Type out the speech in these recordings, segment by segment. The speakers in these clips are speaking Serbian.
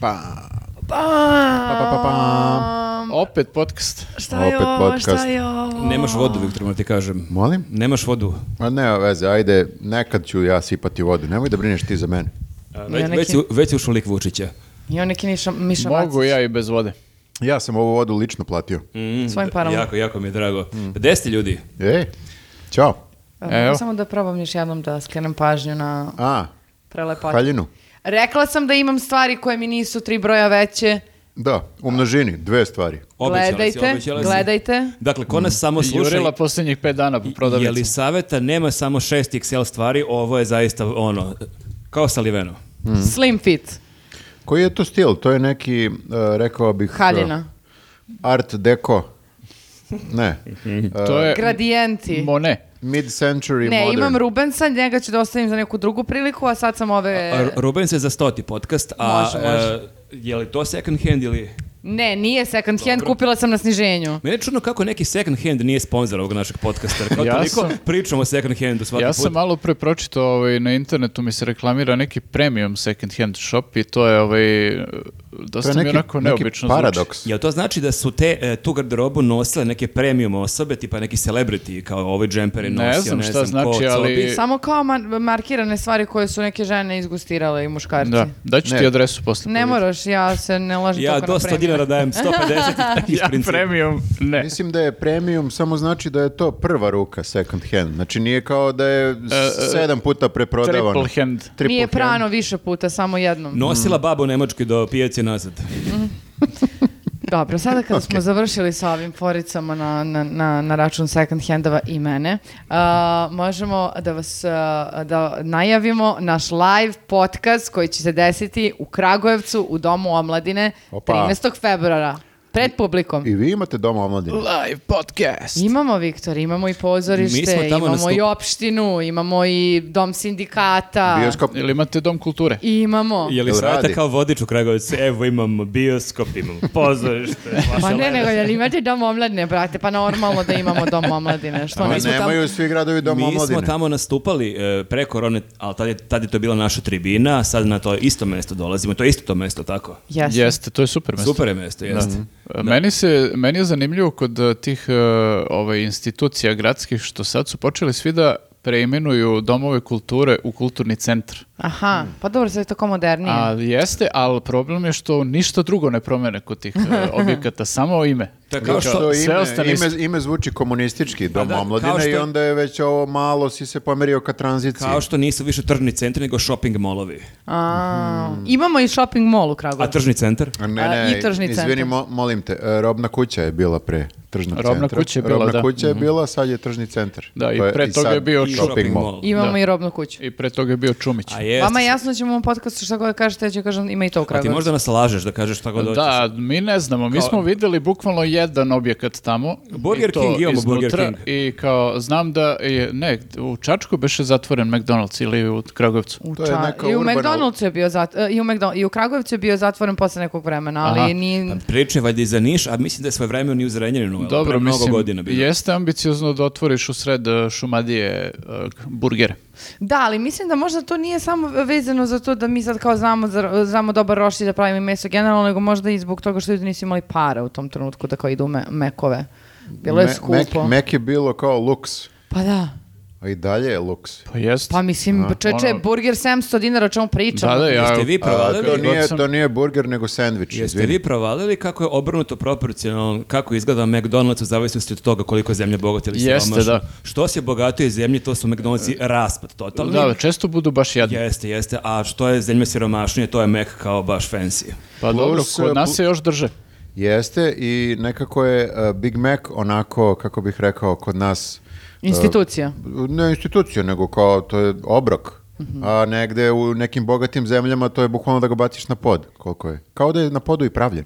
Pa, Opet podcast. Šta je Opet ovo, šta podcast. je ovo? Nemaš vodu, Viktor, moram ti kažem. Molim? Nemaš vodu. Ma nema veze, ajde, nekad ću ja sipati vodu, nemoj da brineš ti za mene. Već, neki- već, si- već si ušao u lik Vučića. I on neki niša, Miša Mogu Vacić. ja i bez vode. Ja sam ovu vodu lično platio. Svojim parama. Jako, jako mi je drago. Gde ste ljudi? Mm. Ej, čao. E, Evo. Samo da probam još jednom da skrenem pažnju na A, prelepotu. haljinu. Rekla sam da imam stvari koje mi nisu tri broja veće. Da, u množini, dve stvari. Obećala si, gledajte, obećala si. gledajte. Dakle, ko nas samo sluša, Mm. Jurila posljednjih pet dana po je prodavnici. li saveta, nema samo šest XL stvari, ovo je zaista ono, kao saliveno. Hmm. Slim fit. Koji je to stil? To je neki, e, rekao bih... Haljina. e, art deco. Ne. e, To je Gradijenti. Mone. Mid-century Ne, modern. imam Rubensa, njega ću da ostavim za neku drugu priliku, a sad sam ove... A Ruben se za stoti podcast, a E. Može, može. e, je li to second hand ili... Ne, nije second hand, kupila sam na sniženju. Mene je čudno kako neki second hand nije sponsor ovog našeg podcasta. jer Kao Ja toliko sam- pričamo o second handu svaki Ja put. sam malo pre pročitao ovaj, na internetu mi se reklamira neki premium second hand shop i to je ovaj, To je dosta mi neki, onako neki neobično zvuči. paradoks. Jel to znači da su te e, tu garderobu nosile neke premium osobe, tipa neki celebrity, kao ovaj džemper je Ne nosio, znam šta ko, znači, ali- Copis? Samo kao mar- markirane stvari koje su neke žene izgustirale i muškarci. Da, daću Ne. ti adresu posle. Ne pa vidi. moraš, ja se ne lažem Ja toliko do na 100 premium. dinara dajem 150 i takvih Ja principa. premium, ne. Mislim da je premium samo znači da je to prva ruka second hand. Znači nije kao da je s- e, sedam puta preprodavano. Triple hand. Triple Nije hand. prano više puta, samo jednom. Mm. Nosila babu u Nemačkoj do pijaci nazad. Dobro, sada kada smo završili sa ovim foricama na, na, na, na račun second handova i mene, a, možemo da vas a, da najavimo naš live podcast koji će se desiti u Kragujevcu u Domu omladine Opa. 13. februara. Pred publikom. I vi imate doma omladine. Live podcast. Imamo, Viktor, imamo i Mi smo pozorište, tamo imamo nastup- i opštinu, imamo i dom sindikata. Bioskop. Ili imate dom kulture? I Imamo. Je li Jel savjeta radi? kao vodič u Kragovicu? Evo imamo bioskop, imamo pozorište. Pa vaša ne, leda. nego jel imate dom omladine, brate? Pa normalno da imamo dom omladine. Što Ma ne? mi smo Pa nemaju tamo- svi gradovi doma Mi omladine. smo tamo nastupali e, pre korone, ali tad je, tad je to bila naša tribina, a sad na to isto mesto dolazimo. To je isto to mesto, tako? Jeste. Jeste, to je super mesto. Super je mesto, jeste. Mhm. Meni, se, meni je zanimljivo kod eh, tih eh, ovaj, institucija gradskih što sad su počeli svi da preimenuju domove kulture u kulturni centar. Aha, pa dobro, sve je tako Mm. modernije. A jeste, ali problem je što ništa drugo ne promene kod tih eh, objekata, samo ime. To je Kao kao što što... sve ostane ime, isto. Pa ime, ime zvuči komunistički dom da, kao omladine što- i onda je već ovo malo si se pomerio ka tranziciji. Kao što nisu više tržni centri, nego shopping molovi. A, mhm. Imamo i shopping mall u A Kragujevcu. tržni centar? A A, Ne, ne, i tržni izvini, centar. mo- molim te, e, robna kuća je bila pre tržnog Robna centra. kuća je bila, robna da. Mhm. kuća je bila, sad je tržni centar. Da, i To pre toga sad je bio I shopping Imamo Da. i robnu kuću. I pre toga je bio Čumić. A jest. Vama je jasno ćemo u podcastu šta god kažete, ja ću kažem ima i to u A ti Kragujevcu. možda nas lažeš da kažeš šta god hoćeš. Da, mi ne znamo, mi Kao- smo videli bukvalno jedan objekat tamo. Burger i to King, imamo Burger iznutra, King. I kao, znam da je, ne, u Čačku beše zatvoren McDonald's ili u Kragovcu. U To je Ča- neka I u urbana- McDonald'su je bio zat- e, i, u McDon- i u Kragujevcu je bio zatvoren posle nekog vremena, ali Aha. ni... Pa Priča je valjda i za Niš, a mislim da je svoje vreme i u Zrenjaninu. jel? Dobro, Pre mnogo mislim, godina bilo. jeste ambiciozno da otvoriš u sred e, šumadije e, k- burgere. Da, ali mislim da možda to nije samo vezano za to da mi sad kao znamo, za, znamo dobar roštilj da pravimo i meso generalno, nego možda i zbog toga što ljudi nisu imali para u tom trenutku da kao idu u me- mekove. Bilo je Me- skupo. Mac- Mac je bilo kao luks, Pa da. a i dalje je luks. Pa jeste. Pa mislim, čeče, ono- burger 700 dinara, o čemu pričamo? da, da, ja... Jeste vi A, to, provalili? nije, sam- to nije burger, nego sandvič. Jeste izvini. vi provalili kako je obrnuto proporcionalno, kako izgleda McDonald's u zavisnosti od toga koliko je zemlja bogata ili Jeste, siromašna. da. E, Što se bogatije zemlje, to su McDonald'si raspad totalni. Da, često budu baš jadni. Jeste, jeste, a što je zemlja siromašnije, to je Mac kao baš fancy. Pa Plus, dobro, e, kod nas plu- se još drže. Jeste i nekako je uh, Big Mac onako, kako bih rekao, kod nas... uh, Institucija. ne institucija, nego kao to je obrok. A negde u nekim bogatim zemljama to je bukvalno da ga baciš na pod, koliko je. Kao da je na podu i pravljen.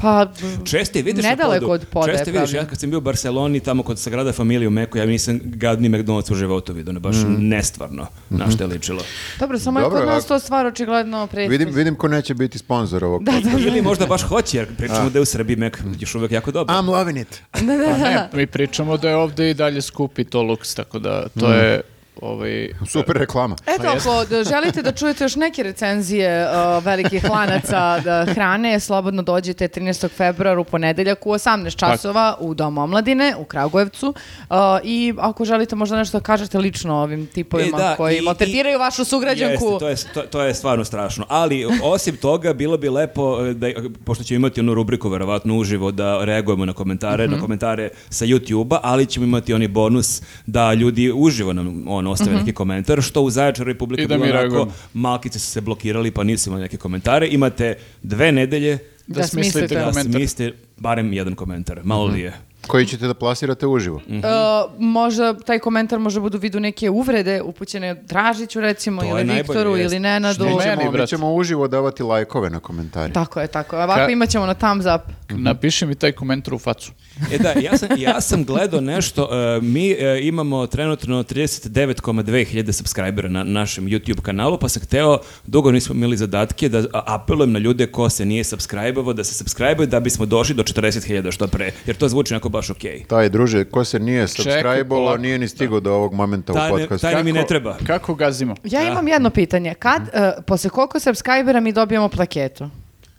Pa, Često je vidiš Nedaleko na podu. od poda je Često je vidiš, pravljeno. ja kad sam bio u Barceloni, tamo kod Sagrada Familija u Meku, ja nisam gadni McDonald's u životu vidio, ono baš nestvarno na što je ličilo. dobro, samo je Dobro, kod nas a- to stvar očigledno pre... Vidim, vidim ko neće biti sponsor ovog. Da, da, Ili možda baš hoće, jer pričamo da je u Srbiji Mek još uvek jako dobro. I'm loving it. da, da, da. Mm. Mi pričamo da je ovdje i dalje skupi to luks, tako da to je ovaj, Super reklama. Eto, Pa ako da želite da čujete još neke recenzije uh, velikih lanaca da hrane, slobodno dođite 13. februara u ponedeljak u 18 časova u Dom omladine u Kragujevcu. Uh, I ako želite možda nešto da kažete lično ovim tipovima E, da, koji i- maltretiraju vašu sugrađanku. Jeste, to je, to, to je stvarno strašno. Ali osim toga, bilo bi lepo, e, da, pošto ćemo imati onu rubriku, verovatno uživo, da reagujemo na komentare, Mhm. na komentare sa YouTube-a, ali ćemo imati oni bonus da ljudi uživo nam on, ostave Mhm. neki komentar, što u Zaječaru Republika I da bilo mi onako, reagujemo. malkice su se blokirali, pa nisu imali neke komentare. Imate dve nedelje da, Da smislite smislite. Mhm. da komentar. smislite barem jedan komentar. Malo li je? Koji ćete da plasirate uživo. Uh, možda taj komentar može budu u vidu neke uvrede upućene Dražiću recimo To je ili najbolje, Viktoru jest. ili Nenadu. Što će- Mi Meni, ćemo, mi brate. ćemo uživo davati lajkove na komentari. Tako je, tako je. Ovako Ka- imat ćemo na thumbs up. Napiši mi taj komentar u facu. E da, ja sam, ja sam gledao nešto, e, mi e, imamo trenutno 39,2 hiljade subscribera na našem YouTube kanalu, pa sam hteo, dugo nismo imali zadatke, da a- apelujem na ljude ko se nije subscribe-ovo, da se subscribe da bismo došli do 40 hiljada što pre, jer to zvuči onako baš okej. Taj druže, ko se nije subscribe-ovo, polako. nije ni stigao do ovog momenta Taj u ne- podcastu. taj ne E, mi ne Kako- treba. Kako gazimo? Ja imam jedno pitanje. Kad, Mhm. uh, posle koliko subscribera mi dobijamo plaketu?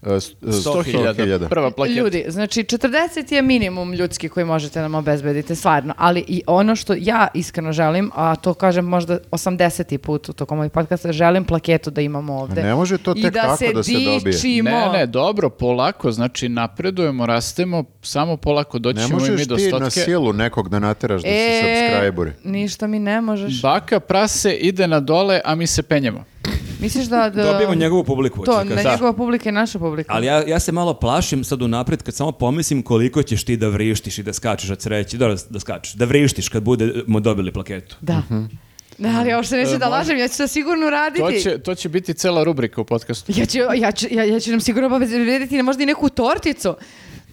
E, st- e, 100 hiljada. Prva plaketa. Ljudi, znači 40 je minimum ljudski koji možete nam obezbediti, stvarno. Ali i ono što ja iskreno želim, a to kažem možda 80. put u tokom ovih podcasta, želim plaketu da imamo ovde. Ne može to I tek da tako se da se dobije. dičimo. Ne, ne, dobro, polako, znači napredujemo, rastemo, samo polako Ne Znači, doćemo i mi možeš do ti na stotke. silu nekog da nateraš da E. se subscribe ništa mi ne možeš. Baka prase ide na dole, a mi se penjemo. Misliš da... da Dobijemo njegovu publiku. To, hoću da na kažem. njegova publika i naša publika. Ali ja, ja se malo plašim sad unapred kad samo pomislim koliko ćeš ti da vrištiš i da skačeš od sreće, da, da skačeš, da vrištiš kad budemo dobili plaketu. Da. Mhm. Da, ali ja uopšte E, neću da lažem, ja ću to sigurno raditi. To će, to će biti cela rubrika u podcastu. Ja ću, ja, ću, ja, ja ću nam sigurno obezbediti možda i neku torticu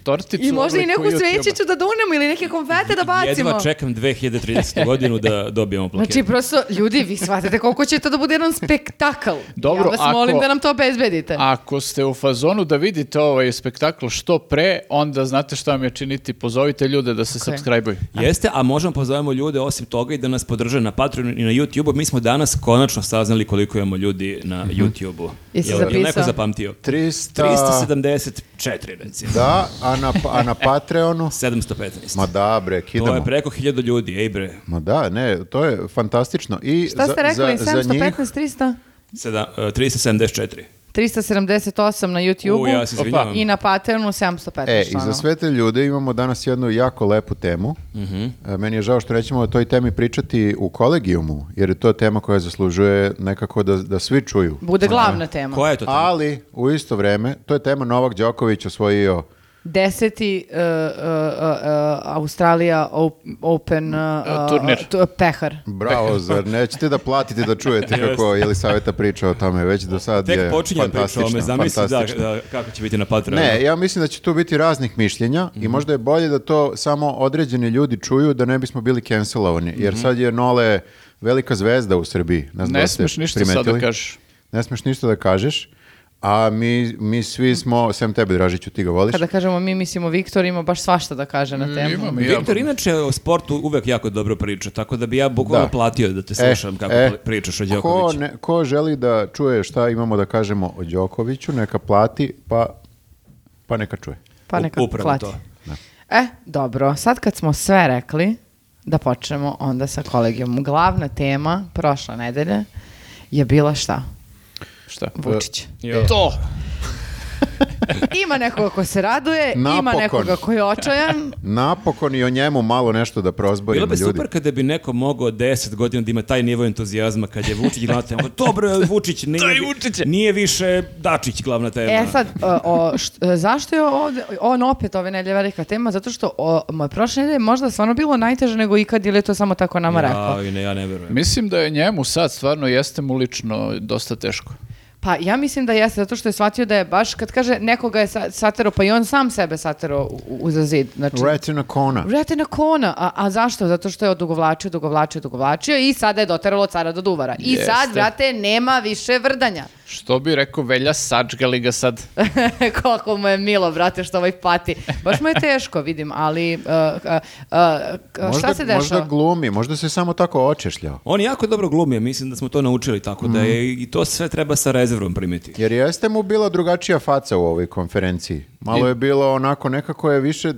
Torticu i možda i obliku neku YouTube-a. svećiću da dunemo ili neke konfete da bacimo. Jedva čekam 2030. godinu da dobijemo plaketu. Znači, prosto, ljudi, vi shvatate koliko će to da bude jedan spektakl. Dobro, ja vas ako- molim da nam to obezbedite. Ako ste u fazonu da vidite ovaj spektakl što pre, onda znate šta vam je činiti. Pozovite ljude da se Tako je. subscribe-uju. Jeste, a možemo pozovemo ljude osim toga i da nas podrže na Patreonu i na YouTubeu. Mi smo danas konačno saznali koliko imamo ljudi na Mhm. YouTubeu. Jesi Jel- jel zapisao? neko zapamtio? 300... 374 recimo. Da, a na, pa- a na Patreonu? 715. Ma da, bre, kidamo. to je preko 1000 ljudi, ej bre. Ma da, ne, to je fantastično. I Šta ste rekli? za, za, za njih, 715, 300? Sedam- e, 374. 378 na U, YouTube-u ja se izvinjavam. i na Patreonu ono. 715 E, i članova. za sve te ljude imamo danas jednu jako lepu temu. Mhm. E, Meni je žao što nećemo o toj temi pričati u kolegijumu, jer je to tema koja zaslužuje nekako da, da svi čuju. Bude glavna tema. Koja je to? tema? Ali, u isto vreme, to je tema Novak Đoković osvojio Deseti uh, uh, uh, uh, Australija op- Open uh, uh, turnir. tu- pehar. Bravo, zar nećete da platite da čujete kako Jelisaveta priča o tome, već do sad Tek je počinje priča o fantastično, me, zamisli da, fantastično. da, Mhm. kako će biti na Patreonu. Ne, ja mislim da će tu biti raznih mišljenja i možda je bolje da to samo određeni ljudi čuju da ne bismo bili cancelovani, Mhm. jer sad je Nole velika zvezda u Srbiji. znam da Ne ste smeš ništa sad da primetili. kažeš. Ne smeš ništa da kažeš, a mi, mi svi smo, sem tebe Dražiću, ti ga voliš. Kada kažemo mi mislimo Viktor ima baš svašta da kaže na temu. Imam i ja. Viktor inače o sportu uvek jako dobro priča, tako da bi ja bukvalno Da. platio da te E, slušam kako e, pričaš o Ko, Đokoviću. ne, ko želi da čuje šta imamo da kažemo o Đokoviću, neka plati, pa, pa neka čuje. Pa U- neka upravo plati. to. E, dobro, sad kad smo sve rekli, da počnemo onda sa kolegijom. Glavna tema prošle nedelje je bila šta? Šta? E, Vučić. Jo. To! Ima nekoga ko se raduje, ima Napokon. nekoga ko je očajan. Napokon i o njemu malo nešto da prozborimo Bilo ljudi. bi super kada bi neko mogao 10 godina da ima taj nivo entuzijazma kad je Vučić glavna tema. Dobro, Vučić nije, Taj vi- Vučić je. nije više Dačić glavna tema. E sad, o, o, št- e, zašto je ovde, on opet ove nedelje velika tema? Zato što o, ma, prošle nedelje je možda stvarno bilo najteže nego ikad ili je to samo tako nama rekao. Jao, ne, ja ne verujem. Mislim da je njemu sad stvarno jeste mu lično dosta teško. Pa ja mislim da jeste, zato što je shvatio da je baš, kad kaže nekoga je sa- satero, pa i on sam sebe satero u- u- uza zid. Znači, Retina Kona. Retina kona. A, a zašto? Zato što je odugovlačio, odugovlačio, odugovlačio i sada je doteralo cara do duvara. I sad, Jeste. brate, nema više vrdanja. Što bi rekao Velja, sačgali ga sad. Koliko mu je milo, brate, što ovaj pati. Baš mu je teško, vidim, ali uh, uh, uh, Možda, šta se dešava? možda glumi, možda se samo tako očešljao. On jako dobro glumi, mislim da smo to naučili, tako da je i to sve treba sa rezervom primiti. Jer jeste mu bila drugačija faca u ovoj konferenciji. Malo je bilo onako, nekako je više,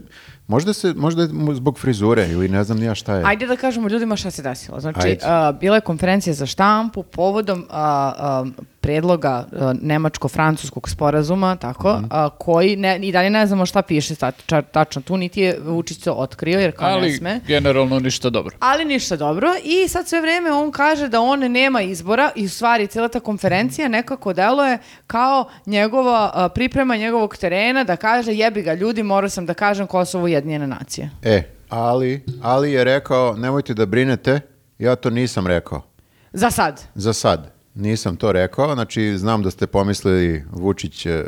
možda, se, možda je mu zbog frizure ili ne znam ni ja šta je. Ajde da kažemo ljudima šta se desilo. Znači, Ajde. a, bila je konferencija za štampu povodom a, a, predloga a, nemačko-francuskog sporazuma, tako, Mhm. a, koji ne, i dalje ne znamo šta piše ta- ča- tačno tu, niti je Vučić to otkrio, jer kao ne Ali sme. generalno ništa dobro. Ali ništa dobro i sad sve vreme on kaže da on nema izbora i u stvari cijela ta konferencija nekako deluje kao njegova a, priprema njegovog terena da kaže jebi ga ljudi morao sam da kažem Kosovo ujedinjene nacije. E, ali, ali je rekao, nemojte da brinete, ja to nisam rekao. Za sad. Za sad. Nisam to rekao, znači znam da ste pomislili Vučić e, e,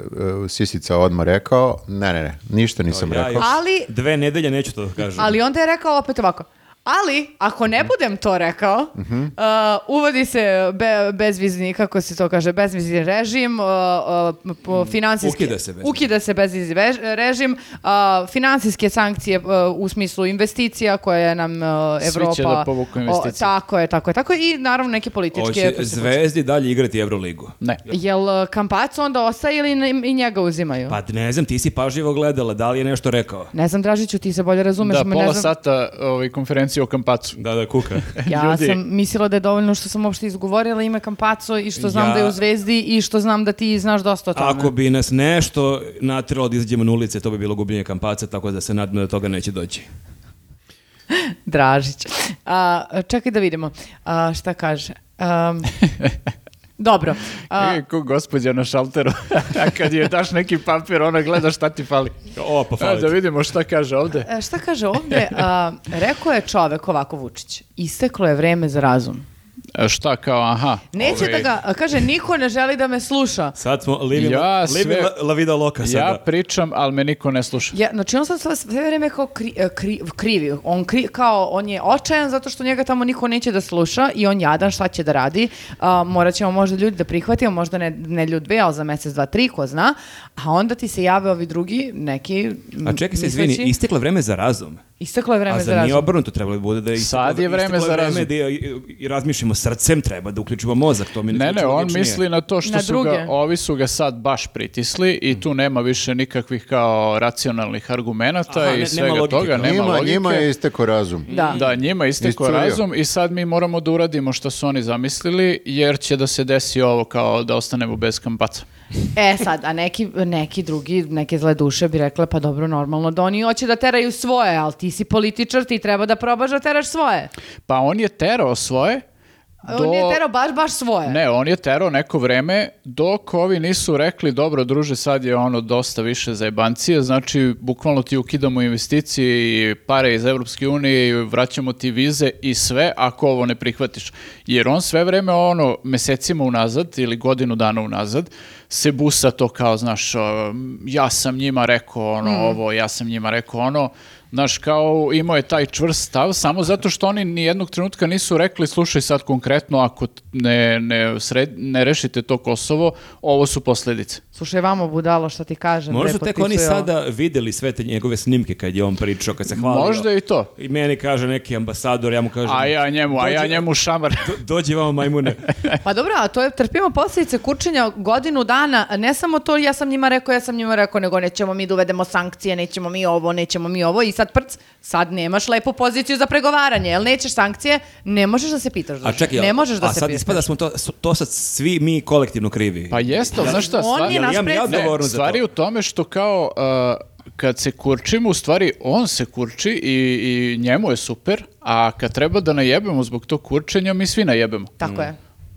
Sisica odmah rekao, ne, ne, ne, ništa nisam Ja rekao. još Ali- Dve nedelje neću to da kažem. Ali onda je rekao opet ovako. Ali, ako ne budem to rekao, uh, uvodi se be, bezvizni, kako se to kaže, bezvizni režim, uh, uh, Mm. po- finansijski... Ukida se bezvizni. Ukida se bezvizni vež- režim, uh, finansijske sankcije uh, u smislu investicija koje nam uh, Svi će Evropa... da povuku investicije. tako je, tako je, tako je. I naravno neke političke... Hoće posljedice. zvezdi dalje igrati Euroligu. Ne. Jel uh, Kampacu onda ostaje ili ne- i njega uzimaju? Pa ne znam, ti si pažljivo gledala, da li je nešto rekao? Ne znam, Dražiću, ti se bolje razumeš. da, ma ne pola znam- sata ovaj, konferencije o kampacu. Da, da, kuka. Ja Ljudi. sam mislila da je dovoljno što sam uopšte izgovorila ime Kampaco i što znam Ja- da je u Zvezdi i što znam da ti znaš dosta o tome. Ako bi nas nešto natrilo da izađemo na ulice, to bi bilo gubljenje kampaca, tako da se nadam da do toga neće doći. Dražić. A, čekaj da vidimo. A, šta kaže? Am, dobro. A, E, ko gospođa na šalteru. A kad je daš neki papir, ona gleda šta ti fali. O, pa A, hvala da ti. vidimo šta kaže ovde. e, šta kaže ovdje? A, rekao je čovek ovako Vučić. Isteklo je vreme za razum. E, A šta kao, aha. E, Neće ovaj, da ga, a, kaže, niko ne želi da me sluša. Sad smo living, Ja living sve- la, la vida loca Ja sada. pričam, ali me niko ne sluša. Ja, znači on sad sve sve vreme kao kri, e, kri- krivi. On kri, kao, on je očajan zato što njega tamo niko neće da sluša i on jadan šta će da radi. A, morat ćemo možda ljudi da prihvatimo, možda ne, ne ljudbe, ali za mjesec, dva, tri, ko zna. A onda ti se jave ovi drugi, neki m, A čekaj misleći- se, izvini, isteklo je vreme za razum. Isteklo je vreme A za za nije razum. obrnuto trebalo bi bude da je isteklo- Sad je vreme isteklo za razum. vreme da i, i razmišljamo srcem, treba da uključimo mozak, to mi Ne, ne, zvuči on logičnije. misli na to što Na su ga, druge. ovi su ga sad baš pritisli i Mhm. tu nema više nikakvih kao racionalnih argumenata Aha, ne- i nema svega logike. toga, nema njima, logike. njima je isteko razum. Da. Da, njima istekao Iscurio. razum i sad mi moramo da uradimo što su oni zamislili, jer će da se desi ovo kao da ostanemo bez kampaca. E sad, a neki, neki drugi, neke zle duše bi rekle, pa dobro, normalno da oni hoće da teraju svoje, ali ti si političar, ti treba da probaš da teraš svoje. Pa on je terao svoje, do... On je terao baš, baš svoje. Ne, on je terao neko vreme dok ovi nisu rekli dobro druže sad je ono dosta više za jebancije, znači bukvalno ti ukidamo investicije i pare iz Europske unije i vraćamo ti vize i sve ako ovo ne prihvatiš. Jer on sve vreme ono mesecima unazad ili godinu dana unazad se busa to kao znaš o, ja sam njima rekao ono Mm. ovo, ja sam njima rekao ono Znaš, kao imao je taj čvrst stav samo zato što oni ni jednog trenutka nisu rekli slušaj sad konkretno ako t- ne, ne, sred- ne rešite to Kosovo, ovo su posljedice. Slušaj, vamo budalo, šta ti kažem. Možda bre, su tek oni potpisuj ovo. sada vidjeli sve te njegove snimke kad je on pričao, kad se hvalio. Možda i to. I meni kaže neki ambasador, ja mu kažem... A ja njemu, a ja dođi- njemu šamar. do- Dođi vamo majmune. Pa dobro, a to je, trpimo posljedice kurčenja godinu dana, a ne samo to, ja sam njima rekao, ja sam njima rekao, nego nećemo mi da uvedemo sankcije, nećemo mi ovo, nećemo mi ovo i sad prc, sad nemaš lepu poziciju za pregovaranje, jel nećeš sankcije, ne možeš da se pitaš. A Dušan. čekaj, jel- ne možeš da a se sad pitaš. ispada smo to, su- to sad svi mi kolektivno krivi. Pa jeste, ali znaš šta, On stvar- je Jel nas imam ja Ne, predstavio. odgovornost za stvar je to? u tome što kao uh, kad se kurčimo, u stvari on se kurči i, i njemu je super, a kad treba da najebemo zbog tog kurčenja, mi svi najebemo. Tako je.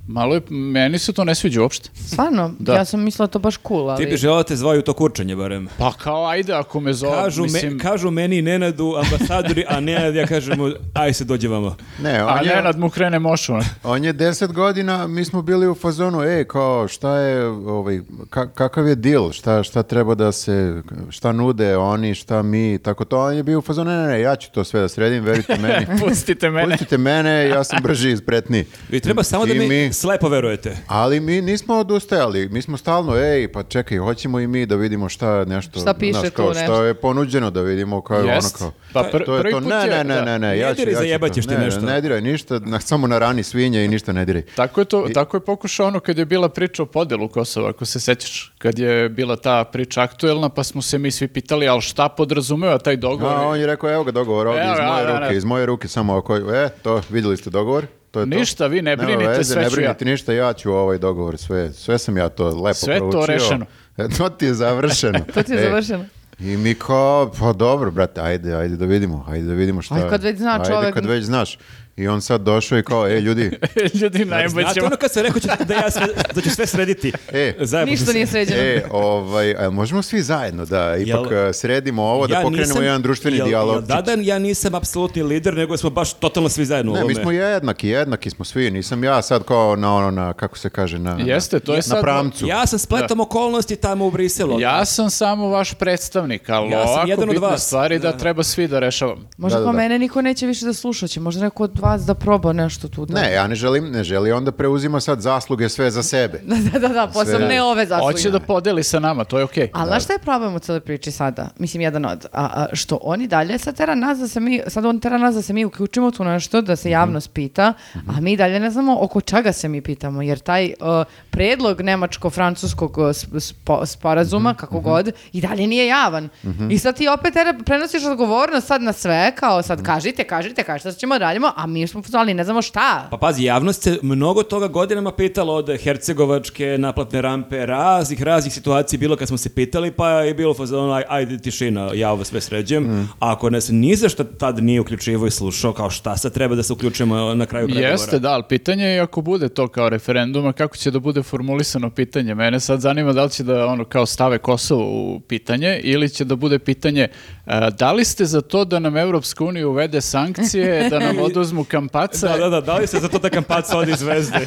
Malo je, meni se to ne sviđa uopšte. Mm. Stvarno, Da. ja sam mislila to baš cool, ali... Ti bi želeo da te zvaju u to kurčenje barem. Pa kao, ajde, ako me zove, Kažu, me- mislim... kažu meni i Nenadu ambasadori, a Nenad ja kažem mu, aj se dođi vamo. Ne, A on je, Nenad mu krene mošu. ono. on je deset godina, mi smo bili u fazonu, ej, kao, šta je, ovaj, ka- kakav je deal, šta, šta treba da se, šta nude oni, šta mi, tako to, on je bio u fazonu, ne, ne, ne, ja ću to sve da sredim, verujte meni. Pustite mene. Pustite mene, ja sam brži i spretniji. I treba samo da I mi, slepo verujete. Ali mi nismo odustajali, mi smo stalno, ej, pa čekaj, hoćemo i mi da vidimo šta nešto, Šta piše znaš, kao, tu nešto. šta je ponuđeno, da vidimo kao je ono Jest. kao. Pa pr- to je prvi to, put ne, je- ne, ne, da. ne, ne, Ne ja ću, diraj, ja ću zajebat to. ćeš ti Ne, nešto. Ne diraj ništa, na, samo narani svinje i ništa ne diraj. Tako je, to, tako je pokušao ono kad je bila priča o podelu Kosova, ako se sećaš, kad je bila ta priča aktuelna, pa smo se mi svi pitali, ali šta podrazumeva taj dogovor? A on je rekao, evo ga dogovor ovdje, Evo, iz moje da, da, ruke, da. iz moje ruke, samo ako, e, to, vidjeli ste dogovor, to je to. Ništa, vi ne Nema brinite, veze, sve ne ću ja. brinite ništa, ja ću ovaj dogovor, sve, sve sam ja to lepo Sve to proučio. rešeno. E, to ti je završeno. To ti je E, završeno. I mi kao, pa dobro, brate, ajde, ajde da vidimo, ajde da vidimo šta. Aj, kad već zna Ajde, čovek. kad već znaš. I on sad došao i kao, e, ljudi, Ljudi, najbolje Znate ćemo. ono kad se rekao ću da, ja sve, da ću sve srediti. E. Zajebao sam Ništa se. nije sređeno. e, ovaj, a možemo svi zajedno da ipak Jel- e, sredimo ovo, da Ja pokrenemo nisam- jedan društveni jel- jel dijalog. Dadan, ja nisam apsolutni lider, nego smo baš totalno svi zajedno u Ne, mi ovome. smo jednaki, jednaki smo svi, nisam ja sad kao na ono, na, kako se kaže, na, na- Jeste, to je na sad- pramcu. Ja sam spletom okolnosti tamo u Briselu. Ja sam samo vaš predstavnik, ali Ja sam ovako jedan od bitne vas. stvari da, Da. treba svi da rešavamo. Možda Da, da, kao da. mene niko neće više da sluša, će možda neko od vas da proba nešto tu. Da. Ne, ja ne želim, ne želi on da preuzima sad zasluge sve za sebe. Da, da, da, da, posebno Sve- ne ove zasluge. Hoće da podeli sa nama, to je okej. Ali znaš šta je problem u cijeloj priči sada? Mislim, jedan od. A, a, što oni dalje sad tera nas da se mi, sad on tera nas da se mi uključimo tu nešto, da Mhm. se javnost pita, a mi dalje ne znamo oko čega se mi pitamo, jer taj e, predlog nemačko-francuskog e, sp- spo- sporazuma, Mhm, kako god, i dalje nije javan. I sad ti opet tera, prenosiš odgovornost sad na sve, kao Mhm. sad kažite, kažite, kažite, sad ćemo da radimo, a mi smo ali ne znamo šta. Pa pazi, javnost se mnogo toga godinama pitalo od hercegovačke naplatne rampe, raznih, raznih situacija je bilo kad smo se pitali, pa je bilo fazon, aj, ajde tišina, ja ovo sve sređem. Mm. A ako nas ni za šta tad nije uključivo i slušao, kao šta sad treba da se uključujemo na kraju pregovora. Jeste, da, ali pitanje je ako bude to kao referenduma, kako će da bude formulisano pitanje. Mene sad zanima da li će da ono kao stave Kosovo u pitanje ili će da bude pitanje e, da li ste za to da nam Evropska unija uvede sankcije, da nam oduzmu kampaca? Da, da, da, da li se za to da kampaca odi zvezde?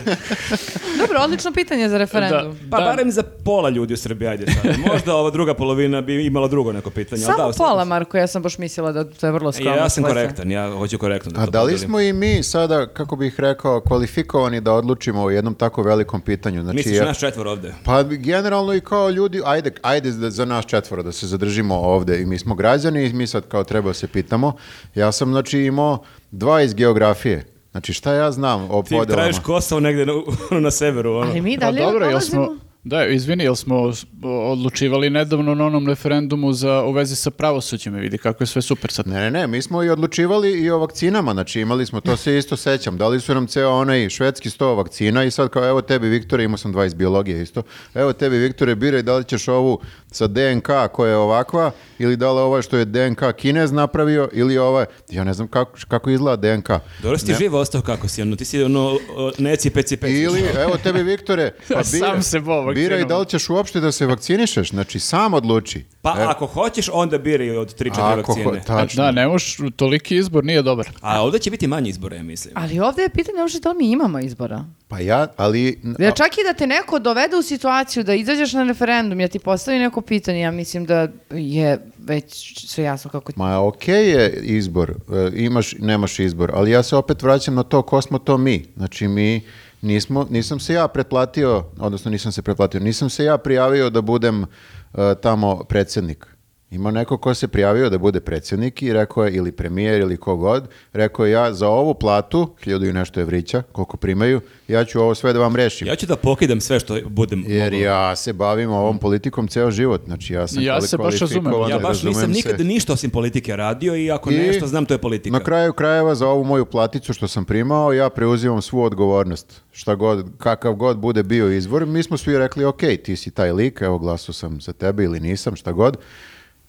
Dobro, odlično pitanje za referendum. Pa Da. barem za pola ljudi u Srbiji, ajde sad. Možda ova druga polovina bi imala drugo neko pitanje. ali Samo da, u svakom E, pola, Marko, ja sam baš mislila da to je vrlo skromno. Ja sam tvoje. korektan, ja hoću korektno da A to da li podelim. smo i mi sada, kako bih rekao, kvalifikovani da odlučimo o jednom tako velikom pitanju? Znači, Misliš ja- naš četvor ovde? Pa generalno i kao ljudi, ajde, ajde za- za nas četvora da se zadržimo ovde i mi smo građani i mi sad kao treba se pitamo. Ja sam znači imao dva iz geografije. Znači šta ja znam o Ti podelama? traješ Kosovo negde na, ono, na severu. Ono. Ali mi Pa dalje dobro, jel dolazimo. smo, da, izvini, jel smo s- odlučivali nedavno na onom referendumu za, u vezi sa pravosuđem i vidi kako je sve super sad. Ne, ne, ne, mi smo i odlučivali i o vakcinama, znači imali smo, to se isto sećam, dali su nam ceo onaj švedski sto vakcina i sad kao evo tebi Viktore, imao sam dva iz biologije isto, evo tebi Viktore biraj da li ćeš ovu sa DNK koja je ovakva ili da li ova što je DNK Kinez napravio ili ova, ja ne znam kako, kako izgleda DNK. Dobro si ti živo ostao kako si, ono, ti si ono, o, neci peci peci. Ili, evo tebi Viktore, pa Sam biraj, se bo vakcinom. biraj da li ćeš uopšte da se vakcinišeš, znači sam odluči. Pa Evo, ako hoćeš, onda biraj od 3-4 E. ako ho- vakcine. tačno. Znači, Da, ne moš, toliki izbor nije dobar. A ovdje će biti manji izbor, ja mislim. Ali ovdje je pitanje uopšte da li mi imamo izbora. Pa ja, ali... Ja čak i da te neko dovede u situaciju da izađeš na referendum, ja ti postavim neko pitanje, ja mislim da je već sve jasno kako ti... Ma okej je izbor, e, imaš, nemaš izbor, ali ja se opet vraćam na to ko smo to mi. Znači mi nismo, nisam se ja pretplatio, odnosno nisam se pretplatio, nisam se ja prijavio da budem e, tamo predsjednik. Ima neko ko se prijavio da bude predsjednik i rekao je, ili premijer ili kogod, rekao je ja za ovu platu, hiljadu i nešto evrića, koliko primaju, ja ću ovo sve da vam rešim. Ja ću da pokidam sve što budem. Znači- Jer mogao. ja se bavim ovom politikom ceo život, znači ja sam Ja se baš razumem. kvalifikovan, Ja baš razumem nisam se. nikad ništa osim politike radio i ako I nešto znam, to je politika. Na kraju krajeva za ovu moju platicu što sam primao, ja preuzimam svu odgovornost. Šta god, kakav god bude bio izvor, mi smo svi rekli, ok, ti si taj lik, evo glasao sam za tebe ili nisam, šta god.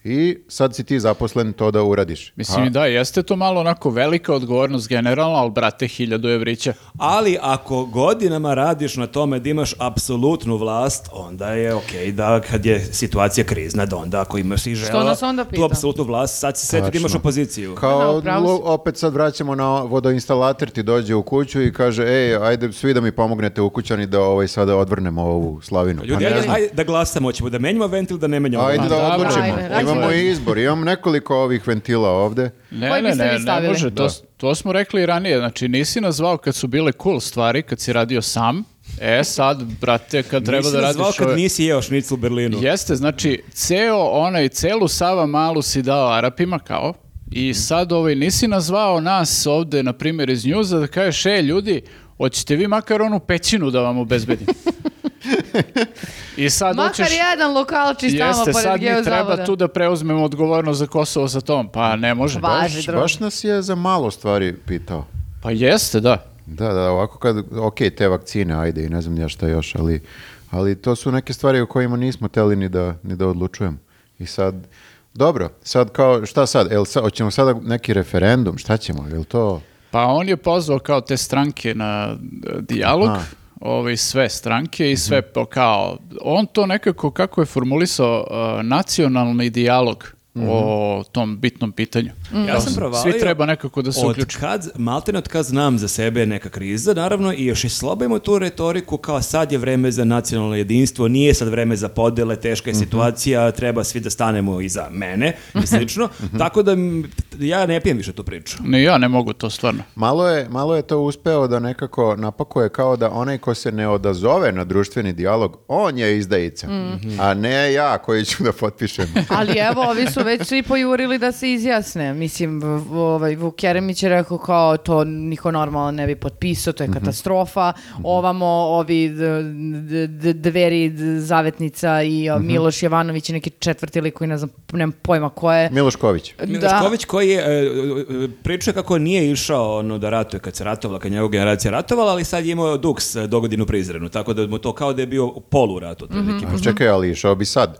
I sad si ti zaposlen to da uradiš. Mislim, A- i da, jeste to malo onako velika odgovornost generalno, ali brate, hiljadu evrića. Ali ako godinama radiš na tome da imaš apsolutnu vlast, onda je okej da kad je situacija krizna, da onda ako imaš i žela nas onda tu pita? apsolutnu vlast, sad se sveti da imaš Tačno. opoziciju. Kao, Da, upravo si. lo- opet sad vraćamo na vodoinstalater, ti dođe u kuću i kaže, ej, ajde svi da mi pomognete u kućani da ovaj, sada odvrnemo ovu slavinu. Pa Ljudi, ne ajde, znam. ajde da glasamo, hoćemo da menjamo ventil, da ne menjamo Ajde ventil. da Dobro. odlučimo. Ajde, ajde, imamo izbor, imam nekoliko ovih ventila ovde. Ne, Koji ne, biste vi ne, ne stavili? može. To, to smo rekli i ranije. Znači, nisi nas zvao kad su bile cool stvari, kad si radio sam. E, sad, brate, kad treba Nisi da nas radiš... zvao kad ove- nisi jeo šnicl u Berlinu. Jeste, znači, ceo onaj, celu Sava Malu si dao Arapima, kao, i Mhm. sad ovaj, nisi nazvao nas ovde, na primjer, iz njuza, da kažeš, e, ljudi, hoćete vi makar onu pećinu da vam obezbedim? I sad Makar hoćeš... jedan lokalčić tamo Jeste, pored sad mi Geozavoda. treba tu da preuzmemo odgovornost za Kosovo sa tom. Pa ne može. Važi. Baš, drug. baš nas je za malo stvari pitao. Pa jeste, da. Da, da, ovako kad, ok, te vakcine, ajde i ne znam ja šta još, ali, ali to su neke stvari o kojima nismo teli ni da, ni da odlučujemo. I sad, dobro, sad kao, šta sad, el, sa, hoćemo sada neki referendum, šta ćemo, jel to... Pa on je pozvao kao te stranke na e, dijalog, Aha. ovaj, sve stranke Mhm. i sve po- kao, on to nekako kako je formulisao e, nacionalni dijalog Mhm. o tom bitnom pitanju. Ja sam provalio. Svi treba nekako da se od uključe. Kad, maltene od kad znam za sebe je neka kriza, naravno, i još i slabo ima tu retoriku kao sad je vreme za nacionalno jedinstvo, nije sad vreme za podele, teška je Mhm. situacija, treba svi da stanemo iza mene i slično. Mhm. Tako da m, ja ne pijem više tu priču. Ni ja ne mogu to stvarno. Malo je, malo je to uspeo da nekako napakuje kao da onaj ko se ne odazove na društveni dijalog, on je izdajica, a ne ja koji ću da potpišem. Ali evo, ovi su već svi pojurili da se izjasne. Mislim, v- v- ovaj, Vuk Jeremić je rekao kao to niko normalno ne bi potpisao, to je Mhm. katastrofa. Ovamo ovi d- d- d- dveri d- zavetnica i Mhm. o, Miloš Jovanović i neki četvrti lik koji ne znam, nemam pojma ko je. Milošković. Milošković koji je, e, e, priča kako nije išao ono, da ratuje kad se ratovala, kad njegova generacija ratovala, ali sad je imao dug s dogodinu prizrenu, tako da mu to kao da je bio polu rat otprilike. A čekaj, ali išao bi sad.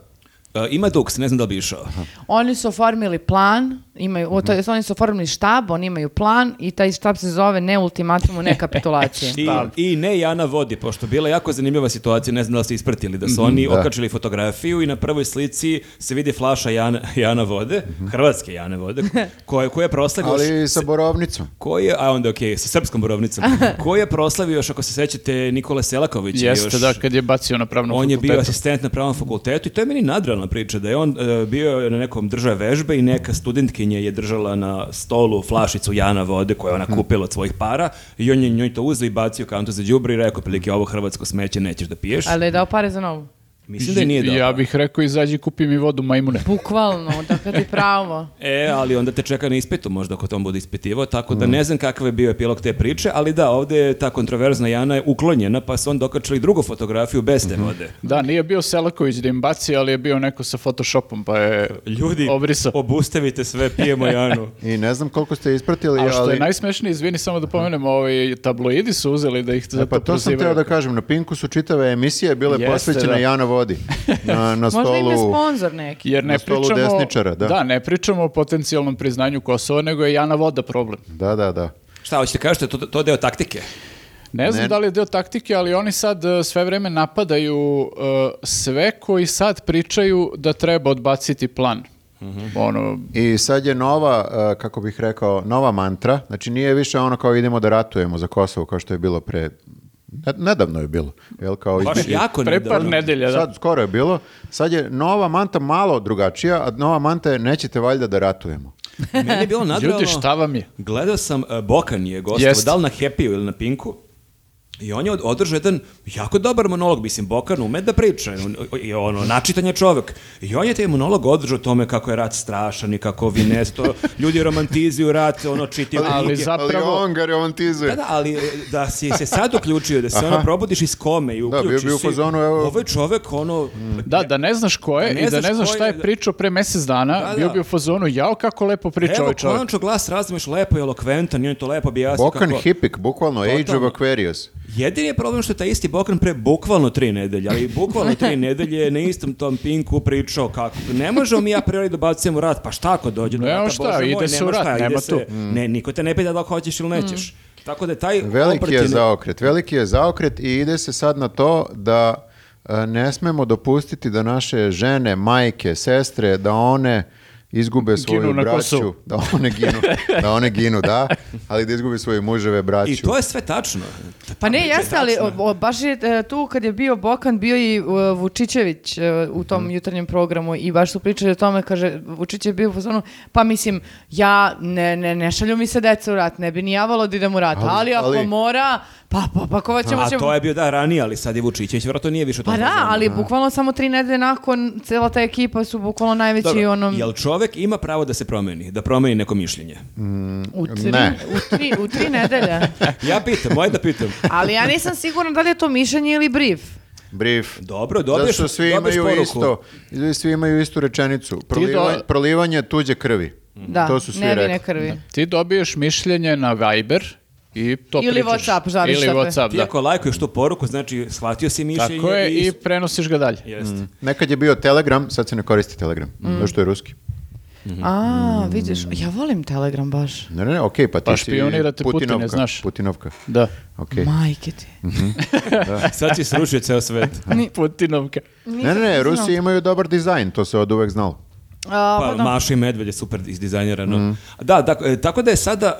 E, Ima duks, ne znam da li bi išao. Oni su oformili plan, imaju, o, to jest oni su oformili štab, oni imaju plan i taj štab se zove ne ultimatumu, ne kapitulacije. I, I ne Jana vodi, pošto je bila jako zanimljiva situacija, ne znam da li ste ispratili, da su oni okačili fotografiju i na prvoj slici se vidi flaša Jana, Jana vode, hrvatske Jane vode, koja, koja je proslavio... Ali još- sa borovnicom. Koji je, a onda okej, sa srpskom borovnicom, koji je proslavio još, ako se sećate, Nikola Selaković je Jeste Znači, još... da, kad je bacio na pravnom On je bio fakultetu. asistent na pravnom fakultetu i to je meni nadrealna priča, da je on e, bio na nekom držaja vežbe i neka studentkinja je držala na stolu flašicu Jana vode koju je Hm. ona kupila od svojih para i on je njoj to uzeo i bacio u kantu za đubre i rekao, prilike, ovo hrvatsko smeće nećeš da piješ. Ali je dao pare za novu. Mislim da je nije dao. Ja bih rekao, izađi kupi mi vodu majmune. Bukvalno, dakle ti pravo. E, ali onda te čeka na ispitu možda ako tom bude ispitivao, tako Hm. da ne znam kakav je bio epilog te priče, ali da, ovde je ta kontroverzna Jana je uklonjena, pa su onda okačili drugu fotografiju bez te Mhm. vode. Da, nije bio Selaković da im baci, ali je bio neko sa Photoshopom, pa je Ljudi, obrisao. obustavite sve, pijemo Janu. I ne znam koliko ste ispratili, A što ali... je najsmešnije, izvini samo da pomenem, ovaj, tabloidi su uzeli da ih za E, pa to sam teo da kažem, na Pinku su čitave emisije bile Jeste, posvećene da. Jana Vodi. Na, na Možda im je stolu... sponsor neki. Jer ne na stolu pričamo, desničara, da. ne pričamo o potencijalnom priznanju Kosova, nego je Jana Voda problem. Da, da, da. Šta, hoćete kažete, to, to je deo taktike? Ne znam Ne. da li je deo taktike, ali oni sad e, sve vreme napadaju e, sve koji sad pričaju da treba odbaciti plan. Ono, I sad je nova, e, kako bih rekao, nova mantra. Znači nije više ono kao idemo da ratujemo za Kosovo kao što je bilo pre... ne- Nedavno je bilo. Jel, kao Baš izbi- jako pre par nedavno. nedelja, da. Sad skoro je bilo. Sad je nova manta malo drugačija, a nova manta je nećete valjda da ratujemo. Meni je bilo nadrealno. Ljudi, šta vam je? Gledao sam, e, Bokan je gostao, Jeste. da li na Happy-u ili na Pinku, I on je od- održao jedan jako dobar monolog, mislim, Bokan ume da priča, on- i ono, načitan je čovek. I on je taj monolog održao o tome kako je rat strašan i kako vi ne, to ljudi romantizuju rat, ono, čitaju Ali knjige. za- Zapravo- Pa Ali on ga romantizuje. Da, da, ali e, da si se sad uključio, da se ono probudiš iz kome i uključiš bio bi u se, fazonu, evo- Ovaj čovek, ono, Da, da ne znaš ko je Da ne i da znaš ne znaš ko šta je, je da- pričao pre mjesec dana, Da, bio da. bi u fazonu, jao kako lepo priča ovaj Evo, čovjek. konačno glas razumeš lepo i elokventan i on je to lepo pa objasnio Bokan kako... Hipik, bukvalno, Age of Totalno. Aquarius. Jedini je problem što je taj isti Bokran pre bukvalno tri nedelje, ali bukvalno tri nedelje je na istom tom pinku pričao kako ne možemo mi a priori da bacujemo rat, pa šta ako dođe do Nema rata, šta, Bože moj, ide se nema u rat, šta, ide nema Mm. se- Ne, niko te ne pita da li hoćeš ili nećeš. Tako da je taj Veliki je operativni- zaokret, veliki je zaokret i ide se sad na to da e, ne smemo dopustiti da naše žene, majke, sestre, da one izgube svoju Ginu na braću. Kosovu. Da one ginu, da one ginu, da, ali da izgube svoje muževe, braću. I to je sve tačno. Pa ne, Tablica je jeste, ali tačna. o- o, baš je e, tu kad je bio Bokan, bio i e, Vučićević e, u tom Mm. jutarnjem programu i baš su pričali o tome, kaže, Vučić je bio u fazonu, pa mislim, ja ne, ne, ne šalju mi se deca u rat, ne bi ni javalo da idem u rat, ali, Ali- ako ali- mora, pa, pa, pa ko ćemo... A ćemo- to je bio da ranije, ali sad je Vučićević, vjerojatno nije više u tom Pa da, fazonu. ali bukvalno samo tri nedelje nakon cela ta ekipa su bukvalno najveći Dobro, onom... Jel čovek ima pravo da se promeni, da promeni neko mišljenje? Mm. U tri, Ne. u tri, u tri nedelje. Ja pitam, moje da pitam. Ali ja nisam sigurna da li je to mišljenje ili brief. Brief. Dobro, dobiješ, Zato što svi dobiješ imaju poruku. isto, svi imaju istu rečenicu. Proliva- do- Prolivanje tuđe krvi. Mhm. Da, to su svi nevine rekli. krvi. Ti dobiješ mišljenje na Viber i to Ili pričaš. WhatsApp, zavisi Ili šta pre- WhatsApp, Ti da. ako lajkuješ tu poruku, znači shvatio si mišljenje. Tako je i i... prenosiš ga dalje. Jeste. Nekad je bio Telegram, sad se ne koristi Telegram. Zato što je ruski. A, vidiš, ja volim Telegram baš. Ne, ne, ne, okej, pa ti Pa si špijunirate Putine, Putinovka. znaš. Putinovka, Da. okej. Majke ti. Sad si srušio ceo svet. Putinovka. Ne, ne, ne, Rusi imaju dobar dizajn, to se od uvek znalo. A, Pa, pa da. Maša i Medved je super izdizajnirano. Mm. Da, dak- e, tako da je sada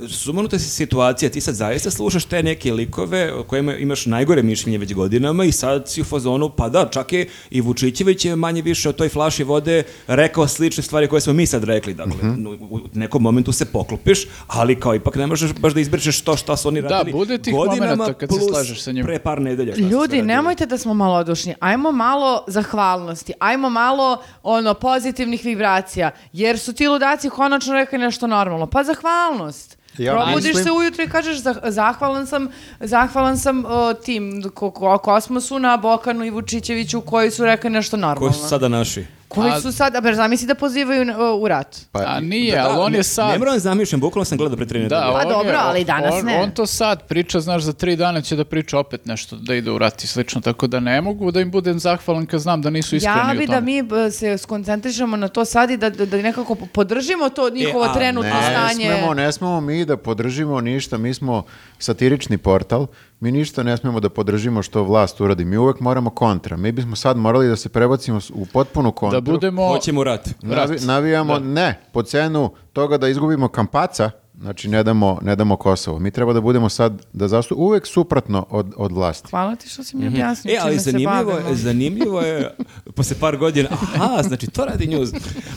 e, sumanuta si situacija, ti sad zaista slušaš te neke likove o kojima imaš najgore mišljenje već godinama i sad si u fazonu, pa da, čak je i Vučićević je manje više o toj flaši vode rekao slične stvari koje smo mi sad rekli. Dakle, Mhm. u- u nekom momentu se poklopiš, ali kao ipak ne možeš baš da izbrišeš to šta su oni radili bude tih momenata kad se plus slažeš sa njima. pre par nedelja. šta su sve Ljudi, radili. nemojte da smo malodušni. Ajmo malo zahvalnosti. Ajmo malo ono pozitivnih vibracija. Jer su ti ludaci konačno rekli nešto normalno. Pa zahvalnost. Ja Probudiš mislim- se ujutro i kažeš "Zah- zahvalan sam, zahvalan sam o, tim ko, ko- Kosmosu na Bokanu i Vučićeviću koji su rekli nešto Koji normalno. su sada naši? Koji A- su sad, a bar zamisli da pozivaju na- o, u rat. Pa, A nije, E, ali on ne- je sad... Ne moram da zamišljam, bukvalno sam gledao pre tri nedelje. Da, on je- Pa dobro, ali danas on, ne. On to sad priča, znaš, za tri dana će da priča opet nešto, da ide u rat i slično, tako da ne mogu da im budem zahvalan kad znam da nisu iskreni Ja u bi tome. da mi b, se skoncentrišemo na to sad i da, da, da nekako po- podržimo to njihovo E, a trenutno Ne stanje. smemo, ne smemo mi da podržimo ništa, mi smo satirični portal, mi ništa ne smemo da podržimo što vlast uradi, mi uvek moramo kontra, mi bismo sad morali da se prebacimo s- u potpunu Da kontru, budemo... Hoćemo rat. Navi- navijamo, ne, po cenu toga da izgubimo kampaca, znači ne damo, ne damo Kosovo, mi treba da budemo sad, da zastu uvek suprotno od, od vlasti. Hvala ti što si Mhm. mi objasnio E, ali čime se zanimljivo bavimo. je, zanimljivo je, posle par godina, aha, znači to radi news,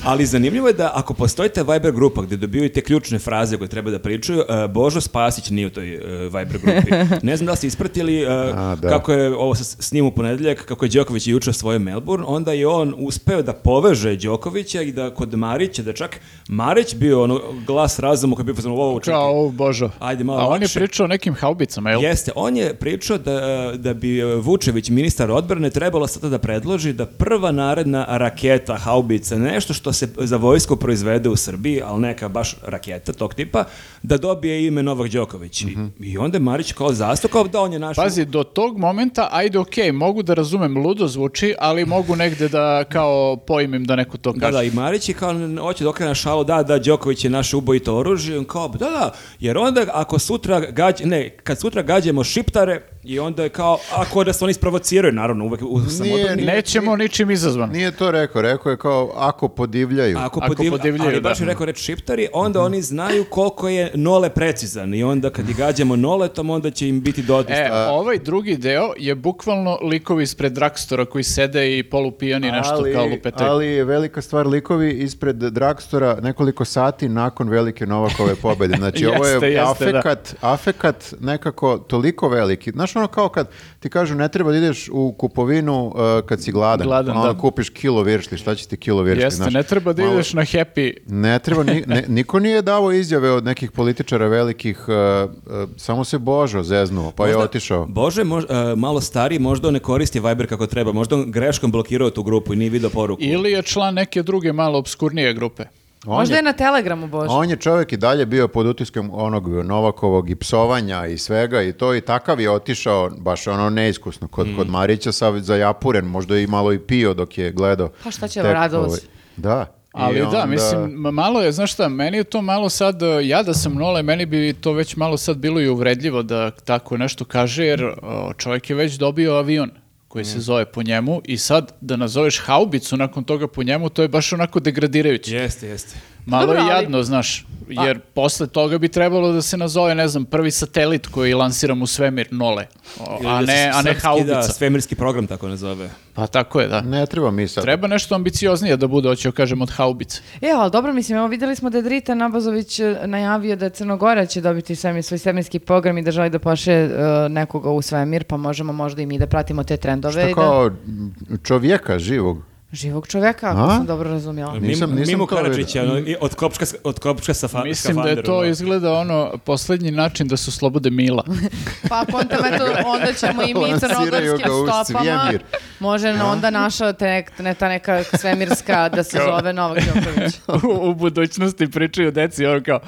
ali zanimljivo je da ako postoji ta Viber grupa gdje dobiju i te ključne fraze koje treba da pričaju, e, Božo Spasić nije u toj e, Viber grupi. Ne znam da li ste ispratili e, A, da. kako je ovo s, s njim u ponedeljak, kako je Đoković juče osvojio Melbourne, onda je on uspeo da poveže Đokovića i da kod Marića, da čak Marić bio ono glas razuma koji je bio pozvan, ovo čekaj, Kao, o, božo. Ajde, malo A on je lakše. pričao o nekim haubicama, jel? Jeste, on je pričao da, da bi e, Vučević, ministar odbrane, trebalo sada da predloži da prva naredna raketa, haubica, nešto što se za vojsku proizvede u Srbiji, ali neka baš raketa tog tipa, da dobije ime Novak Đoković. I- I onda je Marić kao zastao, kao da on je naš... Mhm. Pazi, do tog momenta, ajde, okej, mogu da razumem, ludo zvuči, ali mogu negde da kao poimim da neko to Da, kaže. da, i Marić je kao, n- hoće da okrene šalu, da, da, Đoković je naše ubojito oružje, on kao, da, da, jer onda ako sutra gađa, ne, kad sutra gađamo šiptare, i onda je kao, ako da se oni isprovociraju, naravno, uvek u samoodbrani. nije- Nećemo ničim izazvan. Nije to rekao, rekao je kao ako podivljaju. Ako, Ako podivlja- podivljaju, ali baš da. je rekao reč šiptari, onda oni znaju koliko je nole precizan i onda kad ih gađamo noletom, onda će im biti dotisno. E, ovaj drugi deo je bukvalno likovi ispred drakstora koji sede i polupijani nešto kao lupetaju. ali je velika stvar likovi ispred Dragstora nekoliko sati nakon velike Novakove pobede. Znači ovo je Jeste, jeste, da. afekat, afekat nekako toliko veliki. Znaš ono kao kad ti kažu ne treba da ideš u kupovinu uh, kad si gladan. Gladan, Ono, da. kupiš kilo viršli, šta će ti kilo viršli? Jeste, znaš? ne treba da Malo- ideš na happy Ne treba, ni- ne- niko nije davo izjave od nekih političara velikih, uh, uh, samo se Božo zeznuo, pa je Možda- otišao. Bože, mož- e, malo stariji, možda on ne koristi Viber kako treba, možda on greškom blokirao tu grupu i nije vidio poruku. ili je član neke druge malo obskurnije grupe. On Možda je- je na Telegramu, Bože. A on je čovjek i dalje bio pod utiskom onog Novakovog i psovanja i svega i to i takav je otišao baš ono neiskusno kod, Mm. kod Marića sa, za Japuren, možda je i malo i pio dok je gledao. Pa šta će, tek radilo ovaj- se. Da. I Ali onda- da, mislim, ma- malo je, znaš šta, meni je to malo sad, e, ja da sam nole, meni bi to već malo sad bilo i uvredljivo da tako nešto kaže, jer o, čovjek je već dobio avion koji Mm. se zove po njemu i sad da nazoveš haubicu nakon toga po njemu, to je baš onako degradirajuće. Jeste, jeste. Malo Dobro, je ali- Pa- jadno, znaš, jer posle toga bi trebalo da se nazove, ne znam, prvi satelit koji lansiram u svemir, nole, O, Ili a da se ne, a ne srpski, haubica. Da, svemirski program tako nazove. Pa tako je, da. Ne treba mi sad. Treba nešto ambicioznije da bude, hoću kažem, od haubice. E, ali dobro, mislim, evo videli smo da je Drita Nabazović e, najavio da Crnogora će dobiti svemi, svoj svemirski program i da želi da pošle e, nekoga u svemir, pa možemo možda i mi da pratimo te trendove. i Šta da- kao m, čovjeka živog? Živog čoveka, ako A? sam dobro razumjela. Nisam- Mimo- nisam Mimo to vidio. Karadžića, ono, i od kopčka, od kopčka sa fa, Mislim da je to izgleda ono poslednji način da se oslobode Mila. Pa ako onda, eto, onda ćemo i mi Lansiraju crnogorskim ga u stopama. svemir. Može na- onda naša te, nek- ne, ta neka svemirska da se zove Novak Đoković. u, u budućnosti pričaju deci, ono kao,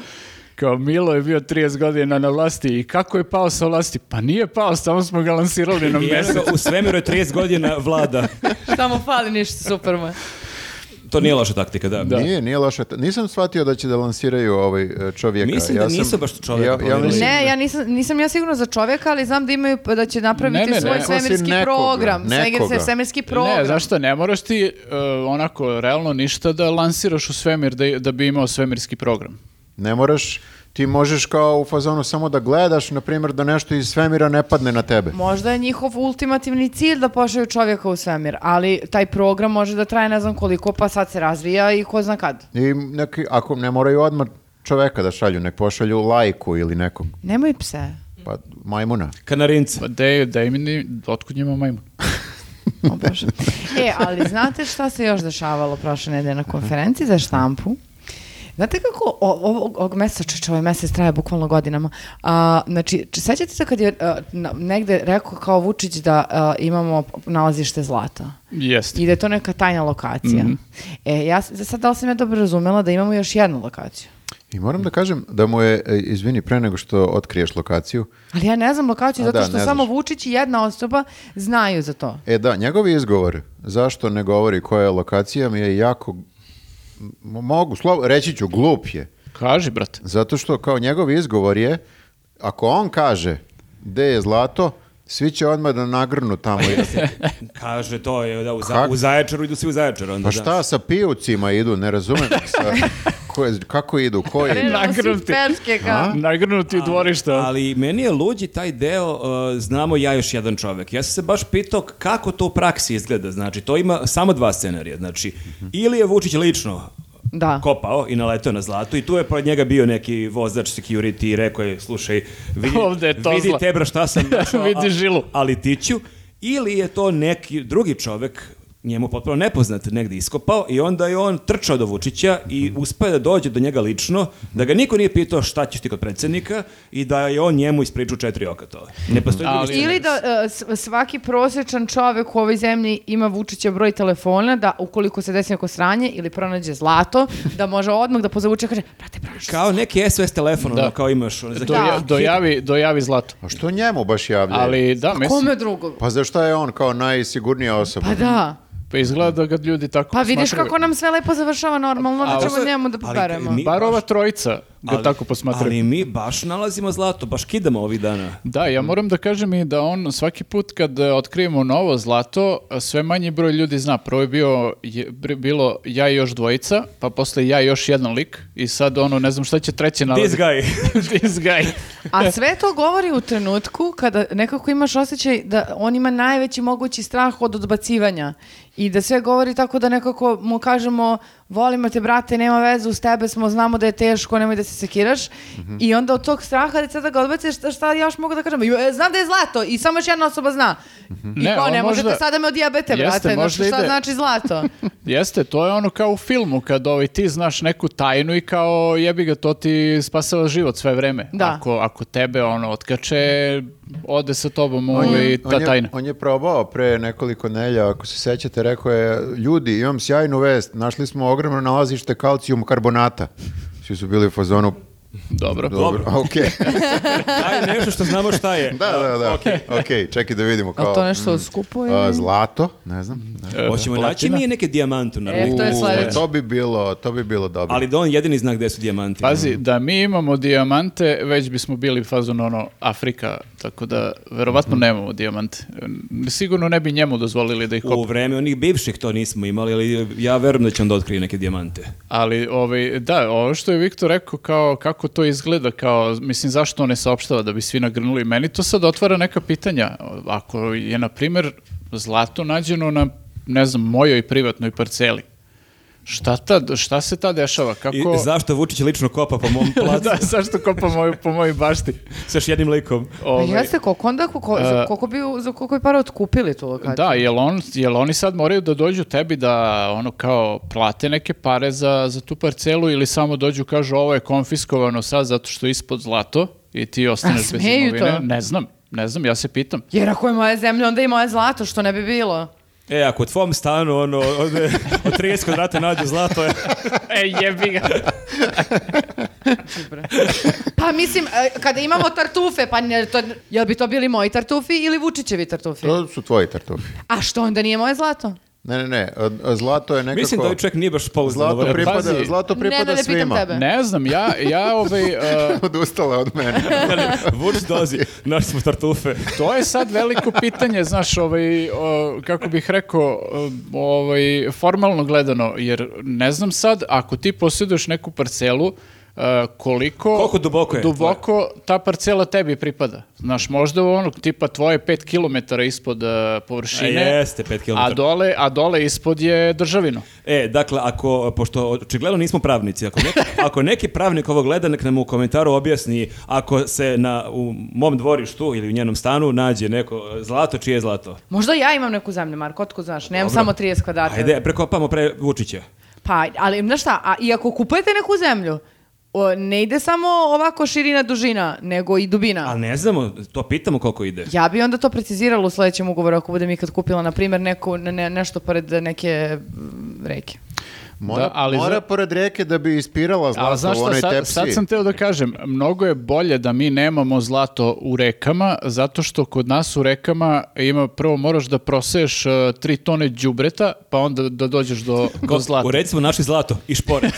kao Milo je bio 30 godina na vlasti i kako je pao sa vlasti? Pa nije pao, samo smo ga lansirali na mjesec. u svemiru je 30 godina vlada. Šta mu fali ništa Superman. To nije loša taktika, da. Da. Nije, nije loše. Nisam shvatio da će da lansiraju ovaj e, čovjeka. Mislim da sam- nisu baš čovjeka Ja, ja planirali. mislim, Ne, ja nisam, nisam ja sigurna za čovjeka, ali znam da imaju da će napraviti Ne, ne, svoj ne. svemirski Osim nekoga, program. nekoga. Svemir- Svemirski program. Ne, zašto, ne moraš ti e, onako, realno ništa da lansiraš u svemir da, da bi imao svemirski program. ne moraš, ti možeš kao u fazonu samo da gledaš, na primjer, da nešto iz svemira ne padne na tebe. Možda je njihov ultimativni cilj da pošalju čovjeka u svemir, ali taj program može da traje ne znam koliko, pa sad se razvija i ko zna kad. I neki, ako ne moraju odmah čoveka da šalju, nek pošalju lajku ili nekog, Nemoj pse. pa majmuna. Kanarince. Pa de, da im, ni- otkud njima majmun? O Bože. E, ali znate šta se još dešavalo prošle nedelje na konferenciji za štampu? Znate kako o- ovog, ovog meseca, čoče, ovaj mesec traje bukvalno godinama. A, znači, č- sećate se kad je a, na- negde rekao kao Vučić da a, imamo nalazište zlata? Jeste. I da je to neka tajna lokacija. Mhm. E, ja, s- za sad da li sam ja dobro razumela da imamo još jednu lokaciju? I moram da kažem da mu je, e, izvini, pre nego što otkriješ lokaciju, Ali ja ne znam lokaciju, A zato da, što ne samo znaš. Vučić i jedna osoba znaju za to. E da, njegov izgovor zašto ne govori koja je lokacija mi je jako m- mogu slovo reći ću glup je. Kaži, brate. Zato što kao njegov izgovor je ako on kaže gde je zlato, svi će odmah da nagrnu tamo. Kaže to je da u, za, Kak- u Zaječaru idu svi u Zaječar onda. Pa Da. šta sa pijucima idu, ne razumem sa ko je- kako idu, ko je. Ne, Nagrnuti. Perške, kao. Nagrnuti u dvorišta. Ali meni je luđi taj deo, uh, znamo ja još jedan čovek. Ja sam se baš pitao kako to u praksi izgleda. Znači, to ima samo dva scenarija. Znači, ili je Vučić lično Da. kopao i naletao na zlato i tu je pored njega bio neki vozač security i rekao je, slušaj, vidi, Ovde je to vidi zla- tebra šta sam našao, Vidi a- žilu. ali ti ću. Ili je to neki drugi čovek njemu potpuno nepoznat negdje iskopao i onda je on trčao do Vučića i uspe da dođe do njega lično, da ga niko nije pitao šta ćeš ti kod predsjednika i da je on njemu ispričao četiri oka to. Ne postoji drugi Ali- scenarij. Ili da e, s- svaki prosječan čovek u ovoj zemlji ima Vučića broj telefona da ukoliko se desi neko sranje ili pronađe zlato, da može odmah da pozavuče i kaže, brate, pronašao sam." Kao neki SOS telefon, ono, Da. kao imaš. Ono, za Doja- hit- dojavi, dojavi zlato. A Pa što njemu baš javlja? Ali da, mislim, Kome drugog? Pa zašto je on kao najsigurnija osoba? Pa da. pa izgleda da ga ljudi tako Pa vidiš posmatraju. kako nam sve lepo završava normalno, A, da ćemo ali- njemu da ali poberemo. mi- Bar ova trojica ga Ali- tako posmatraju. Ali mi baš nalazimo zlato, baš kidamo ovih dana. Da, Mm. ja moram da kažem i da on svaki put kad e, otkrijemo novo zlato, sve manji broj ljudi zna. Prvo je bio, je- bri- bilo ja i još dvojica, pa posle ja i još jedan lik i sad ono, ne znam šta će treće nalaziti. This guy. This guy. A sve to govori u trenutku kada nekako imaš osjećaj da on ima najveći mogući strah od odbacivanja i da sve govori tako da nekako mu kažemo volimo te brate, nema veze, uz tebe smo, znamo da je teško, nemoj da se sekiraš Mhm. i onda od tog straha da sada ga odbaciš, šta, šta ja još mogu da kažem? "Jo, e, Znam da je zlato i samo još jedna osoba zna. I Mhm. Ne, ne, kao, ali ne možete možda- sada me odjebete, Jeste, brate, znaš, možda šta ide- znači zlato? Jeste, to je ono kao u filmu kad ovaj, ti znaš neku tajnu i kao jebi ga, to ti spasava život sve vreme. Da. Ako, ako tebe ono otkače, ode sa tobom ovaj, ta on je, tajna. On je probao pre nekoliko nelja, ako se sećate, rekao je, ljudi, imam sjajnu vest, našli smo ogromno nalazište kalcijum karbonata. Svi su bili u fazonu, Pa Dobro. dobro, okej. Daj nešto što znamo šta je. da, da, da, okej, čekaj da vidimo kao... Jel to nešto mm, skupuje? a, zlato, ne znam. da. E, Hoćemo naći platina. mi neke dijamante na E, to je U, sledeće. To bi bilo, to bi bilo dobro. Ali da on jedini zna gde su dijamanti. Pazi, da mi imamo dijamante, već bismo bili fazon ono Afrika, Tako da, verovatno Mhm. nemamo dijamante. Sigurno ne bi njemu dozvolili da ih U kopamo. vreme onih bivših to nismo imali, ali ja verujem da će on da otkrije neke dijamante. Ali, ovaj, da, ovo što je Viktor rekao, kao, kako to izgleda, kao, mislim, zašto on ne saopštava da bi svi nagrnuli? Meni to sad otvara neka pitanja. Ako je, na primjer, zlato nađeno na, ne znam, mojoj privatnoj parceli, šta, tad, šta se ta dešava? Kako... I zašto Vučić lično kopa po mom placu da, zašto kopa moju, po mojoj bašti? sa još jednim likom? Ovaj, e, Ja se Pa koliko onda, koliko, za koliko bi, za koliko bi para otkupili tu lokaciju? Da, jel, on, jel oni sad moraju da dođu tebi da ono kao plate neke pare za, za tu parcelu ili samo dođu kažu ovo je konfiskovano sad zato što je ispod zlato i ti ostaneš bez smeju imovine? to? Ne znam, ne znam, ja se pitam. Jer ako je moja zemlja, onda i moje zlato, što ne bi bilo. E, ako u tvom stanu ono, od, od 30 kvadrata nađe zlato, e, E, jebi ga. Pa mislim, e, kada imamo tartufe, pa ne, to, jel bi to bili moji tartufi ili Vučićevi tartufi? To su tvoji tartufi. A što onda nije moje zlato? Ne, ne, ne, a- a zlato je nekako... mislim da ovaj čovjek nije baš ovaj, pouzdano. Zlato govorio. pripada, Pazi. zlato pripada ne, da pitam svima. tebe. Ne znam, ja, ja ovaj, e, Odustala od mene. Vučić dolazi, našli smo tartufe. to je sad veliko pitanje, znaš, ovaj, o, kako bih rekao, o, ovaj, formalno gledano, jer ne znam sad, ako ti posjeduješ neku parcelu, e, koliko... Koliko duboko je? Duboko ta parcela tebi pripada. Znaš, možda u onog tipa tvoje 5 km ispod e, površine, A jeste, pet a kilometara. dole, a dole ispod je državino. E, dakle, ako, pošto očigledno nismo pravnici, ako neki, ako neki pravnik ovo gleda, nek nam u komentaru objasni ako se na, u mom dvorištu ili u njenom stanu nađe neko e, zlato, čije je zlato? Možda ja imam neku zemlju, Marko, otko znaš, nemam samo 30 kvadrata. Ajde, prekopamo pre Vučića. Pa, ali znaš šta, a i ako kupujete neku zemlju, o, ne ide samo ovako širina, dužina, nego i dubina. Ali ne znamo, to pitamo koliko ide. Ja bi onda to precizirala u sledećem ugovoru ako budem ikad kupila, na primjer, neku, ne- ne- nešto pored neke mm, reke. Mora, Da, ali mora za- pored reke da bi ispirala A zlato znaš u šta, onoj sad, tepsi. sad sam teo da kažem, mnogo je bolje da mi nemamo zlato u rekama, zato što kod nas u rekama ima, prvo moraš da proseješ e, tri tone đubreta, pa onda da dođeš do, do zlata. U reci smo našli zlato i šporet.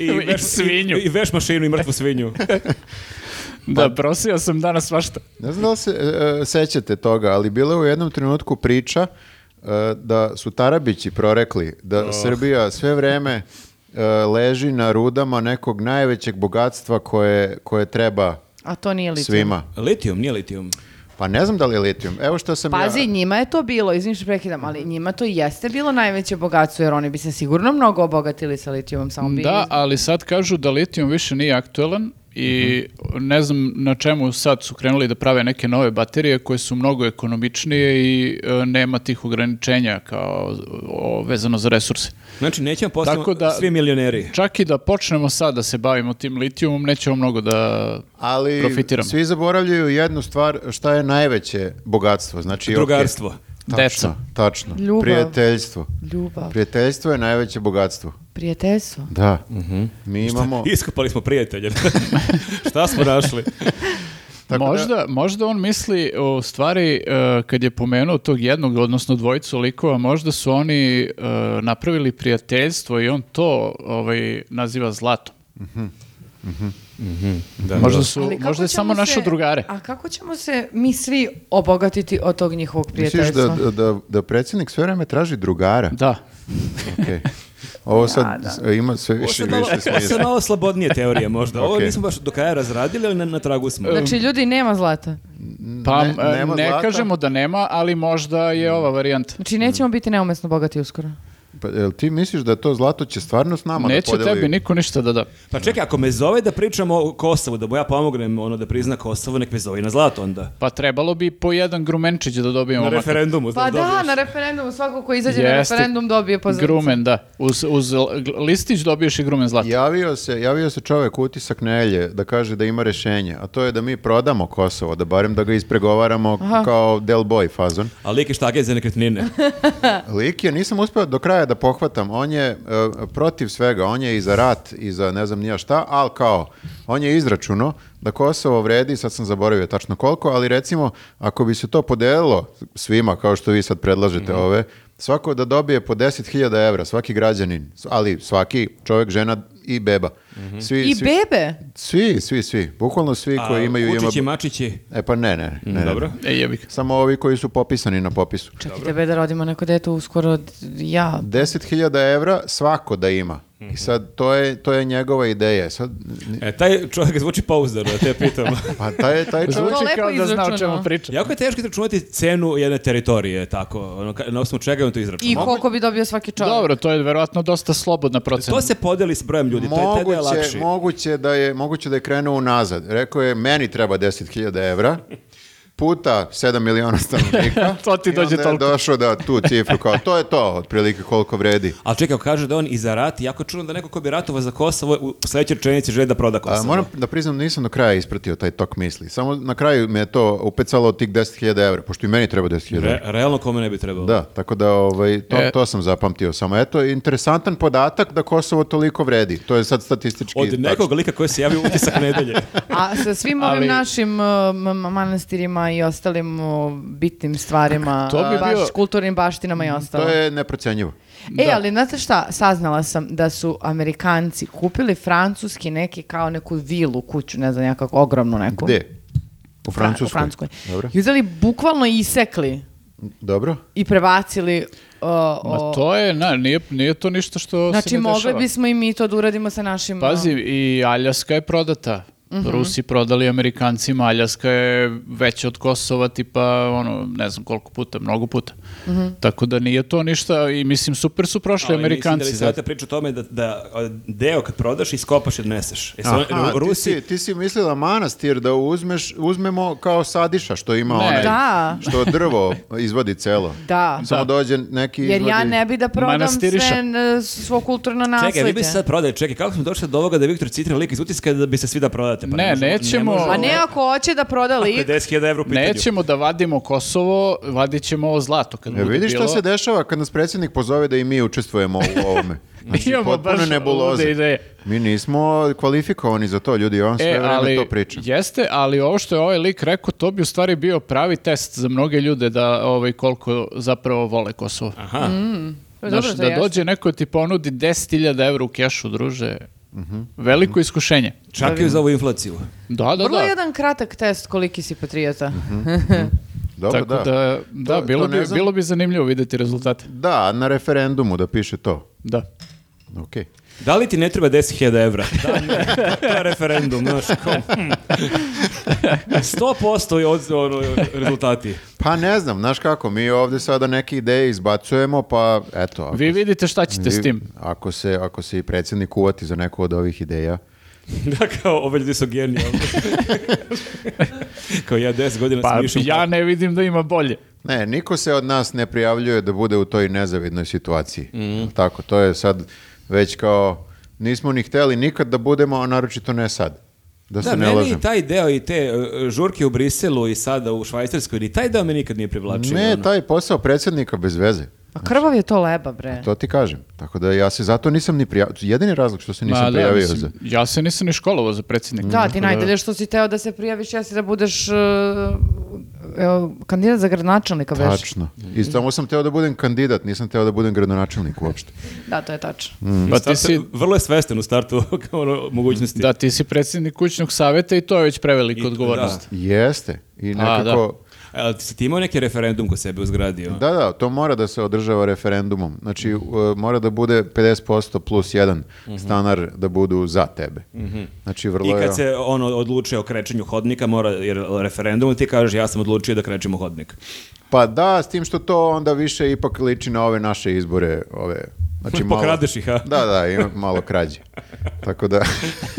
I svinju. I, i veš mašinu i mrtvu svinju. pa- Da, prosejao sam danas svašta. Ne znam da li se e, sećate toga, ali bila je u jednom trenutku priča e, da su Tarabići prorekli da Oh. Srbija sve vreme e, leži na rudama nekog najvećeg bogatstva koje, koje treba A to nije litijum. svima. Litijum, nije litijum. Pa ne znam da li je litijum. Evo što sam Pazi, ja... njima je to bilo, izvim što prekidam, ali njima to jeste bilo najveće bogatstvo, jer oni bi se sigurno mnogo obogatili sa litijumom, samo bi... Da, ali sad kažu da litijum više nije aktuelan i Mhm. ne znam na čemu sad su krenuli da prave neke nove baterije koje su mnogo ekonomičnije i e, nema tih ograničenja kao o, vezano za resurse. Znači, nećemo postati Tako da- svi milioneri. Čak i da počnemo sad da se bavimo tim litijumom, nećemo mnogo da Ali profitiram. svi zaboravljaju jednu stvar, šta je najveće bogatstvo. Znači, Drugarstvo. okej, Deca. tačno, tačno. Ljubav. Prijateljstvo. Ljubav, Prijateljstvo je najveće bogatstvo. prijateljstvo. Da. Mi imamo... Iskopali smo prijatelje. Šta smo našli? Tako da- možda, možda on misli u stvari e, kad je pomenuo tog jednog, odnosno dvojicu likova, možda su oni e, napravili prijateljstvo i on to ovaj, naziva zlatom. Da, Možda da. su, Ali kako možda je ćemo samo naše se- drugare. A kako ćemo se mi svi obogatiti od tog njihovog Misliš prijateljstva? da, da, da, da predsjednik sve vreme traži drugara? Da. Okej. Ovo sad s- ima sve Ovo više su i malo, više ovo su smisla. malo slobodnije teorije možda. Ovo Okej. nismo baš do kraja razradili, ali na, na tragu smo. Znači, ljudi, nema zlata. Pa Ne- m, e, nema ne zlata? kažemo da nema, ali možda je ova varijanta. Znači, nećemo biti neumesno bogati uskoro. Pa, jel ti misliš da to zlato će stvarno s nama Neće da podeli? tebi niko ništa da da. Pa čekaj, ako me zove da pričamo o Kosovu, da mu ja pomognem ono da prizna Kosovo, nek me zove i na zlato onda. Pa trebalo bi po jedan grumenčić da dobijemo. Na makar. referendumu. Pa znam, da, dobiješ. na referendumu, svako ko izađe na Jeste. referendum dobije pozornicu. Grumen, da. Uz, uz l- listić dobiješ i grumen zlata. Javio se, javio se čovek utisak Nelje da kaže da ima rešenje, a to je da mi prodamo Kosovo, da barem da ga ispregovaramo kao Del Boy fazon. A lik i štage za nekretnine. Lik je, nisam uspeo do kraja da pohvatam, on je e, protiv svega, on je i za rat i za ne znam nija šta, ali kao, on je izračuno da Kosovo vredi, sad sam zaboravio tačno koliko, ali recimo, ako bi se to podelilo svima, kao što vi sad predlažete ove, svako da dobije po 10.000 evra, svaki građanin, s- ali svaki čovjek, žena i beba. Svi, I svi- bebe. Svi, svi, svi. Bukvalno svi koji imaju... ima- Vučići, Mačići. E pa ne, ne, ne, ne. Mhm, Dobro. E, jebi ga. Samo ovi koji su popisani na popisu. Čekajte, be da rodimo neko dete uskoro d- ja. 10.000 evra svako da ima. I sad, to je, to je njegova ideja. Sad, n- E, taj čovjek zvuči pouzdano, te pitam. pa taj, taj čovjek... Zvuči lepo kao da zna o izračunao. čemu priča. jako je teško izračunati cenu jedne teritorije, tako, ono, ka- na osnovu čega je on to izračunao. I koliko bi dobio svaki čovjek. Dobro, to je verovatno dosta slobodna procena. To se podeli s brojem ljudi, to je tada je Moguće, lakše. moguće, da je, moguće da je krenuo unazad. Rekao je, meni treba 10.000 evra, puta 7 miliona stanovnika. To ti I onda dođe je toliko. došao da tu cifru kao, to je to, otprilike koliko vredi. Ali čekaj, ako kaže da je on i za rat, jako čudno da neko ko bi ratovao za Kosovo u sledećoj rečenici želi da proda Kosovo. A, moram da priznam, nisam do kraja ispratio taj tok misli. Samo na kraju me je to upecalo tih 10.000 evra, pošto i meni treba 10.000 evra. Re- realno kome ne bi trebalo. Da, tako da ovaj, to, E. to sam zapamtio. Samo eto, interesantan podatak da Kosovo toliko vredi. To je sad statistički Od tačno. nekog lika koji se javi u utisak nedelje. A sa svim ovim Ali- našim uh, ma- ma- manastirima i ostalim uh, bitnim stvarima, To bi uh, baš bio- kulturnim baštinama i ostalo. To je neprocenjivo. E, ali znate šta, saznala sam da su Amerikanci kupili francuski neki kao neku vilu, kuću, ne znam, ja kako, ogromnu neku. Gde? U Fra- Francuskoj. U Francuskoj. Dobro. I uzeli, bukvalno isekli Dobro. i prebacili uh, Ma o- to je, na, nije, nije to ništa što se Znači, ne mogli dešava. bismo i mi to da uradimo sa našim... uh, Pazi, i Aljaska je prodata. Mhm. Rusi prodali Amerikancima, Aljaska je veća od Kosova, tipa, ono, ne znam koliko puta, mnogo puta. Mhm. Tako da nije to ništa i mislim, super su prošli Ali mislim Amerikanci. Da li zato- sada priča o tome da, da a, deo kad prodaš iskopaš i odneseš. E, sad, Aha, Ru- Rusi... ti, si, ti si mislila manastir da uzmeš, uzmemo kao sadiša što ima Ne. onaj, Da. što drvo izvodi celo. Da. Samo Da. dođe neki Jer ja izvodi- ne bi da prodam Manastiriša. sve n- svo kulturno nasledđe. Čekaj, vi bi sad prodali, čekaj, kako smo došli do ovoga da je Viktor Citrin lik iz utiska da bi se svi da prodate? Pa Ne, možemo- nećemo. možemo- A ne ako hoće da proda Ako je lik, 10.000 evra u pitanju. Nećemo da vadimo Kosovo, vadit ćemo ovo zlato. Kad E, bude vidiš šta bilo. se dešava kad nas predsjednik pozove da i mi učestvujemo u ovome. Znači, Imamo potpune baš nebuloze. lude ideje. Mi nismo kvalifikovani za to, ljudi, ja vam sve E, vreme ali, to pričam. jeste, ali ovo što je ovaj lik rekao, to bi u stvari bio pravi test za mnoge ljude da ovaj, koliko zapravo vole Kosovo. Aha. Mm. Znaš, Pa dobro, to da jeste. dođe neko i ti ponudi 10.000 evra u kešu, druže, Mhm. veliko iskušenje. Čak i uz ovu inflaciju. Da, da, vrlo da. jedan kratak test koliki si patriota. Dobro, Tako da, da, To- bilo, to ne bi, znam. bilo bi zanimljivo vidjeti rezultate. Da, na referendumu da piše to. Da. Ok. Da li ti ne treba 10.000 evra? Da, ne. To je referendum, znaš, kao, hm. 100% je od, ono, rezultati. Pa ne znam, znaš kako, mi ovdje sada neke ideje izbacujemo, pa eto. ako Vi se- vidite šta ćete s tim. Ako se, ako se i predsjednik uvati za neku od ovih ideja. Da, kao, ove ljudi su genijalni. kao ja 10 godina Pa sam išao... u ja ne vidim da ima bolje. Ne, niko se od nas ne prijavljuje da bude u toj nezavidnoj situaciji. Tako, to je sad već kao, nismo ni hteli nikad da budemo, a naročito ne sad. Da, Da, se ne meni lažem. i taj deo i te e, žurke u Briselu i sada u Švajcarskoj, ni taj deo me nikad nije privlačio. Ne, ono. taj posao predsjednika bez veze. A krvav je to leba, bre. To ti kažem. Tako da ja se zato nisam ni prijavio. Jedini razlog što se nisam Ma, da, prijavio mislim, za... Ja se nisam ni školovao za predsjednika. Da, Tako ti najdalje što si teo da se prijaviš, ja si da budeš uh, evo, kandidat za gradonačelnika, već. Tačno. I samo sam teo da budem kandidat, nisam teo da budem gradonačelnik uopšte. Da, to je tačno. U Pa ti startu- si, Vrlo je svestan u startu kao ono, mogućnosti. da, ti si predsjednik kućnog savjeta i to je već prevelika I- odgovornost. Jeste. I A, nekako... Ali ti si ti imao neki referendum ko sebe ono? uzgradio? Da, da, to mora da se održava referendumom. Znači, Mhm. u- mora da bude 50% plus jedan stanar da budu za tebe. Znači, Mhm. I vrlo je... kad se ono odlučuje o krećenju hodnika, mora, jer referendum ti kažeš ja sam odlučio da krećemo hodnik. Pa da, s tim što to onda više ipak liči na ove naše izbore, ove... Znači, malo- Pokradeš ih, a? Da, da, ima malo krađe. Tako da...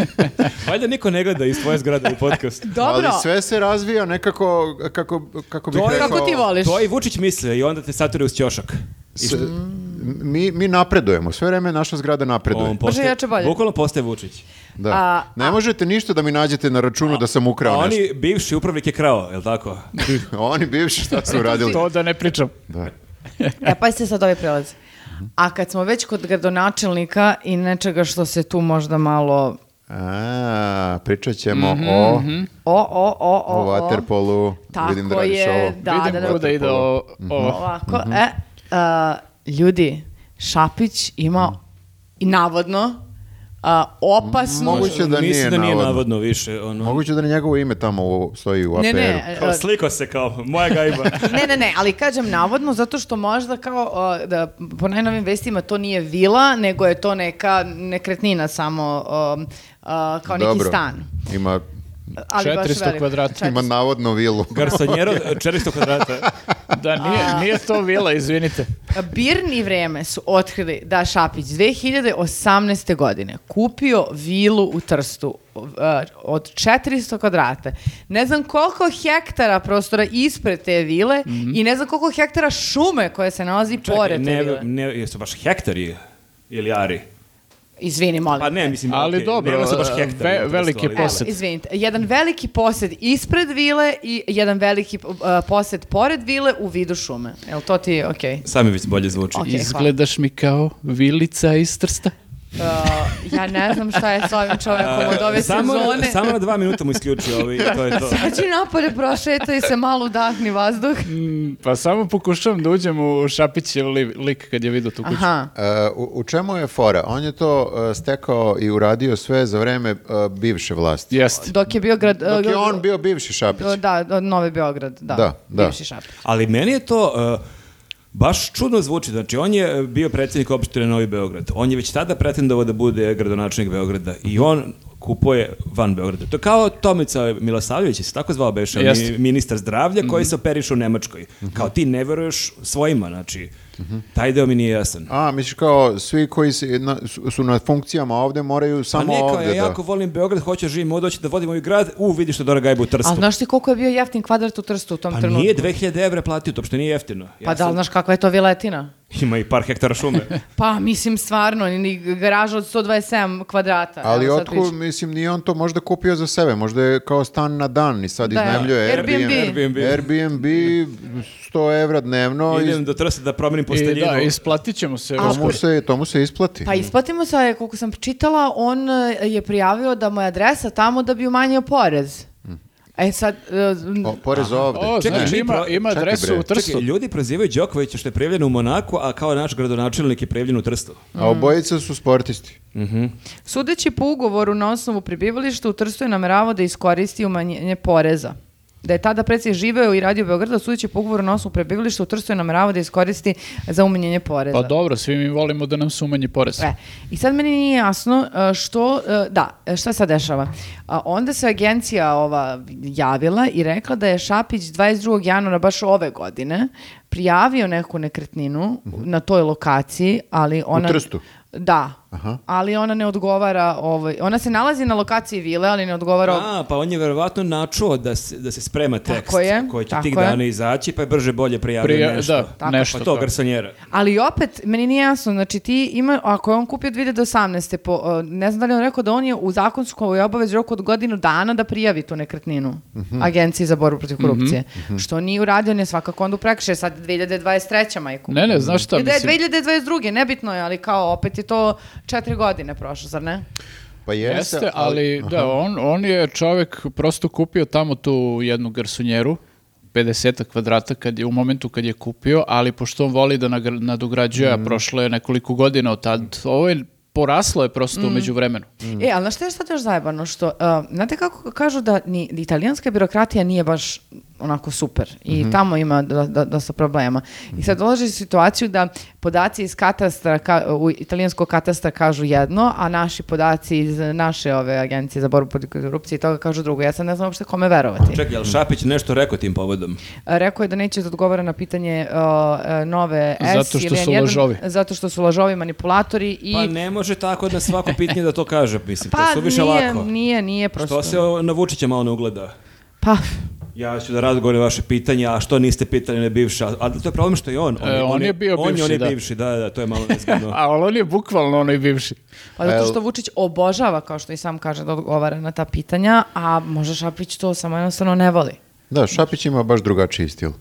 Valjda niko ne gleda iz tvoje zgrade u podcast. Dobro, Ali sve se razvija nekako, kako, kako bih To je- rekao... kako ti voliš? To i Vučić misli i onda te saturi uz ćošak. s- mi, mi napredujemo, sve vreme naša zgrada napreduje. On postaje- jače bolje. Bukvalno postaje Vučić. Da. A- ne možete ništa da mi nađete na računu da sam A ukrao nešto. oni, bivši upravnik je krao, je li tako? Oni bivši šta su uradili. To da ne pričam. Da. e pa se sad ovaj prelaz. A kad smo već kod gradonačelnika i nečega što se tu možda malo A, pričat ćemo Mhm, o, O, o, o, o, o waterpolu. Tako Vidim da radiš je, ovo. Da, Vidim da, da. kuda ide o- Mhm. o. ovo. Ovako, e, Mhm. a, ljudi, Šapić ima i navodno a, opasnu... Mhm. Moguće da Mislim nije, da nije navodno. navodno više. Ono. Moguće da ni njegovo ime tamo u- stoji u Ne, APR-u. ne, Kao, a- sliko se kao, moja gajba. ne, ne, ne, ali kažem navodno zato što možda kao o, da, po najnovim vestima to nije vila, nego je to neka nekretnina samo o, a, kao neki Dobro. stan. Ima, Ali baš 400 velika. kvadrata. Četiri- ima navodno vilu. Garsonjero, 400 kvadrata. Da, nije, nije to vila, izvinite. Birn i vreme su otkrili da Šapić 2018. godine kupio vilu u Trstu uh, od 400 kvadrata. Ne znam koliko hektara prostora ispred te vile i ne znam koliko hektara šume koja se nalazi pored te Mhm. ne, vile. ne, jesu baš hektari ili ari? Izvini, molim. Pa ne, mislim, Ali okej, dobro, nema se baš e, hektari. ve- u Trstu, veliki ali- je posed. Izvinite, jedan veliki posed ispred vile i jedan veliki uh, posed pored vile u vidu šume. Jel to ti je okej? Sami već bolje zvuči. Ok. Izgledaš mi kao vilica iz Trsta. Uh, ja ne znam šta je s ovim čovjekom od ove samo, sezone. samo na dva minuta mu isključio ovi, to je to. Znači napolje prošeta i se malo udahni vazduh. Pa samo pokušavam da uđem u Šapićev li- lik kad je vidio tu kuću. Aha. E, u, u čemu je fora? On je to e, stekao i uradio sve za vreme e, bivše vlasti. Jeste. Dok je bio grad... Dok je on bio bivši Šapić. Da, od Nove Beograd, da. Da, da. Bivši Šapić. Ali meni je to uh, baš čudno zvuči. Znači, on je uh, bio predsjednik opštine Novi Beograd. On je već tada pretendovao da bude gradonačelnik Beograda i on kupuje van Beograda. To je kao Tomica Milosavljević, se tako zvao Beša, Jeste. ministar zdravlja Mhm. koji se operiše u Nemačkoj. Kao ti ne veruješ svojima, znači, Mhm. taj deo mi nije jasan. A, misliš kao svi koji si- na- su, su na funkcijama ovde moraju Pa samo ne, kao ovde ja da... jako volim Beograd, hoću da živim ovdje, hoću da vodim ovaj grad, u, vidiš što Dora Gajba u Trstu. A znaš ti koliko je bio jeftin kvadrat u Trstu u tom pa trenutku? nije 2000 evra platio, to što nije jeftino. Ja Pa da, sam- li znaš kakva je to viletina? Ima i par hektara šume. Pa mislim stvarno, ni- ni garaža od 127 kvadrata. Ali evo sad otkud, pričam. mislim, nije on to možda kupio za sebe, možda je kao stan na dan i sad Da, iznajmljuje Airbnb. Airbnb. Airbnb, 100 evra dnevno, Idem i do Trsta da promenim I posteljinu. da, isplatit ćemo se. uskoro. tomu se, tomu se isplati. Pa isplatimo se, koliko sam čitala, on e, je prijavio da mu je adresa tamo da bi umanjio porez. E sad, e, m, Hm. O, porez ovde. O, Čekaj, znači mi ima, pro- ima čekaj, adresu bre. u Trstu. Čekaj, ljudi prozivaju Đokovića što je prijavljen u Monaku, a kao naš gradonačelnik je prijavljen u Trstu. A obojica su sportisti. Sudeći po ugovoru na osnovu prebivališta u Trstu je nameravao da iskoristi umanjenje poreza. Da je tada predsjednik živeo i radio u Beogradu, sudeći po ugovoru na osnovu prebivališta u Trstu je nameravao da iskoristi za umanjenje poreza. Pa dobro, svi mi volimo da nam se umanji porez. E, I sad meni nije jasno e, što, e, da, e, šta sad dešava? A onda se agencija ova javila i rekla da je Šapić 22. januara baš ove godine prijavio neku nekretninu na toj lokaciji, ali ona... Trstu? Da, Aha. ali ona ne odgovara ovoj... Ona se nalazi na lokaciji vile, ali ne odgovara... A, pa on je verovatno načuo da se, da se sprema tekst Tako je, koji će tako tih je. dana izaći, pa je brže bolje prijavio Prija- nešto. da, Tako. nešto, Pa to, tako. garsonjera. Ali opet, meni nije jasno, znači ti ima, ako je on kupio 2018. Po, uh, ne znam da li je on rekao da on je u zakonskoj obavezi roku od godinu dana da prijavi tu nekretninu Agenciji za borbu protiv korupcije. Što nije uradio, on je svakako onda u prekršaju, sad 2023. majku. Ne, ne, znaš šta, I da je mislim, 2022. nebitno je, ali kao opet je to četiri godine prošlo, zar ne? Pa jeste, jeste, ali da, on, on je čovek prosto kupio tamo tu jednu garsonjeru, 50 kvadrata kad je, u momentu kad je kupio, ali pošto on voli da nagra- nadograđuje, a prošlo je nekoliko godina od tad, ovo je poraslo je prosto u međuvremenu. E, ali znaš šta je sad još zajebano? Što, uh, znate kako kažu da ni italijanska birokratija nije baš onako super i Mhm. tamo ima da, da, dosta problema. I sad dolazi u situaciju da podaci iz katastra, ka- u italijanskog katastra kažu jedno, a naši podaci iz naše ove agencije za borbu protiv korupcije i toga kažu drugo. Ja sad ne znam uopšte kome verovati. E, Čekaj, jel Šapić nešto rekao tim povodom? Rekao je da neće da odgovara na pitanje uh, uh, nove S. Zato što ili su N1, lažovi. Zato što su lažovi, manipulatori i... Pa ne može tako na svako pitanje da to kaže, mislim, to Pa, su više nije, lako. nije, nije prosto. Što se o- na Vučića malo ne ugleda? Pa, Ja ću da razgovorim vaše pitanje, a što niste pitali ne bivša? A to je problem što je on. E, on je bio on bivši, on je da. bivši, da, da, to je malo nezgodno. A ali on je bukvalno onaj bivši. Pa zato što Vučić obožava, kao što i sam kaže, da odgovara na ta pitanja, a možda Šapić to samo jednostavno ne voli. Da, Šapić ima baš drugačiji stil.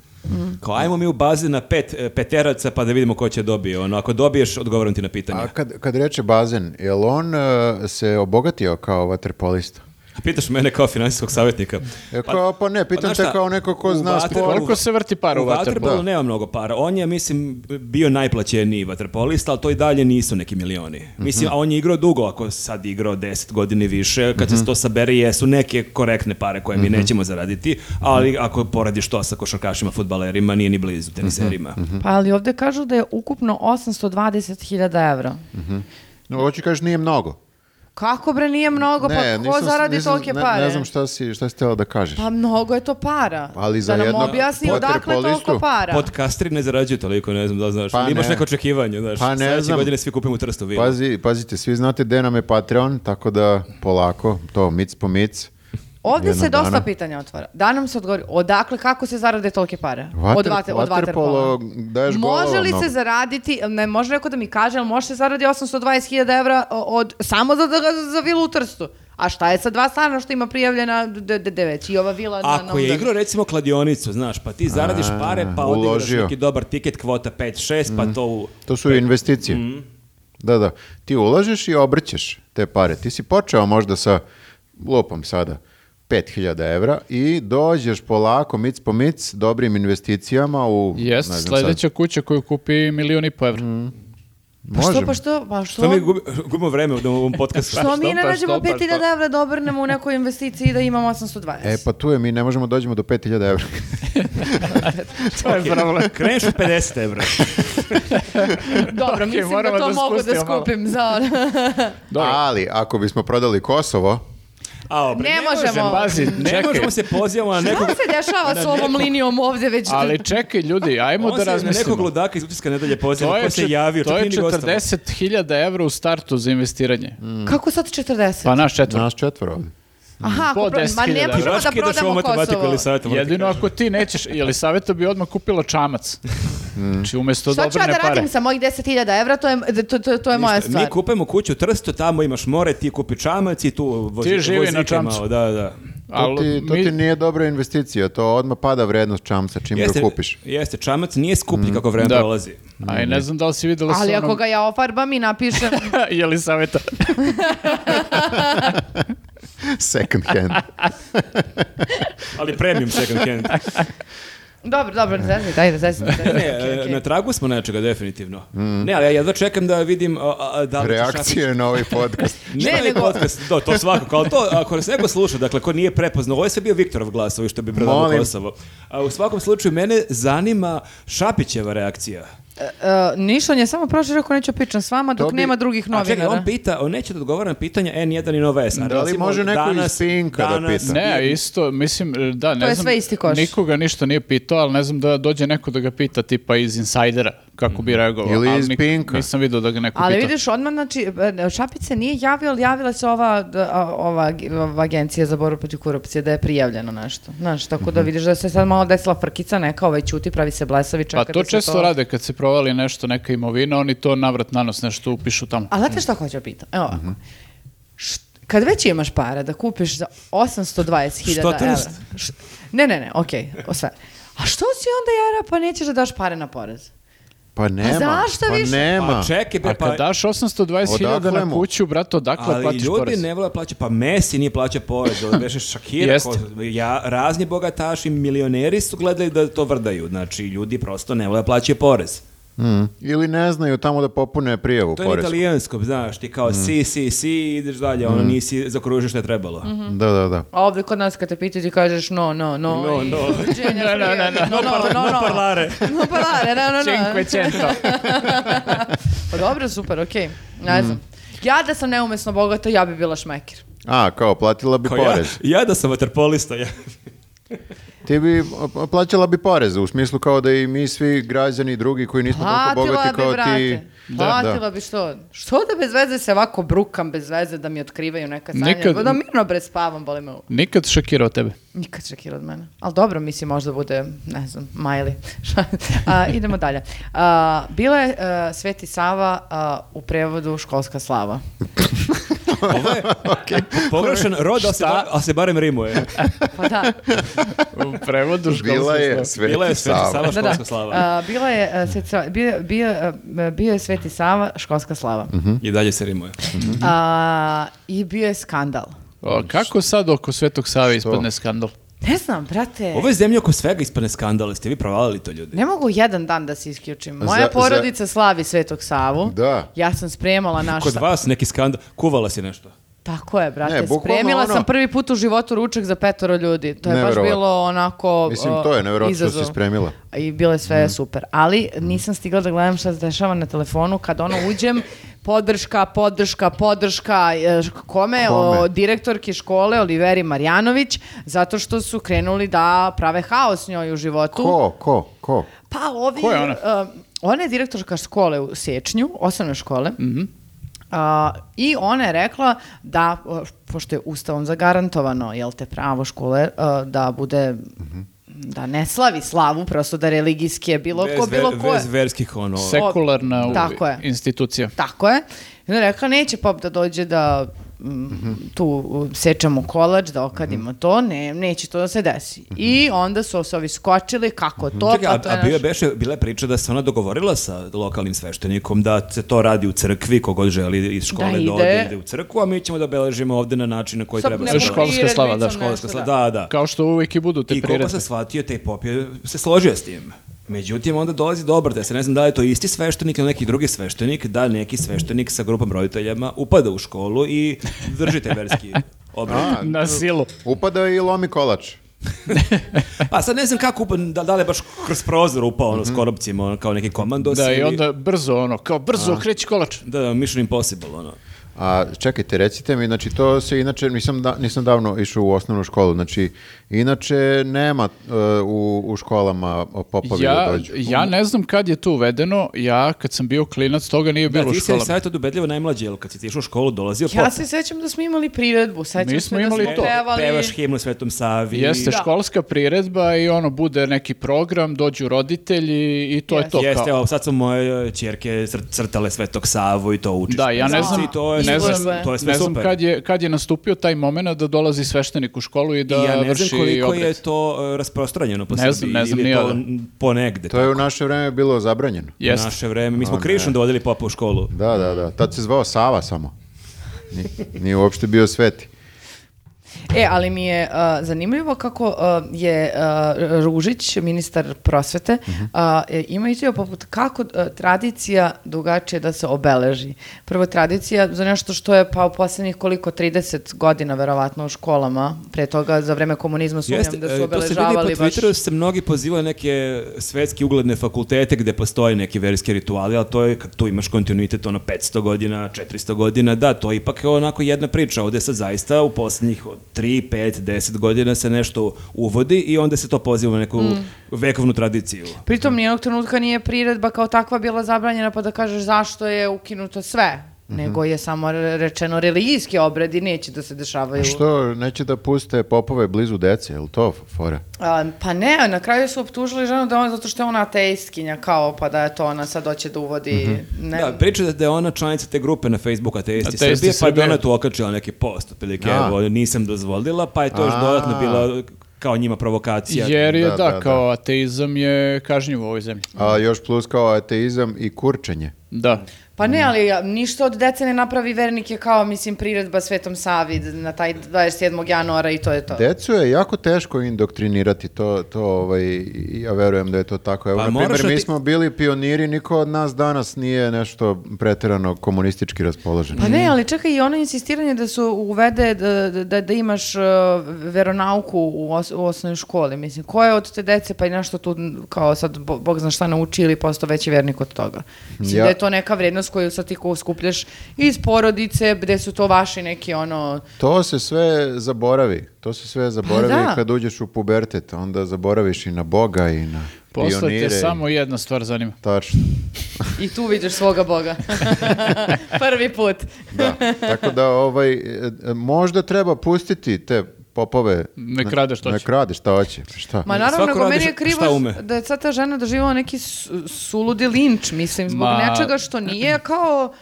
Kao, ajmo mi u bazen na pet, e, peteraca pa da vidimo ko će dobije. Ono, ako dobiješ, odgovorim ti na pitanje. A kad, kad reče bazen, je on e, se obogatio kao vaterpolista? Pitaš mene kao financijskog savjetnika. E, kao, pa ne, pitam znaš te šta, kao neko ko u zna vaterpolu- sport. Koliko se vrti para u vaterpolu? vaterpolu nema mnogo para. On je, mislim, bio najplaćeniji vaterpolista, ali to i dalje nisu neki milioni. Mislim, a on je igrao dugo, ako je sad igrao 10 godini više, kad Mhm. se to sabere, jesu neke korektne pare koje mi nećemo zaraditi, ali ako poradiš to sa košarkašima, futbalerima, nije ni blizu teniserima. Mhm. Pa ali ovde kažu da je ukupno 820.000 evra. Mhm. No, hoću kažeš nije mnogo. Kako bre nije mnogo, pa ko nisam- zaradi nisam- tolike ne- pare? Ne znam šta si, šta si htjela da kažeš. Pa mnogo je to para. Ali za da nam jednog objasni odakle toliko vaterpolistu? para. Podcasteri ne zarađuju toliko, ne znam da li znaš. Pa Imaš ne. neko očekivanje, znaš. Pa ne Sljedeće znam. Pa godine svi kupimo u Trstu vilu. Pazi, pazite, svi znate gde nam je Patreon, tako da polako, to mic po mic. Ovdje se jednog dosta dana. pitanja otvara. Da nam se odgovori odakle, kako se zarade tolike pare? od Vater- vate, od vaterpolo, vaterpola. daješ Može golova li mnogo. se zaraditi, ne može neko da mi kaže, ali može se zaradi 820.000 evra od, samo za, za, za vilu u Trstu. A šta je sa dva stana što ima prijavljena de, de, de već i ova vila na, na Ako je udaru? igrao recimo kladionicu, znaš, pa ti zaradiš pare, pa odigraš uložio. Mm. neki dobar tiket, kvota 5-6, pa to u... To su investicije. Da, da. Ti ulažeš i obrćeš te pare. Ti si počeo možda sa lopom sada 5000 evra i dođeš polako mic po mic dobrim investicijama u... Jeste, ne znam sledeća kuća koju kupi milion i po evra. sad. Pa što, Možemo. pa što, pa što? Što mi gubi- gubimo vreme u ovom podcastu? Što mi ne pa nađemo što, pa 5000 evra da obrnemo u nekoj investiciji i da imamo 820? E, pa tu je, mi ne možemo dođemo do 5000 evra. To je problem. Kreneš od 50 evra. Dobro, pa- Okej, mislim da moramo to da mogu da spustimo malo. skupim za... Ali, ako bismo prodali Kosovo, A, opet, Ne možemo. Pazi, Ne čekaj. možemo se pozivamo na Šta nekog... se dešava s ovom linijom ovde već? Ali čekaj ljudi, ajmo On da se na nekog razmislimo. ludaka iz utiska nedelje To poziva, je, ko se javio, to čak je nije ni gostao. 40.000 evra u startu za investiranje. Kako sad 40? Pa naš četvr. nas četvoro ovde. Aha, Po ako pro- ma 10.000 ne evra. možemo da Raški ideš u ovu prodamo matematiku Kosovo. ili savjeta, moram ti Jedino kažem. ako ti nećeš, ili savjeta bi odmah kupila čamac. Mm. Znači umjesto Šta ću ja dobrane da pare. radim sa mojih 10.000 evra, to je, to, to, to je moja stvar. Mi kupujemo kuću u Trstu, tamo imaš more, ti kupi čamac i tu vozi, Ti živi vozite na čamcu. malo, Da, da. To, ti, to mi- ti nije dobra investicija, to odmah pada vrednost čamca čim ga kupiš. jeste, čamac nije skuplji kako vreme Mm, Da. prolazi. Aj, ne znam da li si videla Ali sa ako onom... ga ja ofarbam i napišem, Je li savjeta? Second hand. Ali premium second hand. dobro, dobro, ne zezni, dajde, zezni. zezni. Ne, e, na tragu smo nečega, definitivno. Ne, ali ja jedva čekam da vidim a, a, da li će Šapić- Mm. Reakcije na ovaj podcast. Ne, Ne, nego- nego... podcast, do, to svakako, ali to, ako nas neko sluša, dakle, ko nije prepoznao, ovo je sve bio Viktorov glas, ovi što bi predalo Molim. Kosovo. A u svakom slučaju, mene zanima Šapićeva reakcija. E, Nišan je samo prošli rekao neću pičan s vama dok bi- nema drugih A čekaj, novinara. on pita, on neće da odgovara na pitanja N1 i Nova S. a Da li recimo može neko iz danas- Pinka da danas- pita? Ne, isto, mislim, da, ne je znam, sve isti koš. nikoga ništa nije pitao, ali ne znam da dođe neko da ga pita, tipa iz Insajdera, kako bi reagovao. Mm. Ili ali iz nik- Pinka. Nisam vidio da ga neko Ali pita. Pa vidiš, odmah, znači, e, Šapić se nije javio, ali javila se ova, d- a- ova, ag- ova agencija za borbu protiv korupcije da je prijavljeno nešto. Znaš, tako Mhm. da vidiš da se sad malo desila frkica neka, ovaj ćuti, pravi se blesavi, čeka Pa to da se često rade kad se provali nešto, neka imovina, oni to navrat na nos nešto upišu tamo. A znate šta hoću da pitam? Evo ovako. Št- kad već imaš para da kupiš za 820.000 Što evra. trst? Š- ne, ne, ne, okej, o sve. A što si onda jara pa nećeš da daš pare na porez? Pa nema. zašto pa više? nema. Pa čekaj, bre, A pa... kad daš 820.000 Odakle na mu? kuću, brate, odakle Ali platiš ljudi porez? ne vole plaća, pa Messi nije plaća porez, ali veše Shakira, Jeste. ko- ja, razni bogataši, milioneri su gledali da to vrdaju, znači ljudi prosto ne vole plaćaju porez. Mm. Ili ne znaju tamo da popune prijavu To je na porez. italijanskom, znaš, ti kao si, si, si, ideš dalje, ono nisi zakružio što je trebalo. Da, da, da. A ovdje kod nas kad te pitaju ti kažeš no, no, no. No, i- no. Viđenja, No, no, no, no. no, no, no, no. No parlare, no, no, no. Cinquecento. Pa dobro, super, okej. Ne znam. Ja da sam neumesno bogata, ja bi bila šmekir. A, kao, platila bi Kao ja, porez. ja da sam vaterpolista, ja. Ti bi, o, plaćala bi porez, u smislu kao da i mi svi građani drugi koji nismo toliko Platila bogati bi, kao ti... brate. Platila da. bi što? Što da bez veze se ovako brukam, bez veze da mi otkrivaju neka sanja? Nikad- Da mirno bre spavam, boli me u... Nikad šokirao tebe. Nikad Shakira od mene. Ali dobro, mislim, možda bude, ne znam, Miley. Šta- A, idemo dalje. A, bila je a, Sveti Sava a, u prevodu školska slava. Ovo je pogrešan rod, ali se, Šta? bar, ali se barem rimuje. Pa da, U prevodu školskog Bila je slova. Sveti Bila je sve Sava. sama da, da. školska slava. A, bila je, a, Sveti Sava- bio, bio, a, e, bio je Sveti Mhm. Sava školska slava. E. I dalje se rimuje. A, I bio je skandal. O, kako sad oko Svetog Save ispadne skandal? Ne znam, brate. Ovo je zemlja oko svega ispane skandale. Ste vi provalili to ljudi? Ne mogu jedan dan da se isključim. Moja Za- za- porodica slavi Svetog Savu. Da. Ja sam spremala naš... Kod vas neki skandal. Kuvala si nešto. Tako je, brate. Ne, bukvalno Spremila ono- sam prvi put u životu ručak za petoro ljudi. To je baš Neverovatno. bilo onako Mislim, to je nevjerojatno što izazov. si spremila. Mhm. I bilo je sve super. Ali nisam stigla da gledam šta se dešava na telefonu. Kad ono uđem, podrška, podrška, podrška. e, š- Kome? O, direktorki škole Oliveri Marjanović. Zato što su krenuli da prave haos njoj u životu. Ko, ko, ko? Pa ovi... Ko je ona? e, ona je direktorka škole u Sečnju, osnovne škole. Mhm. A, I ona je rekla da, e, pošto je ustavom zagarantovano, jel te pravo škole, e, da bude... da ne slavi slavu, prosto da religijski je bilo ko, ve- bilo ko. je. bez verskih ono... Sekularna u- Tako je. institucija. Tako je. I onda je rekla, neće pop da dođe da mm, tu uh, sečemo kolač, da okadimo to, ne, neće to da se desi. I onda su se ovi skočili, kako to, Čekaj, pa a, to a je bio je naš- beše, bila je priča da se ona dogovorila sa lokalnim sveštenikom da se to radi u crkvi, kogod želi iz škole Da da, ide. ode, ide u crkvu, a mi ćemo da beležimo ovde na način na koji Sa treba. nekom se- Školska slava, da, priredbicom školska nešto, slava, da. da, da. Kao što uvijek i budu te I koliko priredbe. sam shvatio, taj pop je se složio s tim. Međutim, onda dolazi do obrata. Ja se ne znam da li je to isti sveštenik ili neki drugi sveštenik, da neki sveštenik sa grupom roditeljama upada u školu i drži taj verski obred. Na silu. Upada i lomi kolač. Pa sad ne znam kako, upa- da, da li je baš kroz prozor upao ono, s korupcijima, ono, kao neki komandos. Mhm. Da, i ili- onda brzo ono, kao brzo okreći kolač. Da, da, Mission Impossible, ono. A čekajte, recite mi, znači to se inače, nisam, da, nisam davno išao u osnovnu školu, znači inače nema e, u, u školama popovi Ja, da dođu. ja ne znam kad je to uvedeno, ja kad sam bio klinac toga nije Da, bilo u ti si školama. sad od ubedljivo najmlađi, jel kad si ti išao u školu dolazio pop. Ja se sećam da smo imali priredbu, sećam Mi se smo da imali smo to. pevali. Pevaš himnu Svetom Savi. Jeste školska priredba i ono bude neki program, dođu roditelji i to je Jeste. to Jeste, kao. evo, sad su moje e, ćerke cr- crtale Svetog Savu i to učiš. Da, ja ne Znači, znam, to je, ne to je- znam- to je sve Ne znam super. kad je, kad je nastupio taj moment da dolazi sveštenik u školu i da I ja ne vrši znam koliko je obred. to e, rasprostranjeno po Ne znam, Srbiji, ne znam, ili ni je to ja. n- ponegde. pa, To je u naše vreme bilo zabranjeno. u Jeste. naše vreme. Mi smo krišom dovodili popa u školu. Da, da, da. Tad se zvao Sava samo. Ni- Nije uopšte bio sveti. E, ali mi je uh, zanimljivo kako uh, je uh, Ružić, ministar prosvete, Mhm. uh, e, ima izjavu poput kako uh, tradicija drugačije da se obeleži. Prvo, tradicija za nešto što je pa u posljednjih koliko, 30 godina verovatno u školama, pre toga za vreme komunizma sumnjam Jeste, da e, su to se vidi obeležavali po baš... Twitteru, se mnogi pozivaju na neke svetski ugledne fakultete gde postoje neki verski rituali, ali to je kad tu imaš kontinuitet ono 500 godina, 400 godina, da, to je ipak onako jedna priča. Ovde sad zaista u posljednjih 3, 5, 10 godina se nešto uvodi i onda se to poziva na neku Mm. vekovnu tradiciju. Pritom nijednog trenutka nije priredba kao takva bila zabranjena pa da kažeš zašto je ukinuto sve, nego je samo re- rečeno religijski obredi neće da se dešavaju. Što, neće da puste popove blizu dece, je li to fora? A, pa ne, na kraju su optužili ženu da ona zato što je ona ateistkinja kao pa da je to ona sad hoće da uvodi ne, Da, priča da- da je ona članica te grupe na Facebooku Ateisti Ateisti Srbije, pa bi Srbije. ona tu okačila neki post, otprilike, A. evo, nisam dozvolila, pa je to još A. dodatno bila kao njima provokacija. Jer je, da, Da, da, da. kao ateizam je kažnjiv u ovoj zemlji. A još plus kao ateizam i kurčenje. Da. pa ne, ali a, ništa od dece ne napravi vernik je kao mislim priredba Svetom Savi d- na taj 27. januara i to je to. Decu je jako teško indoktrinirati, to, to ovaj, i ja verujem da je to tako. Evo, Pa na moraš primjer, da mi ti- smo bili pioniri, niko od nas danas nije nešto preterano komunistički raspoložen. Pa Mhm. ne, ali čekaj i ono insistiranje da su uvede da, da, da imaš uh, veronauku u, os, u osnovnoj školi, mislim, ko je od te dece pa i nešto tu n- kao sad bo- bog zna šta nauči ili postao veći vernik od toga. Mislim Ja- da je to neka vrednost koju sad ti ko skupljaš iz porodice, gde su to vaši neki ono, To se sve zaboravi. To se sve zaboravi Pa da. kad uđeš u pubertet, onda zaboraviš i na Boga i na Posle te pionire. i- samo jedna stvar zanima. Tačno. i tu vidiš svoga boga. Prvi put. Da. Tako da ovaj e, e, možda treba pustiti te popove. Nek rade što Nek će. rade šta hoće. pa Šta? Ma naravno, Svako ko meni radi je š- šta krivo ume. da je sad ta žena doživjela neki su- suludi linč, mislim, zbog Ma- nečega što nije kao...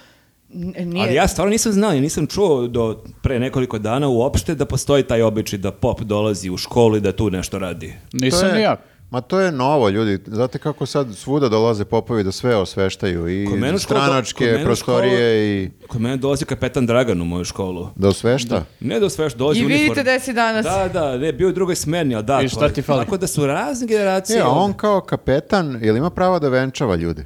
n- Nije, Ali ja stvarno nisam znao, ja nisam čuo do pre nekoliko dana uopšte da postoji taj običaj da pop dolazi u školu i da tu nešto radi. Nisam To je- ni ja. Ma to je novo, ljudi. Znate kako sad svuda dolaze popovi da sve osveštaju i Kod mene u školu- kod stranačke mene u prostorije i Kod mene dolazi kapetan Dragan u moju školu. da osvešta. Ne da sve što dolazi I u uniformi. vidite gde si danas. Da, da, ne, bio je u drugoj smerni, ali da. I šta to je- ti fali? Tako da su razne generacije. E, a on ovde. kao kapetan, jel ima prava da venčava ljude?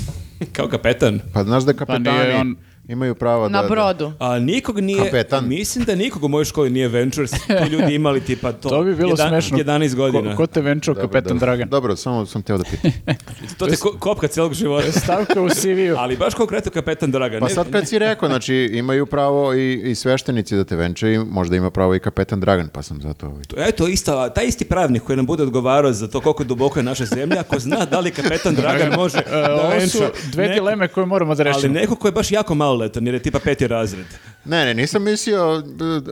Kao kapetan. Pa znaš da Pa kapetani nije on- imaju prava da... Na Pa da- brodu. A nikog nije, Kapetan. mislim da nikog u mojoj školi nije venture, to ljudi imali tipa to, To bi bilo smešno. 11 godina. Ko, ko te venčao, Dobro, kapetan dobro. Dragan? Dobro, samo sam teo da pitam. To te ko- kopka celog života. Stavka u CV-u. Ali baš konkretno kapetan Dragan. Pa ne- sad kad si rekao, znači imaju pravo i, i sveštenici da te venčaju, možda ima pravo i kapetan Dragan, pa sam zato ovaj. To- Eto, ista, taj isti pravnik koji nam bude odgovarao za to koliko duboko je naša zemlja, ako zna da li kapetan Dragan može E, da ovo su venča dve neko- dileme koje moramo da Ali rešimo. neko ko je baš jako maloletan, jer je tipa peti razred, Ne, ne, nisam mislio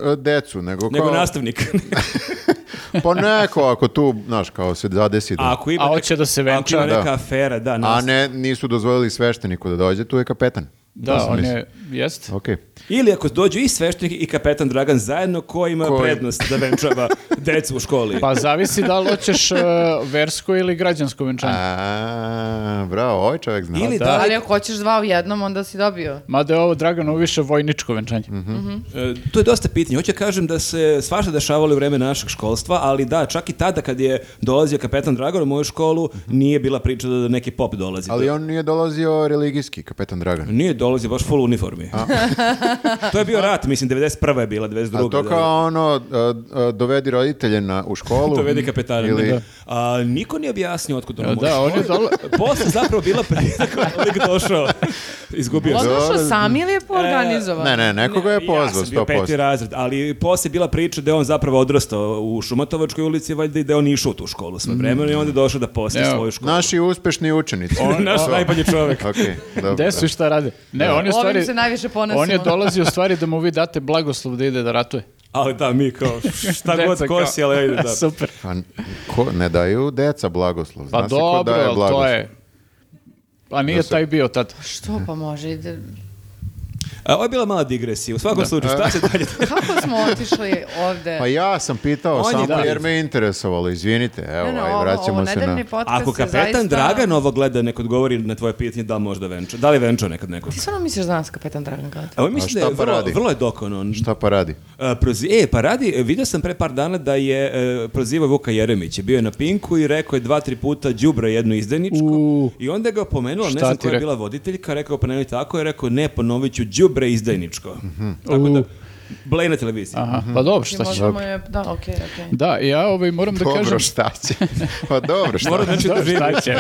e, e, decu, nego, nego kao... nastavnik. Pa neko, ako tu, znaš, kao se zadesi da... A ako ima, A neka- hoće da se venča. ako ima neka Da. afera, da, A nas- ne, nisu dozvolili svešteniku da dođe, tu je kapetan. Da, sam on mislio. je, jest. Okej. Ili ako dođu i sveštenik i kapetan Dragan zajedno, ko ima Koji? prednost da venčava decu u školi? Pa zavisi da li hoćeš e, versko ili građansko venčanje. A, bravo, ovaj čovjek zna. Ili da. da, li- Ali ako hoćeš dva u jednom, onda si dobio. Mada je ovo Draganovu više vojničko venčanje. Mhm. E, to je dosta pitanje. Hoće kažem da se svašta dešavalo u vreme našeg školstva, ali da, čak i tada kad je dolazio kapetan Dragan u moju školu, nije bila priča da neki pop dolazi. Ali on nije dolazio religijski, kapetan Dragan. Nije dolazio baš full uniformi. to je bio rat, mislim, 91. je bila, 92. A to da. kao ono, a, a, dovedi roditelje na, u školu. Dovedi kapetana. Ili, Da. A, niko nije objasnio otkud ono Ja, da, on je dola- Posle zapravo bila prilika koja je lik došao. Izgubio se. Odlušao Dobro. sam ili je E, poorganizovan? Ne, ne, nekoga je Ja pozvao, sam bio peti 100%. razred, ali poslije je bila priča da je on zapravo odrastao u Šumatovačkoj ulici, valjda i da je on išao u tu školu sve Mm. vremena i onda je došao da postaje Evo, svoju školu. Naši uspešni učenici. Naš To. najbolji čovjek. Ok, dobro. Gde su i šta rade? Ne, on je u Ovim stvari... se najviše ponosimo. On je dolazio u stvari da mu vi date blagoslov da ide da ratuje. Ali da, mi kao šta Deca god kao- kosi, ali ajde da. Super. Pa, ko, ne daju deca blagoslov. Pa Zna se ko dobro, daje ali to blagoslov. je... Pa nije taj bio tad. Što pa može? ide- A, ovo je bila mala digresija. U svakom slučaju, šta se dalje... Kako smo otišli ovde? Pa ja sam pitao On je samo da. jer me interesovalo, izvinite, evo, Ne, ne, aj, ovo- ovaj, vraćamo ovo se na... nedeljni podcast Ako je kapetan zaista- Dragan ovo gleda, nek odgovori na tvoje pitanje da li možda venča. Da li venča nekad neko? Ti stvarno misliš da nas kapetan Dragan gleda? Ovo mislim šta da je pa vrlo, radi? vrlo je dokon on. Šta pa radi? A, prozi- e, pa radi, e, vidio sam pre par dana da je e, prozivao Vuka Jeremića. Bio je na Pinku i rekao je dva, tri puta đubra jednu izdajničku. U. I onda ga opomenula, ne Šta znam ti koja je rekao? bila voditeljka, rekao pa nemoj tako, je rekao ne, ponovit ću đubre izdajničko. Tako da, blej na televiziji. Mhm. Aha, pa dobro, Ti šta će. možemo je... Da, okej, okej. Da, ja ovaj moram da dobro, kažem... šta će? Pa dobro, šta? Mora da će Dobro, šta će?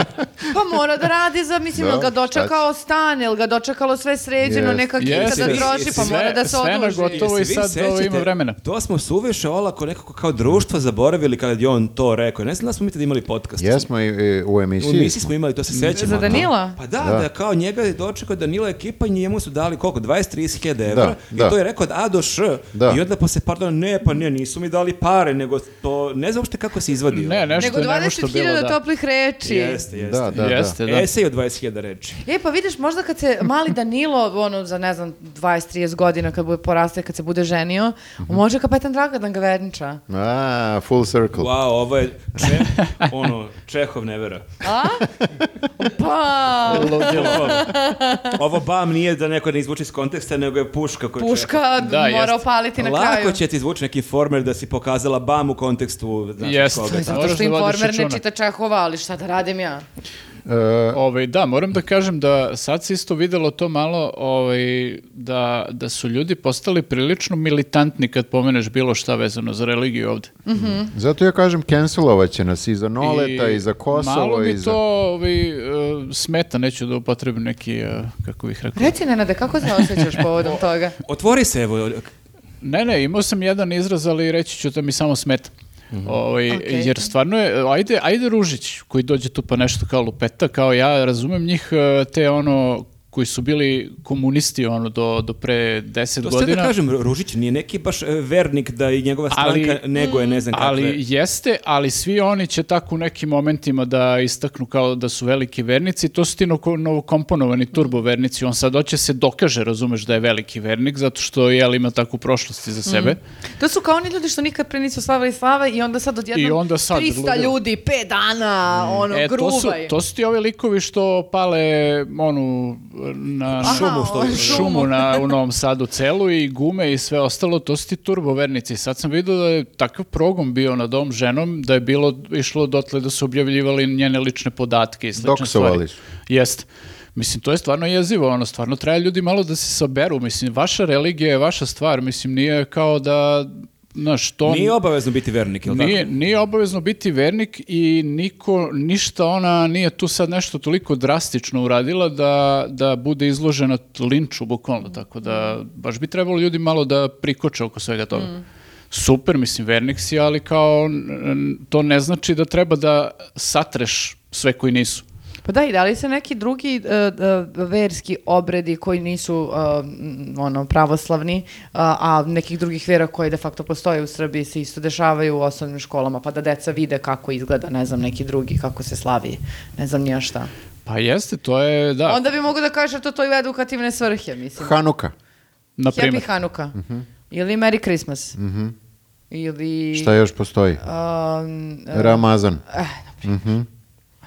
Pa mora da radi za, mislim, Da, jel ga šta dočekao stan, jel ga dočekalo sve sređeno, Jest. neka kinta Jeste, da troši, jeste. pa mora da se Sve- sve na oduži. gotovo. Ovo i Jesi vi sad, ovo sećate, ima vremena. To smo suviše olako nekako kao društvo zaboravili kada je on to rekao. Ne znam da li smo mi tada imali podcast. Jesmo i, i u emisiji. U emisiji smo imali, to se sećamo. Za Danila? Pa da, da, Mm. Da. kao njega je dočekao Danila ekipa i njemu su dali koliko, 20-30.000 evra. I da. to je rekao od A do Š. Da. I onda posle par dana, ne, pa ne, nisu mi dali pare, nego to, ne znam uopšte kako se izvadio. Ne, nešto Nego je nemošto bilo, 20.000 da. toplih reči. Jeste, jeste. Da, da, Jeste, da. Esej od 20.000 reči. E, pa vidiš, možda kad se mali Danilo, ono, za ne znam, 20-30 godina, kad bude poraste, kad se bude ženio, Mhm. može kapetan Dragan da ga venča. A, full circle. Wow, ovo je Čeh, ono, Čehov nevera. A? Pa, Ovo, ovo bam nije da neko ne izvuče iz konteksta, nego je puška koju puška Da, mora jeste. opaliti na kraju. Lako će ti izvući neki informer da si pokazala bam u kontekstu znaš, Jeste. koga. Za- Zato Moraš što da vodiš informer ne računa. čita Čehova, ali šta da radim ja? E, Ovaj, da, moram da kažem da sad se isto videlo to malo ovaj, da, da su ljudi postali prilično militantni kad pomeneš bilo šta vezano za religiju ovde. zato ja kažem, cancelovat će nas i za Noleta, i, za Kosovo, Malo mi i za... to ovaj, e, smeta, neću da upotrebim neki, e, kako bih rekao. Reci, Nenade, kako se osjećaš povodom toga? Otvori se, evo, Ne, ne, imao sam jedan izraz, ali reći ću da mi samo smeta. Mhm. Ovaj, Okej. Jer stvarno je, ajde, ajde Ružić koji dođe tu pa nešto kao lupeta, kao ja razumem njih e, te ono koji su bili komunisti ono do, do pre deset To godina. sad da kažem, Ružić nije neki baš e, vernik da i njegova Ali- stranka nego je ne znam kakve. Ali jeste, ali svi oni će tako u nekim momentima da istaknu kao da su veliki vernici, to su ti noko- novokomponovani turbo vernici, on sad hoće se dokaže, razumeš, da je veliki vernik, zato što jel ima takvu prošlost iza sebe. Mm. To su kao oni ljudi što nikad pre nisu slavili slave i onda sad odjednom I onda sad 300 ludilo. ljudi, 5 dana, ono, E, gruba to su, je. to su ti ovi likovi što pale onu na Aha, šumu, o, šumu. šumu na, u Novom Sadu celu i gume i sve ostalo, to su ti turbovernici. Sad sam vidio da je takav progon bio nad ovom ženom, da je bilo, išlo dotle da su objavljivali njene lične podatke i slične stvari. Doksovali su. Jeste. Mislim, to je stvarno jezivo, ono, stvarno treba ljudi malo da se saberu, mislim, vaša religija je vaša stvar, mislim, nije kao da, znaš, to... Nije obavezno biti vernik, jel Nije, nije obavezno biti vernik i niko, ništa ona nije tu sad nešto toliko drastično uradila da, da bude izložena t- linču bukvalno, tako da baš bi trebalo ljudi malo da prikoče oko svega toga. Super, mislim, vernik si, ali kao n- n- to ne znači da treba da satreš sve koji nisu. Pa da, i da li se neki drugi e, e, verski obredi koji nisu e, m, ono pravoslavni, a, a nekih drugih vera koje de facto postoje u Srbiji se isto dešavaju u osnovnim školama, pa da deca vide kako izgleda, ne znam, neki drugi, kako se slavi, ne znam nija šta. Pa jeste, to je, da, Onda bi mogu da kaže to to i u edukativne svrhe, mislim. Hanuka. Mhm. na primjer. Happy Hanuka. Ili Merry Christmas. Ili... Šta još postoji? um, e, Ramazan. Mhm.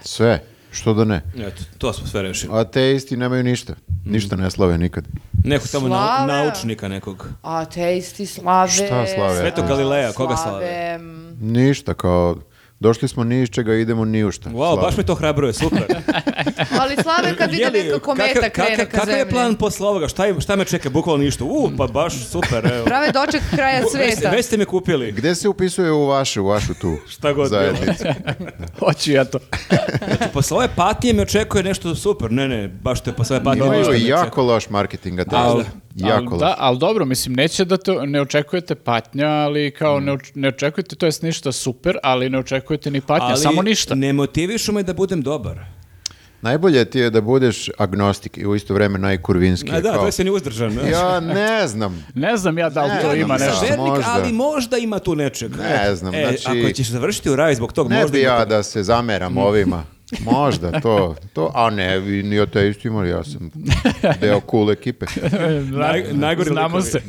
Sve. Što da ne? Eto, to smo sve rešili. Ateisti nemaju ništa. Ništa ne slave nikad. Nekog tamo nau- Slava. naučnika nekog. ateisti slave... Šta slave? Svetog Galileja, koga slave? slave? Ništa, kao... Došli smo ni iz čega, idemo ni u šta. Wow, Slava. baš me to hrabruje, super. Ali slave kad vide Jeli, neka kometa kakav- krene kakav- ka Kakav zemlji. je plan posle ovoga? Šta, im- šta me čeka? Bukvalno ništa. U, pa baš super, evo. Prave doček kraja Već- sveta. Već ste me kupili. Gde se upisuje u vašu, u vašu tu Šta god bilo. zajednicu? Hoću ja to. Znači, posle ove patnje me očekuje nešto super. Ne, ne, baš te posle ove patnje Imaju ništa me čeka. jako loš marketing Ali- ateisti. Jako ali, loš. da, ali dobro, mislim, neće da to, ne očekujete patnja, ali kao ne, oč- ne očekujete, to jest ništa super, ali ne očekujete ni patnja, Ali samo ništa. ne motivišu me da budem dobar. Najbolje ti je da budeš agnostik i u isto vreme najkurvinski. A da, kao, to se ni uzdržan. Ja ne znam. Ne znam ja da li Ne, to ne ima znam, nešto. da. Vernik, Možda. ali možda ima tu nečeg. Ne Eto, znam, e, znači- Ako ćeš završiti u raju zbog tog, Ne možda bi ima ja tu- da se zameram ovima. Možda to, to, a ne, vi ni ateistima, ja sam deo cool ekipe. Naj- najgori Znamo likovi. se.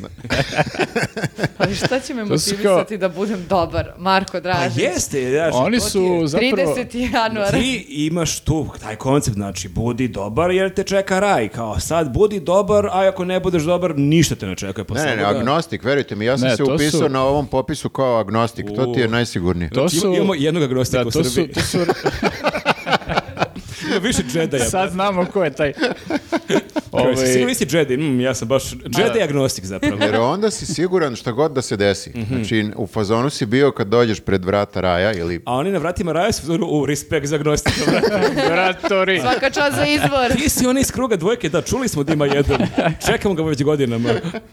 Ali šta će me To su motivisati da budem dobar? Marko Pa Dražić. jeste, znaš, Oni to ti je- su zapravo... 30. januara. Ti imaš tu taj koncept, znači budi dobar jer te čeka raj, kao sad budi dobar, a ako ne budeš dobar, ništa te ne čeka. posle Ne, ne, ne, ovoga. agnostik, verujte mi, ja sam Ne, se to upisao su- na ovom popisu kao agnostik, to ti je najsigurnije. To su... Ima- Imamo jednog agnostika Da, u to su, Srbiji. to su, Ima više džedaja. sad znamo ko je taj. Ovaj... Ovaj, Pa Sigurno nisi džedi, mm, ja sam baš džedi agnostik zapravo. Jer onda si siguran šta god da se desi. Znači, u fazonu si bio kad dođeš pred vrata raja ili... A oni na vratima raja su u, u respekt za agnostika. brate. Bratori. Svaka čast za izbor. Ti si onaj iz kruga dvojke, da čuli smo da ima jedan. Čekamo ga već godinama.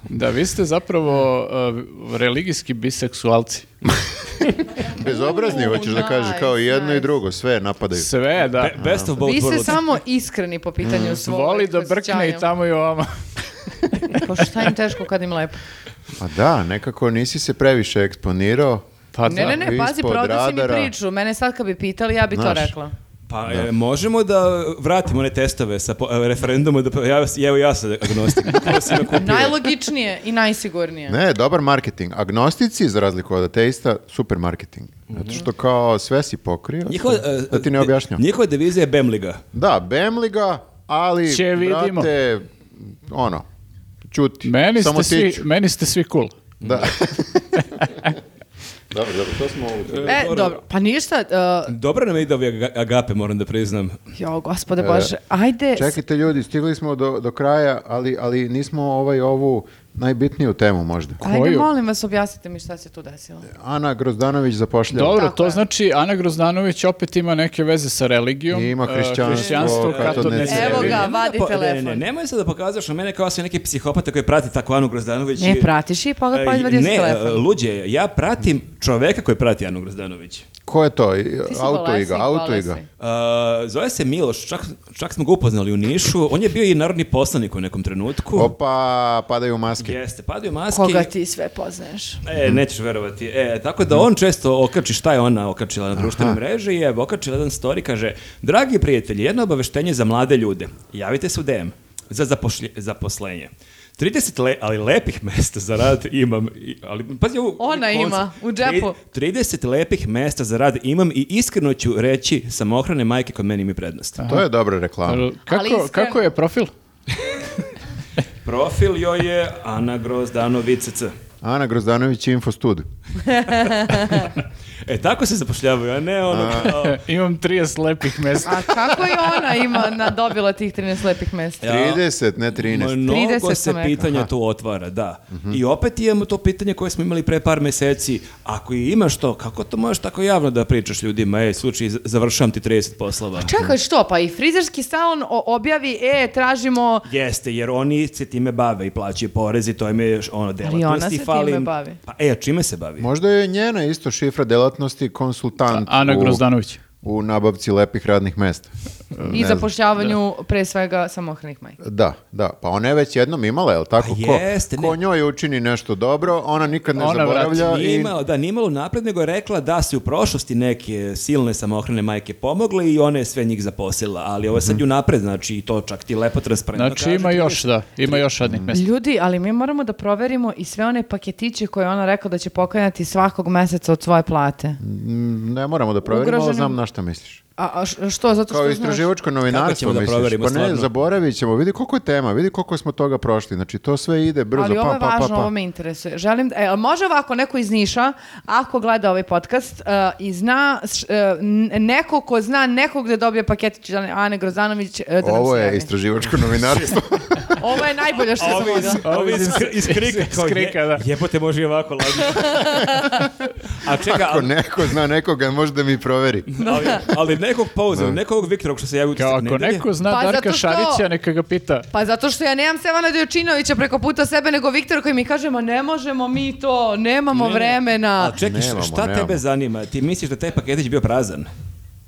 Da, vi ste zapravo uh, religijski biseksualci. Bezobrazni, hoćeš da kažeš, kao i nice, jedno i nice. drugo, sve napadaju. Sve, da. Be- best of both Vi ste worlds. samo iskreni po pitanju svog. Voli da brkne i tamo i ovamo. Pa šta im teško kad im lepo? Pa da, nekako nisi se previše eksponirao. Pa Ne, da. ne, ne, pazi, ispod prodao si mi radara. priču. Mene sad kad bi pitali, ja bi to Znaš. rekla. Pa e, možemo da vratimo one testove sa po, e, referenduma, da, po- ja, evo ja sam agnostik. Ko si me kupio? Najlogičnije i najsigurnije. Ne, dobar marketing. Agnostici, za razliku od ateista, super marketing. Mhm. Zato što kao sve si pokrio, Njihova, e, da ti ne objašnjam. Njihova divizija je Bemliga. Da, Bemliga, ali, Će vidimo. brate, ono, čuti. Meni Samo ste, svi, tiču. meni ste svi cool. Da. dobro, dobro, to smo... E, dobro, pa ništa, uh, Dobro nam ide ove aga- agape, moram da priznam. jo, gospode Bože, ajde, Čekajte ljudi, stigli smo do, do kraja, ali, ali nismo ovaj ovu najbitniju temu možda. ajde, koju? molim vas, objasnite mi šta se tu desilo. Ana Grozdanović zapošljava. Dobro, Tako to je. znači Ana Grozdanović opet ima neke veze sa religijom. Ima e, hrišćanstvo, pa katodne katodne crkve. crkve. Evo ga, Nemoj vadi da po- Pa, Ne, telefon. ne, nemoj se da pokazaš na mene kao se neki psihopata koji prati tako Anu Grozdanović. Ne I- pratiš i pa E, pa izvadio si Ne, telefon. luđe, ja pratim čoveka koji prati Anu Grozdanović. ko je to? I- Ti si Auto golesi, iga, auto golesi. iga. Uh, zove se Miloš, čak, čak smo ga upoznali u Nišu. On je bio i narodni poslanik u nekom trenutku. Opa, padaju maske. Jeste, padaju maske. Koga ti sve poznaješ? E, nećeš verovati. E, tako da on često okači šta je ona okačila na društvenoj mreži i evo, okačila jedan story, kaže Dragi prijatelji, jedno obaveštenje za mlade ljude. Javite se u DM za zapošlje- zaposlenje. 30 le- ali lepih mesta za rad imam. I- ali, pazi, ovo, Ona koncept. ima, u džepu. Tri- 30 lepih mesta za rad imam i iskreno ću reći samohrane majke kod meni mi prednost. To je dobra reklama. Kako, Ali iskreno- kako je profil? Profil joj je Ana Grozdanovic. CC. Ana Grozdanović Info Stud. E, tako se zapošljavaju, a ne ono kao- Imam 30 lepih mesta. A kako je ona ima na, dobila tih 13 lepih mesta? Ja. 30, ne 13. Mnogo 30 se sam rekla. pitanja tu otvara, da. I opet imamo to pitanje koje smo imali pre par meseci. Ako i imaš to, kako to možeš tako javno da pričaš ljudima? Ej, slučaj, završavam ti 30 poslova. Čekaj, što? Pa i frizerski salon o- objavi, e, tražimo... Jeste, jer oni se time bave i plaćaju porez i to im je š- ono ona delatnosti se time fali. bavi. Pa e, a čime se bavi? Možda je njena isto šifra delatnosti konsultant Ana u, Grozdanović. u nabavci lepih radnih mesta. I zapošljavanju pre svega samohranih majka. Da, da. Pa ona je već jednom imala, je li tako? Pa Ko- jeste, ko, ne. njoj učini nešto dobro, ona nikad ne Ona zaboravlja. Nije i- imala, da, nije imala napred, nego je rekla da su u prošlosti neke silne samohrane majke pomogle i ona je sve njih zaposlila, ali ovo je sad ju napred, znači i to čak ti lepo transparentno Mhm. Znači kaže, ima ti još, da, ima još Mm. radnih mesta. Ljudi, ali mi moramo da proverimo i sve one paketiće koje je ona rekla da će pokajati svakog meseca od svoje plate. Mm, Ne moramo da provjerimo, ali Ugroženim- znam na šta misliš. A, a š- što? Zato što Kao znaš- istraživačko Kako novinarstvo ćemo da misliš. proverimo, pa ne, stvarno? zaboravit ćemo. Vidi koliko je tema, vidi koliko smo toga prošli. Znači to sve ide brzo. Ali ovo pa, je pa, pa, važno, pa. ovo me interesuje. Želim, da- e, a može ovako neko iz Niša, ako gleda ovaj podcast e, i zna š- e, n- neko ko zna nekog da dobije paketić Ane- Ane Grozanović e, da nam Ovo se je javi. istraživačko novinarstvo. Ovo je najbolje što sam Ovi iz, mogla. ovi iz, kri- iz krika. Iz krika, da. Jebote, može i ovako lagano. A čega, Ako ali, neko zna nekoga, može da mi proveri. ali, ali nekog pauze, nekog Viktora što se javi u Kao utisak ako nedelje. neko zna Pa Darka zato što- Šarića, neka ga pita. Pa zato što ja nemam Sevana Dojčinovića preko puta sebe, nego Viktor koji mi kaže, ma ne možemo mi to, nemamo Ne, ne. vremena. A čekaj, Nemamo, šta nemamo. tebe zanima? Ti misliš da taj paketić bio prazan?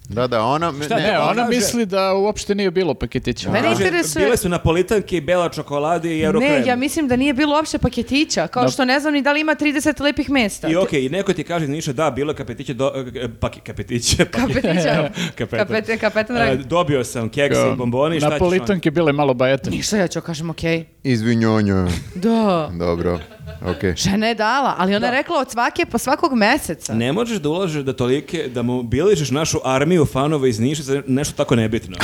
Da, da, ona... ne, Ne, on ona kaže- misli da uopšte nije bilo paketića. pa Mene Kaže, Pa interesuje- Bile su napolitanke, bela čokolada i eurokrem. Ne, ja mislim da nije bilo uopšte paketića, kao što ne znam ni da li ima 30 lepih mesta. I okej, i neko ti kaže iz Niša, da, bilo je kapetiće, do, eh, pak, kapetiće, pak- Kapetića. kapetan. Kapete- kapetan Dragan. Eh, dobio sam kekse i bombone, šta ćeš onda? Napolitanke bile malo bajete. Ništa, ja ću kažem, okej. Izvinjonju. Da. Dobro, okej. Žena je dala, ali ona je rekla od svake, po svakog meseca. Ne možeš da ulažeš da tolike, da mobiližeš našu armiju fanova iz Niša za nešto tako nebitno.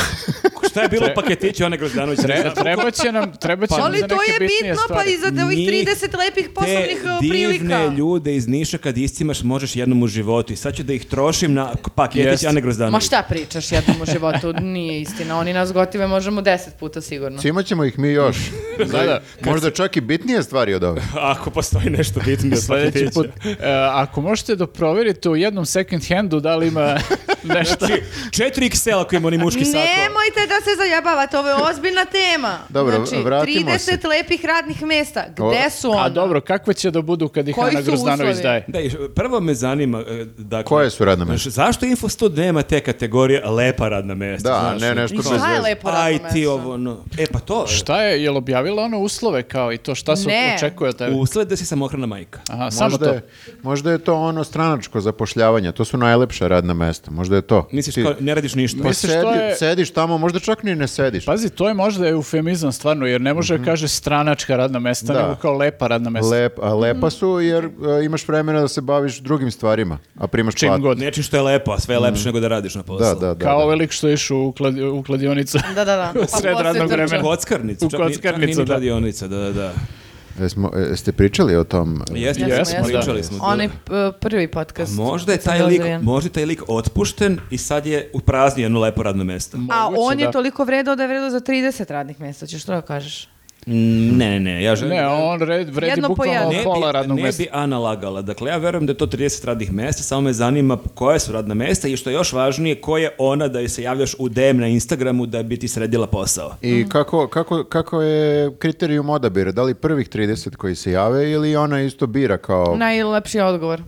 Šta je bilo u paketiću Ane Grozdanović? Znači, ne Tre, znam. treba će nam, treba će nam Pa Ali za to pa neke je bitnije bitno, pa stvari. i za ovih Njih 30 lepih poslovnih Te uh, prilika. divne ljude iz Niša kad istimaš možeš jednom u životu i sad ću da ih trošim na paketić Jest. Ane Ma Grozdanović. šta pričaš jednom u životu, nije istina. Oni nas gotive možemo deset puta sigurno. Svima ćemo ih mi još. Da, da. Možda čak i bitnije stvari od ove. Ako postoji nešto bitno od Sljedeći paketića. put, e, ako možete da proverite u jednom second handu da li ima nešto. Znači, 4 XL ako ima oni muški sako. Nemojte da se zajebavate, ovo je ozbiljna tema. Dobro, znači, vratimo 30 se. lepih radnih mesta, O- gde su ona? A dobro, kakve će da budu kad ih ono? Koji Ana su Grozdanović uslovi? daje? Da, i š- prvo me zanima, e, dakle... Koje su radna mesta? znaš, Zašto Infostud nema te kategorije lepa radna mesta? Da, znaš, ne, nešto I bez šta je veze. lepo radno IT, mesto? ovo, no. E, pa to, Šta je, je li objavila ono uslove kao i to šta se Ne. očekuje od tebe? usled da si samohrana majka. Aha, samo Možda to. je, možda je to ono stranačko zapošljavanje, to su najlepša radna mesta, možda je to. Misliš Ti- kao, ne radiš ništa. pa Misliš, sedi- to je- sediš tamo, možda čak ni ne sediš. Pa Pazi, to je možda eufemizam stvarno, jer ne može da kaže stranačka radna mesta, Da. nego kao lepa radna mesta. Lep, a lepa su jer e, imaš vremena da se baviš drugim stvarima, a primaš Čim platu. god. Nečim što je lepo, a sve je lepše nego da radiš na poslu. Da, da, da. kao da. ovaj lik što je išao u, kladi- u kladionicu. Da, da, da. U sred posle radnog trča. vremena. Kockarnicu. U čak ni- čak kockarnicu, ni ni da. kladionica, da, da, da. Jesmo, e, jeste pričali o tom? Jeste, Jesmo, jesmo, jesmo, pričali da. smo. Onaj da. p- prvi podcast. Možda je kad sam taj bila lik, Adriana. možda je taj lik otpušten i sad je upraznio jedno lepo radno mesto. A Moguće, on je da. toliko vredao da je vredao za 30 radnih mjesta, ćeš što da kažeš? Mm, Ne, ne, ne, ja želim... Ne, da- on red, vredi Jedno po bukvalno jedno. Ne pola bi- radnog ne mesta. bi Ana lagala. Dakle, ja verujem da je to 30 radnih mesta, samo me zanima koje su radna mesta i što je još važnije, ko je ona da joj se javljaš u DM na Instagramu da bi ti sredila posao. Mhm. I kako, kako, kako je kriterijum odabira? Da li prvih 30 koji se jave ili ona isto bira kao... Najlepši odgovor.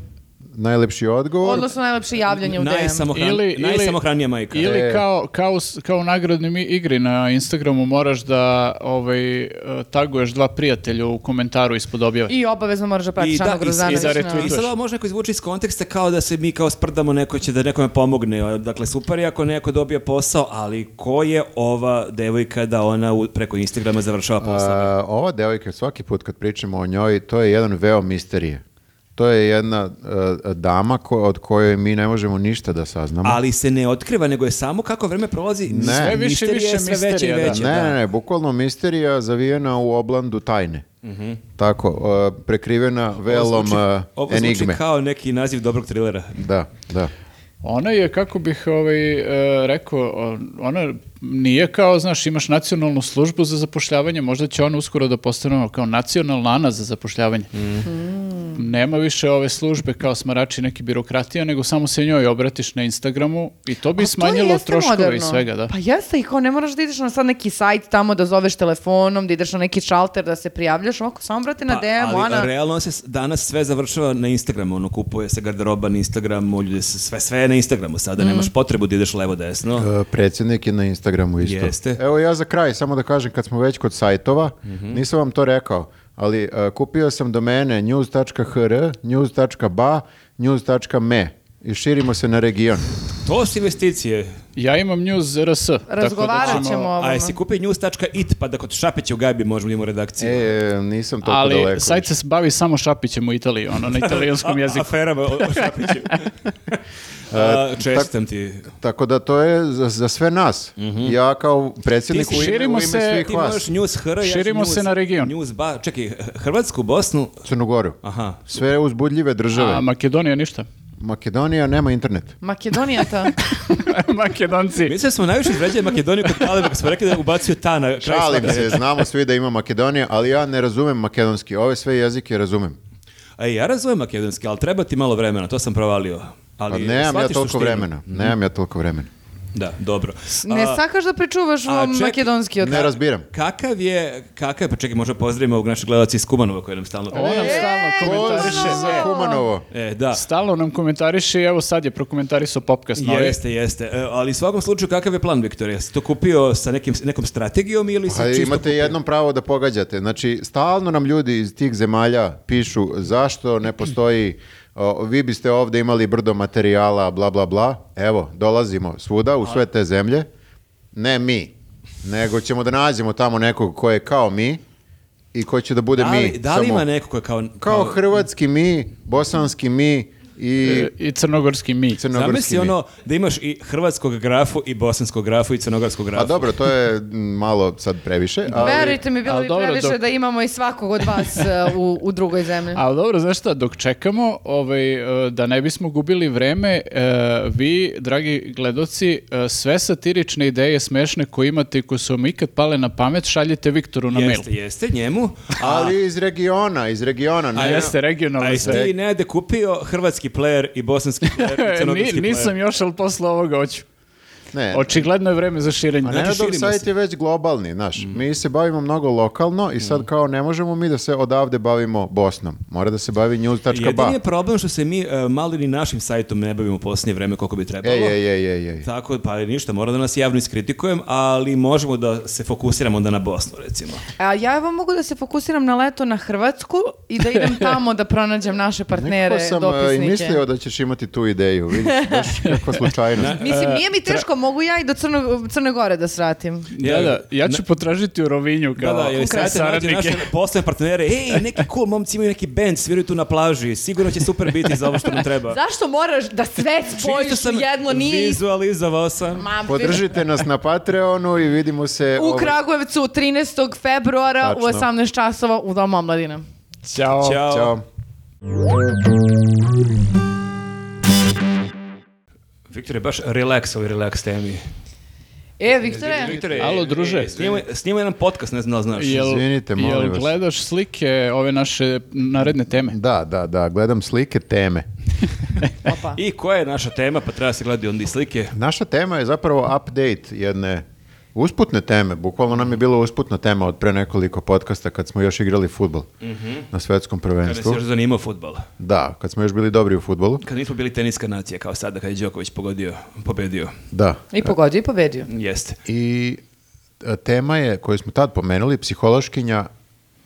najlepši odgovor. Odnosno najlepše javljanje u DM. Najsamohran- Ili- ili- najsamohranija majka. E. Ili kao, kao, s- kao u nagradnim igri na Instagramu moraš da ovaj, eh, taguješ dva prijatelja u komentaru ispod objave. I obavezno moraš da pratiš Anu Pa Grozanović. i za na- retweet. I sad ovo može neko izvući iz konteksta kao da se mi kao sprdamo neko će da nekome pomogne. Dakle, super je ako neko dobije posao, ali ko je ova devojka da ona u- preko Instagrama završava posao? A, ova devojka, svaki put kad pričamo o njoj, to je jedan veo misterije. To je jedna e, dama ko, od koje mi ne možemo ništa da saznamo. ali se ne otkriva, nego je samo kako vreme prolazi. Ne. sve Sve više i misterije, više sve veće i misterija, da. veće. ne, da. ne, ne, bukvalno misterija zavijena u oblandu tajne. Tako, e, prekrivena velom Mhm. Ovo zvuči- e, ovo zvuči enigme. kao neki naziv dobrog trilera. Da, da. Ona je, kako bih ovaj, e, rekao, on- ona nije kao, znaš, imaš nacionalnu službu za zapošljavanje, možda će ona uskoro da postane ono kao nacionalna ana za zapošljavanje. Mhm. Mm. Nema više ove službe kao smarači neki birokratija, nego samo se njoj obratiš na Instagramu i to bi A to smanjilo jeste troškove i moderno. svega, da. Pa jeste i kao ne moraš da ideš na sad neki sajt tamo da zoveš telefonom, da ideš na neki šalter da se prijavljaš, ovako samo brate na ono. Pa, DM, ali Ana. realno se s- danas sve završava na Instagramu, ono kupuje se garderoba na Instagramu, ljudi se sve sve je na Instagramu sada, nemaš potrebu da ideš levo desno. E, predsjednik je na Instagramu isto. Jeste. Mhm. Evo ja za kraj, samo da kažem, kad smo već kod sajtova, nisam vam to rekao, ali e, kupio sam domene news.hr, news.ba, news.me i širimo se na region. To su investicije. Ja imam news RS. tako da Razgovarat ćemo o A ovome. jesi kupio news.it pa da kod Šapića u Gabi možemo imamo redakciju. E, nisam toliko Ali daleko. sajt se bavi samo šapićem u Italiji, ono, na italijanskom A- jeziku. Aferama o, o Šapiću. A, Čestam ti. Tako da to je za, za sve nas. Ja kao predsjednik Mhm. Ti u ime, širimo u ime se- svih E, Ti vas, možeš news hr, ja ću Širimo news- se na region. News ba, čekaj, Hrvatsku, Bosnu, Crnogoru. aha. Sve uzbudljive države. A Makedonija ništa. Makedonija nema internet. Makedonija ta. Makedonci. Mislim da smo najviše izvređali Makedoniju kod Kaleba, kad smo rekli da je ubacio ta na kraj Šalim svake. se, znamo svi da ima Makedonija, ali ja ne razumem makedonski. Ove sve jezike razumem. A ja razumem makedonski, ali treba ti malo vremena, to sam provalio. Pa Ali nemam ja shvatiš toliko suštinu. Mhm. vremena. Nemam ja toliko vremena. Da, dobro. Ne A, sakaš da pričuvaš a, vam čekaj, makedonski od Ne razbiram. Kakav je, kakav je, pa čekaj, možda pozdravimo ovog našeg gledalca iz Kumanova koji nam stalno... Ovo nam stalno komentariše. Za Kumanovo. E, da. Stalno nam komentariše i evo sad je prokomentarisao Popcast novi. Jeste, jeste. E, ali u svakom slučaju kakav je plan Viktor? Jesi to kupio sa nekim, nekom strategijom ili si Pa čisto imate kupio? jednom pravo da pogađate. Znači, stalno nam ljudi iz tih zemalja pišu zašto ne postoji, o, vi biste ovdje imali brdo materijala, bla, bla, bla. Evo, dolazimo svuda u sve te zemlje. Ne mi, nego ćemo da nađemo tamo nekog ko je kao mi i ko će da bude Da mi. li, da li samo ima neko ko je kao... Kao hrvatski mi, bosanski mi i E, I crnogorski mi. crnogorski Zamisli mi. ono da imaš i hrvatskog grafu i bosanskog grafu i crnogorskog grafu. A Pa dobro, to je m, malo sad previše. Ali... Verujte mi, bilo ali bi dobro, previše dok- da imamo i svakog od vas uh, u, u drugoj zemlji. Ali dobro, znaš šta, dok čekamo, ovaj, e, da ne bismo gubili vreme, e, vi, dragi gledoci, e, sve satirične ideje smešne koje imate i koje su vam ikad pale na pamet, šaljite Viktoru na mail. Jeste, jeste, njemu. Ali iz regiona, iz regiona. A Ne, jeste A regionalno jesi sve. ti Nede kupio hrvatski player i bosanski player i E, crnogorski ni- player? nisam još, ali posle ovoga hoću. ne. Očigledno je vreme za širenje. A Znači, Nenadov širimo sajt se. je već globalni, znaš. Mhm. Mi se bavimo mnogo lokalno i sad kao ne možemo mi da se odavde bavimo Bosnom. Mora da se bavi news.ba. Jedini je problem što se mi e, malo ni našim sajtom ne bavimo u posljednje vreme koliko bi trebalo. Ej, ej, ej, ej, ej. Tako, pa ništa, moram da nas javno iskritikujem, ali možemo da se fokusiramo onda na Bosnu, recimo. A ja evo mogu da se fokusiram na leto na Hrvatsku i da idem tamo da pronađem naše partnere, Nekako e, sam a, i dopisnike. mislio da ćeš imati tu ideju, vidiš, baš kako slučajno. E, Mislim, nije mi teško, mogu ja i do Crno, Crne Gore da svratim. Da, da, ja ću potražiti u Rovinju Da, kao da, sa- jer sajte nađe saradnike. naše poslovne partnere, ej, neki cool momci imaju neki band, sviraju tu na plaži, sigurno će super biti za ovo što nam treba. Zašto moraš da sve Čisto spojiš u jedno niz? Vizualizovao sam. Ma, Podržite nas na Patreonu i vidimo se... U ovaj- Kragujevcu 13. februara u Tačno. 18 časova u Domu omladine. Ćao. Ćao. ovaj- Ćao. Viktor je baš relax ovoj relax temi. E, Viktore, Viktore, Alo, ej, druže. ej, E, Snimaj, snimaj jedan podcast, ne znam da li znaš. Jel, Izvinite, molim jel vas. gledaš slike ove naše naredne teme? Da, da, da, gledam slike teme. opa. I koja je naša tema, pa treba se gledati onda i slike. Naša tema je zapravo update jedne Usputne teme, bukvalno nam je bila usputna tema od pre nekoliko podcasta kad smo još igrali futbol na svetskom Kada se prvenstvu. još zanimao futbol. Da, kad smo još bili dobri u futbolu. Kad nismo bili teniska nacija kao sada, kad je Đoković pogodio, pobedio. Da. I pogodio i pobedio. Jeste. I e, tema je koju smo tad pomenuli, psihološkinja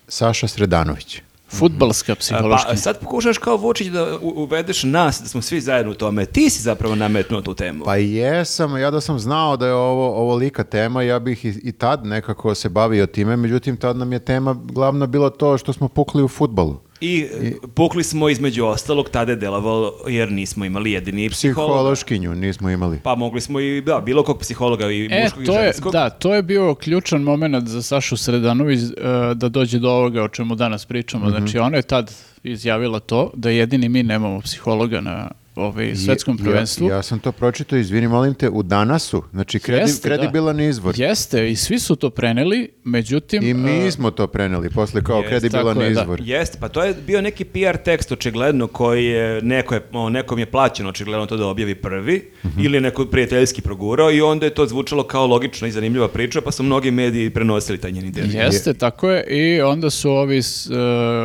Saša Sredanović. Futbalska A, psihološka. Pa sad pokušaš kao Vučić da u- uvedeš nas, da smo svi zajedno u tome. Ti si zapravo nametnuo tu temu. Pa jesam, ja da sam znao da je ovo ovolika tema, ja bih i, i tad nekako se bavio time, međutim tad nam je tema glavna bila to što smo pukli u futbolu. I e, pukli smo između ostalog, tada je delovalo jer nismo imali jedini psiholog. Psihološkinju nismo imali. Pa mogli smo i da, bilo kog psihologa i E, Pa, muškog i to je, ženskog. da, to je bio ključan moment za Sašu Sredanović e, da dođe do ovoga o čemu danas pričamo. Mhm. Znači, ona je tad izjavila to da jedini mi nemamo psihologa na ovaj, svetskom I- ja- prvenstvu. Ja, sam to pročitao, izvini, molim te, u danasu, znači kredi, Jeste, da. kredibilan izvor. Jeste, i svi su to preneli, međutim... I mi e, smo to preneli posle kao Jest, kredibilan tako je, da. izvor. Jeste, pa to je bio neki PR tekst očigledno koji je, neko je o, nekom je plaćeno očigledno to da objavi prvi ili je neko prijateljski progurao i onda je to zvučalo kao logična i zanimljiva priča pa su mnogi mediji prenosili taj njeni deo. Jeste, tako je. I onda su ovi s, e,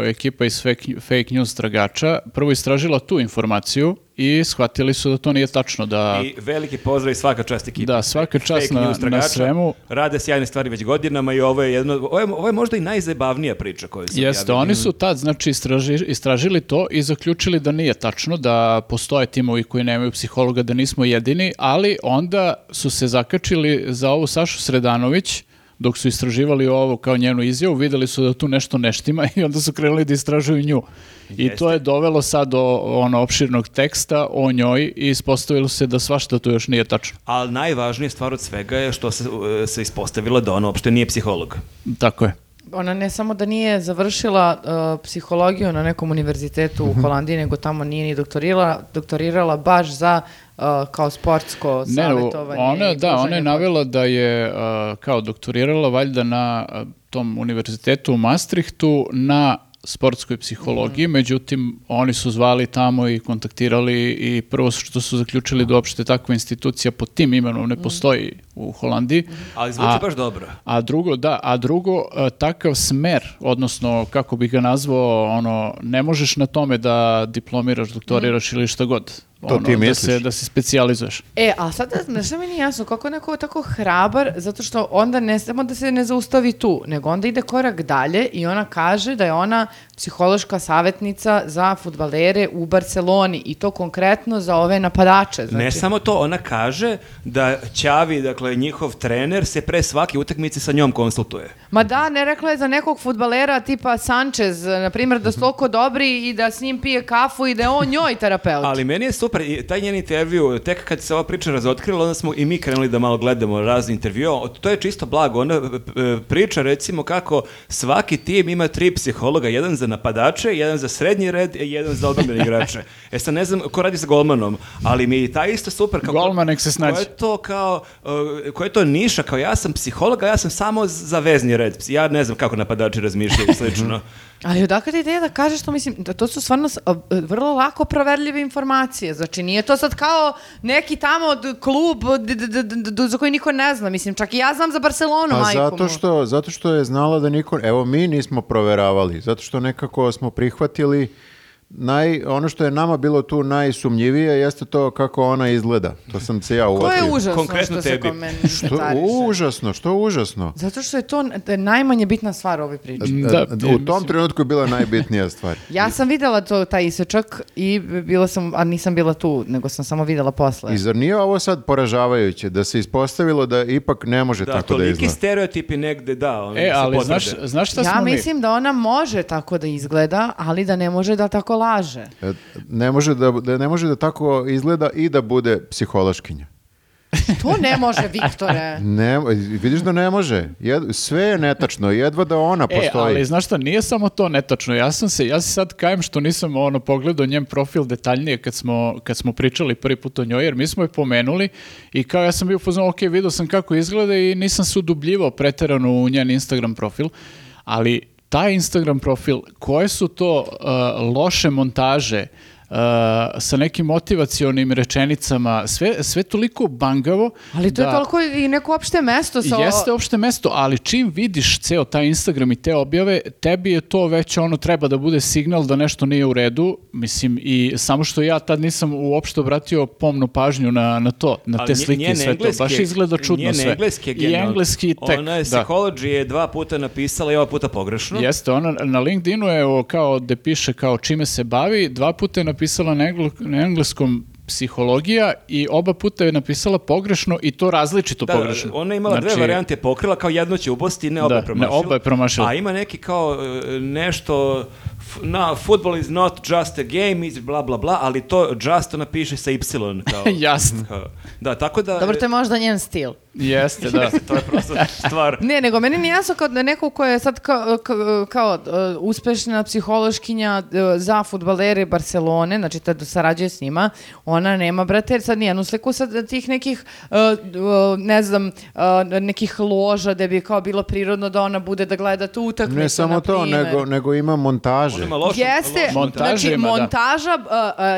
ekipa iz fake, fake news tragača prvo istražila tu informaciju i shvatili su da to nije tačno, da... I veliki pozdrav i svaka čast ekipi. Da, svaka čast Fake na- news na tragača. svemu. Rade sjajne stvari već godinama i ovo je jedno, ovo je, ovo je možda i najzabavnija priča koju sam Jeste, javio. oni su tad znači istraži- istražili to i zaključili da nije tačno, da postoje timovi koji nemaju psihologa, da nismo jedini, ali onda su se zakačili za ovu Sašu Sredanović, dok su istraživali ovo kao njenu izjavu, videli su da tu nešto ne štima i onda su krenuli da istražuju nju. I to je dovelo sad do ono opširnog teksta o njoj i ispostavilo se da svašta tu još nije tačno. Ali najvažnija stvar od svega je što se, e, se ispostavilo da ona uopšte nije psiholog. Tako je. Ona ne samo da nije završila uh, psihologiju na nekom univerzitetu Mhm. u Holandiji, nego tamo nije ni doktorirala, doktorirala baš za uh, kao sportsko Ne, savjetovanje. ona, i da, ona je pružanje navela da je a, kao doktorirala valjda na a, tom univerzitetu u Maastrichtu na sportskoj psihologiji, međutim oni su zvali tamo i kontaktirali i prvo što su zaključili da uopšte takva institucija pod tim imenom ne postoji u Holandiji. Ali zvuči A- baš dobro. a drugo, da, a drugo, e, takav smer, odnosno, kako bih ga nazvao, ono, ne možeš na tome da diplomiraš, doktoriraš ili šta god. To Ono, ti da misliš. se, da se specijalizuješ. E, a sada, znaš mi nije jasno, kako je neko tako hrabar, zato što onda ne samo da se ne zaustavi tu, nego onda ide korak dalje i ona kaže da je ona psihološka savjetnica za futbalere u Barceloni i to konkretno za ove napadače. Znači, Ne samo to, ona kaže da Ćavi, dakle njihov trener, se pre svake utakmice sa njom konsultuje. Ma da, ne rekla je za nekog futbalera tipa Sanchez, na primjer, da su toliko dobri i da s njim pije kafu i da je on njoj terapeut. Ali meni je super, i taj njen intervju, tek kad se ova priča razotkrila, onda smo i mi krenuli da malo gledamo razne intervjue. O, To je čisto blago. Ona e, e, priča recimo kako svaki tim ima tri psihologa, jedan za napadače, jedan za srednji red, i jedan za odbrambene igrače. E sad ne znam ko radi s golmanom, ali mi je taj isto super kako Golman nek se snađe. Koja je to kao e, koja je to niša kao ja sam psiholog, a ja sam samo za vezni red. Ja ne znam kako napadači razmišljaju i Mhm. slično. Ali odakle ti ideja da kažeš to, mislim, da to su stvarno s- a, e, vrlo lako proverljive informacije. Znači, nije to sad kao neki tamo d- klub d- d- d- d- d- za koji niko ne zna. Mislim, čak i ja znam za Barcelonu, Pa majku zato mu. što, zato što je znala da niko, evo mi nismo proveravali, zato što nekako smo prihvatili naj, ono što je nama bilo tu najsumnjivije jeste to kako ona izgleda. To sam se ja To uvatio. je užasno Konkretno što se tebi. kod mene Što, tariše. užasno, što užasno. Zato što je to n- d- najmanje bitna stvar u ovoj priči. Da, u tom trenutku je bila najbitnija stvar. Ja sam videla to, taj isečak i bila sam, a nisam bila tu, nego sam samo videla posle. I zar nije ovo sad poražavajuće da se ispostavilo da ipak ne može Da, tako da toliki izgleda? stereotipi negde, da, oni E, se ali znaš, potvrde. znaš šta Ja smo mi? mislim da ona može tako da izgleda, ali da ne može da tako laže. E, Ne može da, da ne može da tako izgleda i da bude psihološkinja. To ne može, Viktore. Ne, vidiš da ne može. Jed- sve je netačno, jedva da ona E, postoji. ali znaš šta, nije samo to netačno. Ja sam se, ja se sad kajem što nisam ono pogledao njen profil detaljnije kad smo, kad smo pričali prvi put o njoj, jer mi smo je pomenuli i kao ja sam bio upoznao, ok, vidio sam kako izgleda i nisam se udubljivao preterano u njen Instagram profil, ali taj Instagram profil, koje su to uh, loše montaže, uh, sa nekim motivacionim rečenicama, sve, sve toliko bangavo. Ali to da- je toliko i neko opšte mesto. Sa Jeste opšte mesto, ali čim vidiš ceo taj Instagram i te objave, tebi je to već ono treba da bude signal da nešto nije u redu, mislim, i samo što ja tad nisam uopšte obratio pomnu pažnju na, na to, na te nje- slike i njen sve to, engleski baš je- izgleda čudno njen sve. engleski je I genijalan. engleski tek, Ona je da. Psychology je dva puta napisala i ova puta pogrešno. Jeste, ona na LinkedInu je ovo kao da piše kao čime se bavi, dva puta je napisala na, engl- na engleskom psihologija i oba puta je napisala pogrešno i to različito Da, pogrešno. ona je imala Znači, dve varijante pokrila, kao jedno će ubosti, ne oba Da, je promašila. ne, oba je promašila. A ima neki kao e, nešto, f- na, football is not just a game, is bla bla bla, ali to just ona piše sa y. Kao, Jasno. kao- da, tako da... e, Dobro, to je možda njen stil. Jeste, da. to je prosto stvar. Ne, nego meni nije jasno kao da neko ko je sad kao, kao, kao, e, uspešna psihološkinja e, za futbalere Barcelone, znači tad sarađuje s njima, ona nema, brate, sad nijednu sliku sad tih nekih, e, e, ne znam, e, nekih loža da bi kao bilo prirodno da ona bude da gleda tu utakmicu, Ne samo na to, primer. nego, nego ima montaže. Ima lošu- Jeste, lošu- Montaža znači ima, da. montaža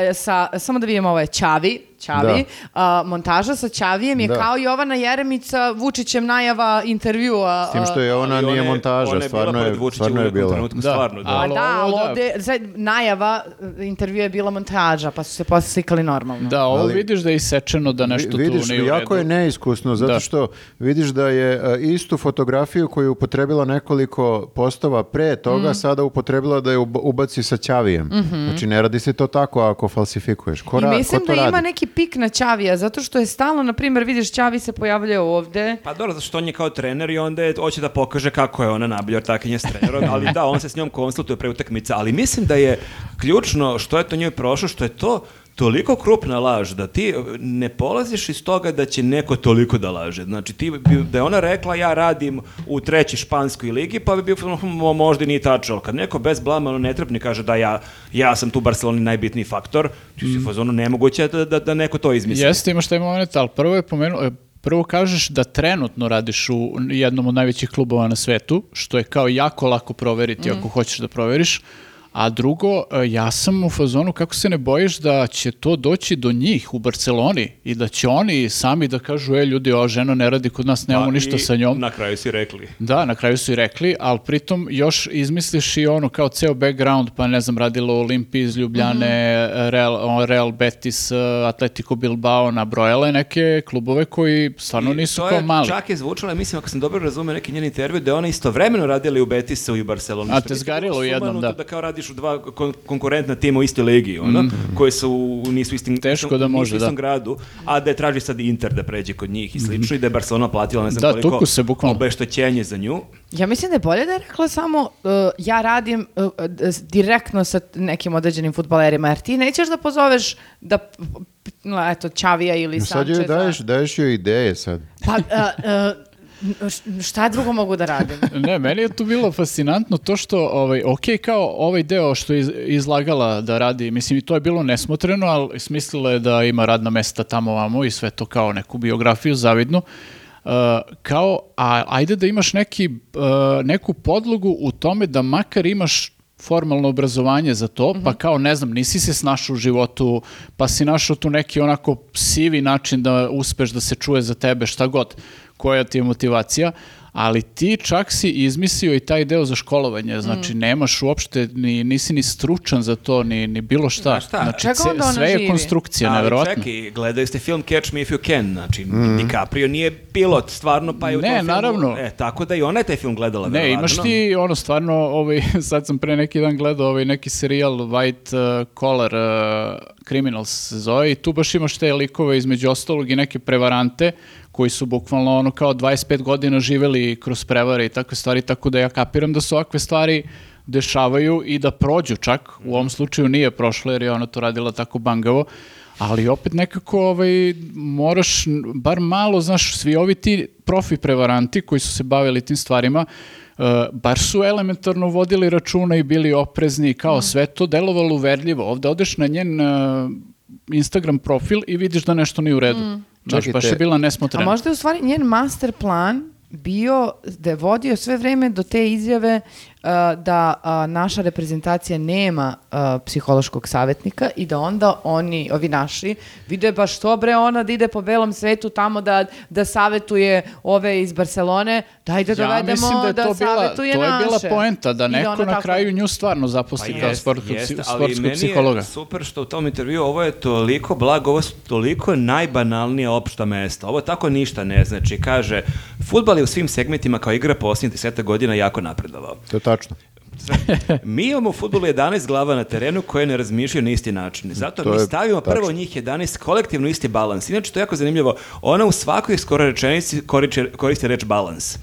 e, e, sa, samo da vidimo ovo je Ćavi, Ćavi, a, montaža sa Ćavijem je Da. kao Jovana Jeremica Vučićem najava intervjua. uh, S tim što je ona Ali nije montaža, ona stvarno je, bila pored Vučića stvarno u je nekom bila. trenutku, Da. stvarno, da. A- Pa Ali da, ali ovo da. ovde, sad, najava e, intervjua je bila montaža, pa su se posle slikali normalno. Da, ovo Ali- vidiš da je isečeno da nešto Vi- vidiš, tu nije u jako je redu. neiskusno, zato Da. što vidiš da je e, istu fotografiju koju je upotrebila nekoliko postova pre toga, sada upotrebila da je ub- ubaci sa ćavijem. Znači, ne radi se to tako ako falsifikuješ. Ko, I ra- ko mislim to da ima radi? neki pik na Ćavija, zato što je stalno, na primjer, vidiš Ćavi se pojavlja ovde. Pa dobro, zato što on je kao trener i onda je, hoće da pokaže kako je ona najbolja ortakinja s trenerom, ali da, on se s njom konsultuje pre utakmica, ali mislim da je ključno što je to njoj prošlo, što je to toliko krupna laž da ti ne polaziš iz toga da će neko toliko da laže. Znači ti bi- da je ona rekla ja radim u trećoj španskoj ligi, pa bi bio fazon, "Hm, mo- možda i nije tačno, ali kad neko bez blama ono netrpni kaže da ja ja sam tu u Barceloni najbitniji faktor, ti si u fazonu nemoguće je da, da, da neko to izmisli. Mm. Jeste, imaš taj moment, ali prvo je pomenu- e, Prvo kažeš da trenutno radiš u jednom od najvećih klubova na svetu, što je kao jako lako proveriti Mm. ako hoćeš da proveriš. A drugo, e, ja sam u fazonu kako se ne bojiš da će to doći do njih u Barceloni i da će oni sami da kažu, e ljudi, ova žena ne radi kod nas, nemamo Pa ništa i sa njom. Na kraju si rekli. Da, na kraju su i rekli, ali pritom još izmisliš i ono kao ceo background, pa ne znam, radilo Olimpi iz Ljubljane, Mhm. Real, ono, Real Betis, eh, Atletico Bilbao, nabrojala je neke klubove koji stvarno I Pa nisu to kao je mali. Čak je zvučalo, mislim, ako sam dobro razumio neki njen intervju, da je ona istovremeno radila i u Betisu i u Barceloni. A, što te je zgarilo potpuno u jednom, sumanuto da. kao radiš u dva kon- konkurentna tima u istoj ligi, ono, koje su, u- nisu u istim, Mhm. Teško da nisu u može, da. istom gradu, a da je traži sad Inter da pređe kod njih i slično, i da je Barcelona platila ne znam Mhm. Da, koliko tuku se bukvalno. obeštećenje za nju. Ja mislim da je bolje da je rekla samo uh, ja radim uh, d- s- direktno sa t- nekim određenim futbalerima, jer ti nećeš da pozoveš da p- p- no, eto, Čavija ili E, Sad joj Sančeza. daješ, daješ joj ideje sad. Pa, uh, uh, š- šta drugo mogu da radim? ne, meni je tu bilo fascinantno to što, ovaj, ok, kao ovaj deo što je iz- izlagala da radi, mislim i to je bilo nesmotreno, ali smislila je da ima radna mesta tamo vamo i sve to kao neku biografiju zavidnu. Uh, kao, a, ajde da imaš neki, uh, neku podlogu u tome da makar imaš formalno obrazovanje za to, pa kao ne znam, nisi se snašao u životu, pa si našao tu neki onako sivi način da uspeš da se čuje za tebe šta god, koja ti je motivacija, ali ti čak si izmislio i taj deo za školovanje, Mm. znači nemaš uopšte, ni, nisi ni stručan za to, ni, ni bilo šta. A šta? Znači, Čega ce- onda ona sve je živi? konstrukcija, Ali nevjerojatno. čekaj, gledali ste film Catch Me If You Can, znači DiCaprio nije pilot, stvarno, pa je u Ne, tom filmu- naravno. E, tako da i ona je taj film gledala, Ne, imaš verovatno. ti ono stvarno, ovaj, sad sam pre neki dan gledao ovaj neki serijal White uh, Collar uh, Criminals se zove i tu baš imaš te likove između ostalog i neke prevarante koji su bukvalno ono kao 25 godina živeli kroz prevare i takve stvari, tako da ja kapiram da su ovakve stvari dešavaju i da prođu čak, u ovom slučaju nije prošlo jer je ona to radila tako bangavo, ali opet nekako ovaj, moraš, n- bar malo, znaš, svi ovi ti profi prevaranti koji su se bavili tim stvarima, e, bar su elementarno vodili računa i bili oprezni i kao sve to delovalo uverljivo. Ovde odeš na njen e, Instagram profil i vidiš da nešto nije u redu. Znaš, Čekajte. baš je bila Mm. A nesmotrena. možda je u stvari njen master plan bio da je vodio sve vrijeme do te izjave uh, da uh, naša reprezentacija nema uh, psihološkog savjetnika i da onda oni, ovi naši, vide baš to bre ona da ide po belom svetu tamo da, da savjetuje ove iz Barcelone, dajde Ja dovedemo mislim da je to bila, to savjetuje je bila naše. poenta, da I neko ona na tako- kraju nju stvarno Pa zaposli kao jest, sportskog, jest, psi- ali sportskog meni psihologa. je super što u tom intervju ovo je toliko blago, ovo su toliko najbanalnija opšta mesta. Ovo tako ništa ne znači. Kaže, futbal je u svim segmentima kao igra posljednjih deseta godina jako napredovao. To je tačno. Mi imamo u futbolu 11 glava na terenu koje ne razmišljaju na isti način. Zato To mi je stavimo tačno. prvo njih 11 kolektivno isti balans. Inače, to je jako zanimljivo. Ona u svakoj skoro rečenici koriče- koristi reč balans.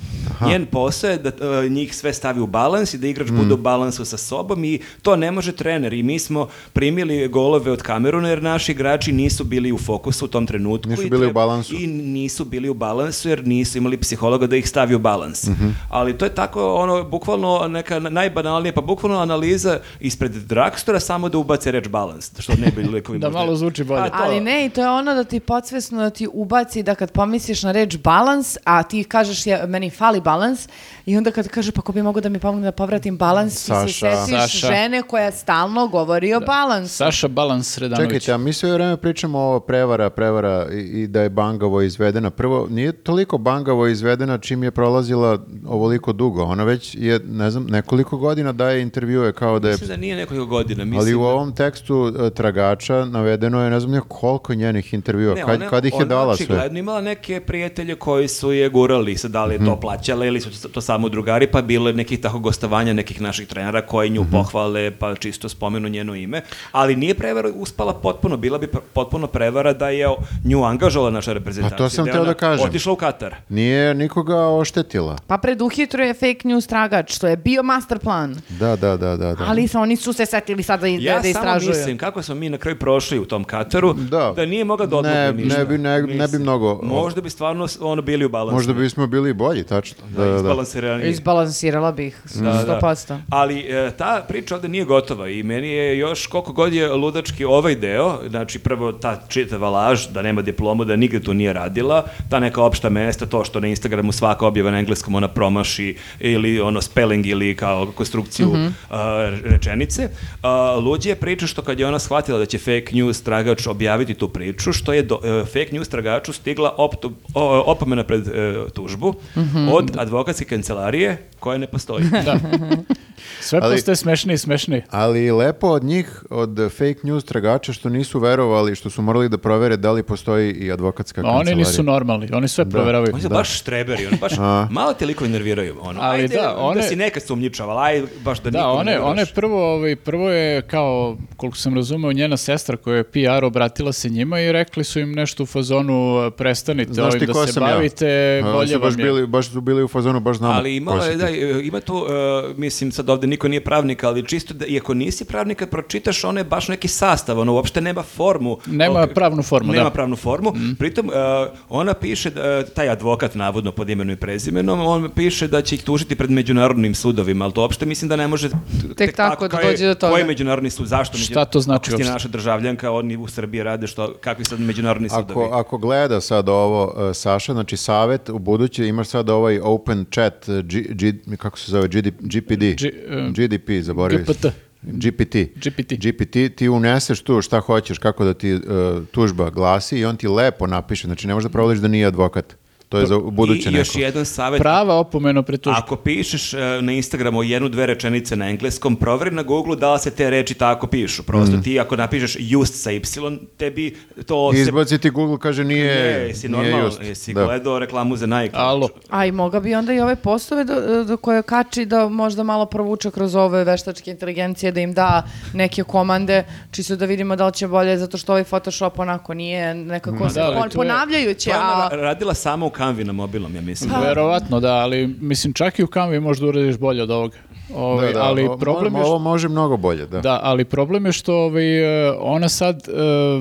Njen posao je da e, njih sve stavi u balans i da igrač bude u Mm. balansu sa sobom i to ne može trener. I mi smo primili golove od Kameruna jer naši igrači nisu bili u fokusu u tom trenutku. Nisu i bili u treba- balansu. i nisu bili u balansu jer nisu imali psihologa da ih stavi u balans. Mhm. Ali to je tako ono bukvalno neka najbanalnija pa bukvalno analiza ispred dragstora samo da ubace reč balans, što ne bi likovi Da možda- malo zvuči bolje. A, to- Ali ne, i to je ono da ti podsvesno da ti ubaci da kad pomisliš na reč balans, a ti kažeš je, meni fali balans, i onda kad kaže pa ko bi mogao da mi pomogne da povratim balans, ti se Saša. setiš Saša. žene koja stalno govori o balansu. Saša Balans Sredanović. Čekajte, a mi sve vreme pričamo o prevara, prevara i, i da je bangavo izvedena. Prvo, nije toliko bangavo izvedena čim je prolazila ovoliko dugo. Ona već je, ne znam, nekoliko godina daje intervjue kao da je... Mislim da nije nekoliko godina, mislim. Ali u da- ovom tekstu e, tragača navedeno je ne znam nije koliko njenih intervjua, Ne, kad, ona- kad ih je ona dala sve. očigledno imala neke prijatelje koji su je gurali, sad da li je Mhm. to plaćala ili su to samo drugari, pa bilo je nekih tako gostovanja nekih naših trenera koji Mhm. nju pohvale, pa čisto spomenu njeno ime, ali nije prevara uspala potpuno, bila bi pr- potpuno prevara da je nju angažovala naša reprezentacija. A Pa to sam je teo da ona kažem. Otišla u Katar. Nije nikoga oštetila. Pa preduhitro je fake news tragač, što je bio master plan. Da, da, da, da. da. Ali sa, oni su se setili sad da, Ja da samo istražuju. mislim kako smo mi na kraju prošli u tom Kataru, da, Da. nije mogla da odlupi Ne- ništa. ne bi- ne- ne bi Mislim, mnogo- Možda bi stvarno s- ono bili u balansu. Možda bismo bili bolji, tačno. Da, da, da. izbalansiraniji. Izbalansirala bih, 100%. Ali e, ta priča ovde nije gotova i meni je još koliko god je ludački ovaj deo, znači prvo ta čitava laž da nema diplomu, da nigde tu nije radila, ta neka opšta mesta, to što na Instagramu svaka objava na engleskom ona promaši ili ono spelling ili kao konstrukciju a, rečenice. A, luđe je priča što kad je ona shvatila da će fake news tragač objaviti tu priču, što je do- e, fake news tragaču stigla optu- o- opomena pred e, tužbu od advokatske kancelarije koja ne postoji. Sve Ali- postaje smešnije i smešnije. Ali lepo od njih, od fake news tragača što nisu verovali, što su morali da provere da li postoji i advokatska Ma Pa oni kancelarija. nisu normalni, oni sve proveravaju. Oni su baš štreberi, oni baš malo te likovi nerviraju. Ono, Ali ajde, da, da, one- si neka sumnjičava, aj baš da, Da, nikom ne one, veruješ. one prvo, ovaj, prvo je kao, koliko sam razumeo, njena sestra koja je PR obratila se njima i rekli su im nešto u fazonu e, prestanite Znaš ovim ti ko da se sam ja? bavite, A, bolje su baš, vam je. bili, baš su bili u fazonu, baš znamo. Ali ima, ko si ti. da, ima tu, e, mislim sad ovde niko nije pravnik, ali čisto da, iako nisi pravnik, kad pročitaš, ono je baš neki sastav, ono uopšte nema formu. Nema Ok, pravnu formu, nema da. Mhm. pravnu formu. Pritom, e, ona piše, da, e, taj advokat navodno pod imenom i prezimenom, on piše da će ih tužiti pred međunarodnim sudovima, ali to uopšte mislim da ne može... tako da dođe do toga. Koji međunarodni sud, zašto? Šta međunarodni- to znači Ako si uopšte? naša državljanka, oni u Srbiji rade što, kakvi sad međunarodni sudovi. Ako, ako gleda sad ovo e, Saša, znači savjet u buduće imaš sad ovaj open chat, e, G, G- kako se zove, GD, GPD, G- e, GDP, zaboravio sam. GPT. GPT. GPT. GPT, ti uneseš tu šta hoćeš, kako da ti e, tužba glasi i on ti lepo napiše, znači ne možeš da provališ da nije advokat. To je za u buduće Pa, I još neko. jedan savjet. Prava opomeno pre tužbe. Ako pišeš e, na Instagramu jednu, dve rečenice na engleskom, proveri na Google da li se te reči tako pišu. Prosto Mm. ti ako napišeš just sa y, tebi to se... Izbaci ti Google, kaže nije, Ne, jesi nije normalno, just. jesi Da. gledao reklamu za Nike. Alo. A i moga bi onda i ove postove do, do koje kači da možda malo provuče kroz ove veštačke inteligencije, da im da neke komande, čisto da vidimo da li će bolje, zato što ovaj Photoshop onako nije nekako da, ali on, tu je- To ponavljajuće, je Pa, ona a ra- radila samo u Canvi na mobilnom, ja mislim. Pa- Pa- Verovatno da, ali mislim čak i u Canvi možda uradiš bolje od ovoga. Ovaj, Da, da, ali o- problem je ovo što, može mnogo bolje, da. da, ali problem je što ovaj, e, ona sad e,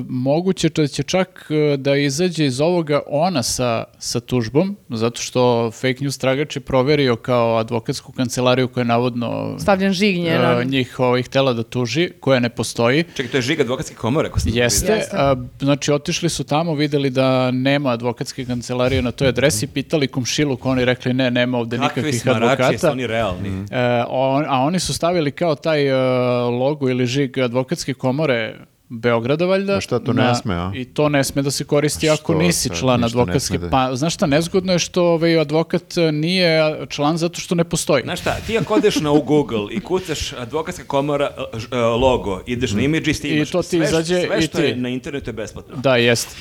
moguće da će čak e, da izađe iz ovoga ona sa, sa tužbom, zato što fake news tragač je proverio kao advokatsku kancelariju koja je navodno stavljen žignje. e, na- njih ovih tela da tuži, koja ne postoji. Čekaj, to je žiga advokatske komore, ako sam Jeste, Jeste. a, znači otišli su tamo, videli da nema advokatske kancelarije na toj adresi, pitali komšiluk, oni rekli ne, nema ovde Kakvi nikakvih smarači, jesu advokata. oni realni. E, on- a oni su stavili kao taj e, logo ili žig advokatske komore Beograda valjda. Pa šta, to ne sme, a? I to ne sme da se koristi Pa ako što, nisi sad član ništa ne advokatske. sme da- Pa znaš šta, nezgodno je što ovaj advokat e, nije član zato što ne postoji. Znaš šta, ti ako odeš na u Google i kucaš advokatska komora e, ž- e, logo, ideš na imidži i snimaš. Mm. I to ti Sve š- izađe sve i što je ti. na internetu je besplatno. Da, jeste.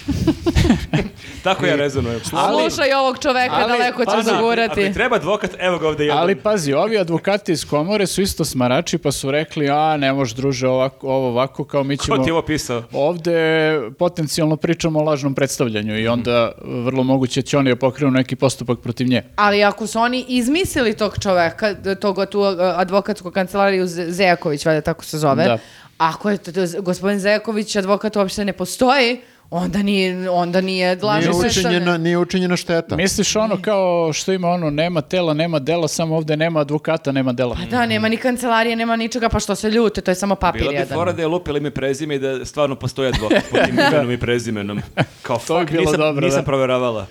Tako ja rezonujem. Slušaj ovog čoveka, daleko pa ću da, Ako zagurati. ti treba advokat, evo ga ovdje jedan. Ali pazi, ovi advokati iz komore su isto smarači pa su rekli, a ne može druže ovako, ovo ovako, kao mi ćemo... Ko ti je ovo pisao? Ovde potencijalno pričamo o lažnom predstavljanju i onda vrlo moguće će oni pokrenu neki postupak protiv nje. Ali ako su oni izmislili tog čoveka, d- tog tu e, advokatsku kancelariju Z- Zejaković, valjda tako se zove, Da. ako je to, to- gospodin Zejaković, advokat uopšte ne postoji, onda nije, onda nije Nije lažno učinjena, nije učinjena šteta. Misliš ono kao što ima ono, nema tela, nema dela, samo ovde nema advokata, nema dela. Da, nema ni kancelarije, nema ničega, pa što se ljute, to je samo papir Bila ti jedan. fora da je lupila ime i prezime i da stvarno postoji advokat pod tim imenom i prezimenom. Kao, To bi fuck, bilo nisam, dobro, nisam da. proveravala.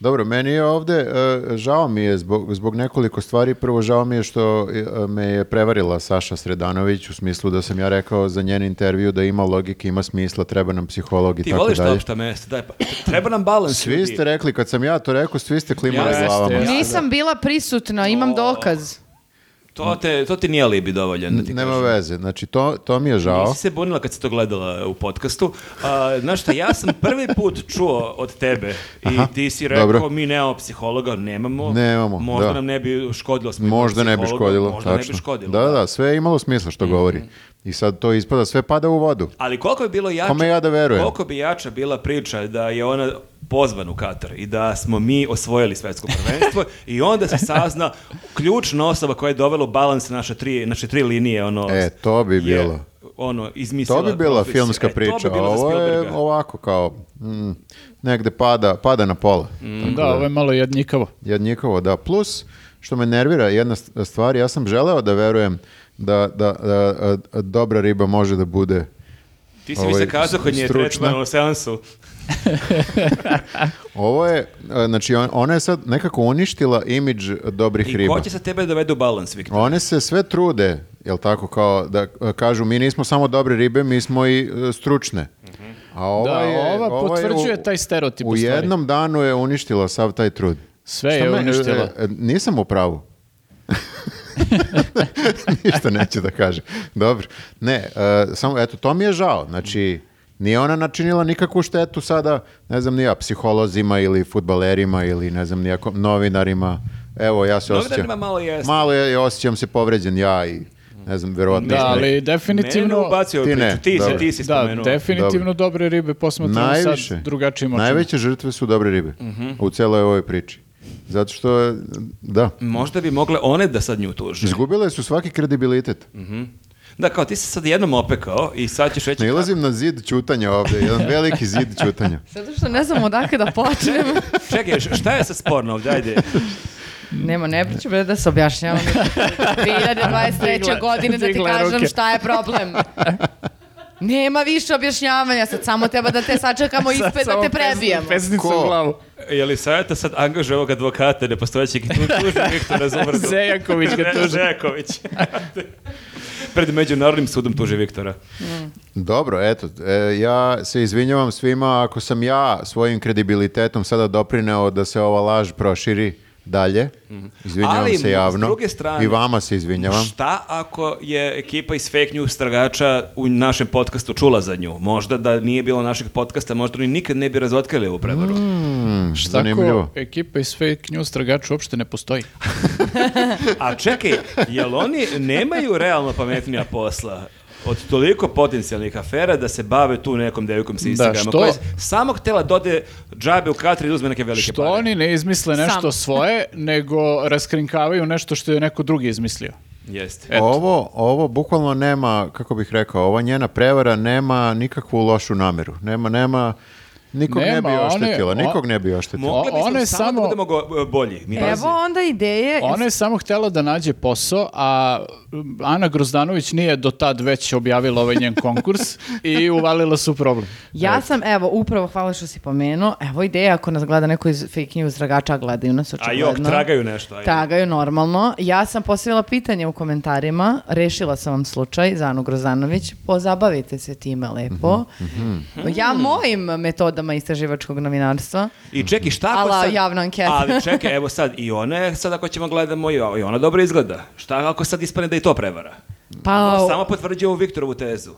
Dobro, meni je ovdje, e, žao mi je zbog, zbog nekoliko stvari. Prvo, žao mi je što e, me je prevarila Saša Sredanović u smislu da sam ja rekao za njen intervju da ima logike, ima smisla, treba nam psiholog i Ti tako voliš ta dalje. opšta mesta, daj, pa, treba nam balans. Svi ljudi. ste rekli, kad sam ja to rekao, svi ste klimali Jeste, glavama. jeste. Nisam bila prisutna, imam dokaz. To, te, to ti nije alibi dovoljan. Da ti Nema kažem. veze, znači to, to mi je žao. Nisi se bunila kad si to gledala u podcastu. A, znaš šta, ja sam prvi put čuo od tebe i ti si rekao dobro. mi nemamo psihologa, nemamo. Nemamo, Možda da. nam ne bi škodilo. smo imali Možda ne bi psihologa, škodilo, Možda ne tačno. bi škodilo. Mhm. Da, da, sve je imalo smisla što govori. I sad to ispada, sve pada u vodu. Ali koliko bi bilo jače, Kome ja da verujem? koliko bi jača bila priča da je ona pozvan u Katar i da smo mi osvojili svetsko prvenstvo i onda se sazna ključna osoba koja je dovela u balans naše tri, naše tri linije. Ono, E, to bi je, bilo. ono, To izmislila bi bila konflikt. filmska E, to bi priča, a bilo za ovo je Spielberga. ovako kao, mm, negde pada, pada na pola. Mm. Da, ovo je malo jednjikavo. Jadnjikovo, da. Plus, što me nervira jedna st- stvar, ja sam želeo da verujem da, da, da, a, a, dobra riba može da bude Ti si mi se ovaj, kazao kod nje stručna. tretman u seansu. Ovo je, a, znači on- ona je sad nekako uništila imidž dobrih I riba. ko će sa tebe dovede u balans, Viktor? One se sve trude, jel tako, kao da e, kažu mi nismo samo dobre ribe, mi smo i e, stručne. A ova, Mhm. Da, je, ova je u- potvrđuje taj stereotip u U stvari. jednom danu je uništila sav taj trud. Sve Šta je me- e, uništila. e, nisam u pravu. Ništa neću da kažem. Dobro. Ne, e, samo, eto, to mi je žao. Znači, nije ona načinila nikakvu štetu sada, ne znam, ni ja, psiholozima ili futbalerima ili ne znam, nijako, novinarima. Evo, ja se Novinarima osjećam. malo jeste. Malo je, osjećam se povređen ja i ne znam, verovatno. Da, sam neki- ali Mene ne definitivno... ubacio u Ti ne, priču, ti, si, dobro. ti si Da, spomenuo. definitivno dobre ribe posmatramo Najviše, sad drugačijim očima. Mhm. najveće žrtve su dobre ribe u celoj ovoj priči. Zato što, je, da, Mhm. Možda bi mogle one da sad nju tuže. izgubile su svaki kredibilitet. Mhm. Da, kao ti si sad jednom opekao i sad ćeš reći... Nailazim na zid čutanja ovdje, jedan veliki zid čutanja. Zato što ne znam odakle da počnem. Čekaj, š- šta je sad sporno ovdje, ajde. Nema, ne priču, bre, da se objašnjavam. 2023. godine da ti Digla kažem ruke. šta je problem. Nema više objašnjavanja, sad samo treba da te sačekamo ispred da te prebijemo. Pesnica Ko? u glavu. Je li savjeta sad angažuje ovog advokata nepostojećeg i tu tuži Viktora za uvrdu? Zejaković ga tuži. Zejaković. Pred međunarodnim sudom tuži Viktora. Dobro, eto, e, ja se izvinjavam svima ako sam ja svojim kredibilitetom sada doprineo da se ova laž proširi dalje. Mhm. Izvinjavam Ali, se javno. s druge strane- I vama se izvinjavam. Šta ako je ekipa iz fake news tragača u našem podcastu čula za nju? Možda da nije bilo našeg podcasta, možda oni nikad ne bi razotkrili ovu prevaru. Tako, Zanimljivo. ekipa iz fake news tragača uopšte ne postoji. A čekaj, jel oni nemaju realno pametnija posla? od toliko potencijalnih afera da se bave tu nekom devojkom sa Instagrama što- koja je samo htjela da ode džabe u Katri i da uzme neke velike Što pare. oni ne izmisle nešto Sam. svoje, nego raskrinkavaju nešto što je neko drugi izmislio. Jeste. Eto. Ovo, ovo bukvalno nema, kako bih rekao, ova njena prevara nema nikakvu lošu nameru. Nema, nema, Nikog ne Nema, bi one- oštetila, o- nikog ne bi oštetila. Mogli bismo ona je samo, da samo- budemo go- bolji. Mi pazi. Evo onda ideje. Ona je samo htela da nađe posao, a um, Ana Grozdanović nije do tad već objavila ovaj njen konkurs i uvalila su problem. Ja sam, evo, upravo hvala što si pomenuo, evo ideja ako nas gleda neko iz fake news tragača, a gledaju nas A očigledno. jok, tragaju nešto. ajde. Tragaju normalno. Ja sam postavila pitanje u komentarima, rešila sam vam slučaj za Anu Grozanović, pozabavite se time lepo. Mhm, Ja mojim metodama istraživačkog novinarstva. I čeki šta ako Ala sad... javna anketa. Ali čekaj, evo sad, i ona je, sad ako ćemo gledamo, i i ona dobro izgleda. Šta ako sad ispane da i to prevara? Pa, Samo potvrđuje ovu Viktorovu tezu.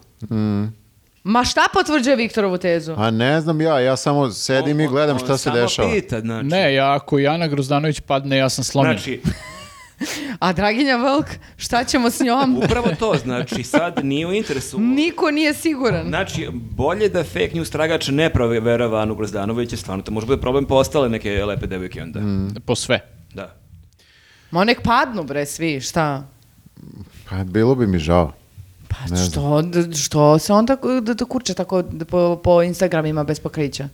ma šta potvrđuje Viktorovu tezu? A ne znam ja, ja samo sedim On- i gledam on šta se samo dešava. pita, znači. Ne, ja, ako i Ana Grozdanović padne, ja sam slomljen. Znači, A Draginja Velk, šta ćemo s njom? upravo to, znači, sad nije u interesu. Niko nije siguran. Znači, bolje da fake news tragač ne proverava Anu Grozdanović, jer stvarno to može bude problem po ostale neke lepe devojke onda. Po sve. Da. Ma nek padnu bre svi, šta? Pa bilo bi mi žao. Pa Ne znam. što, d- što se onda k- d- d- kurče tako d- po, po Instagramima bez pokrića?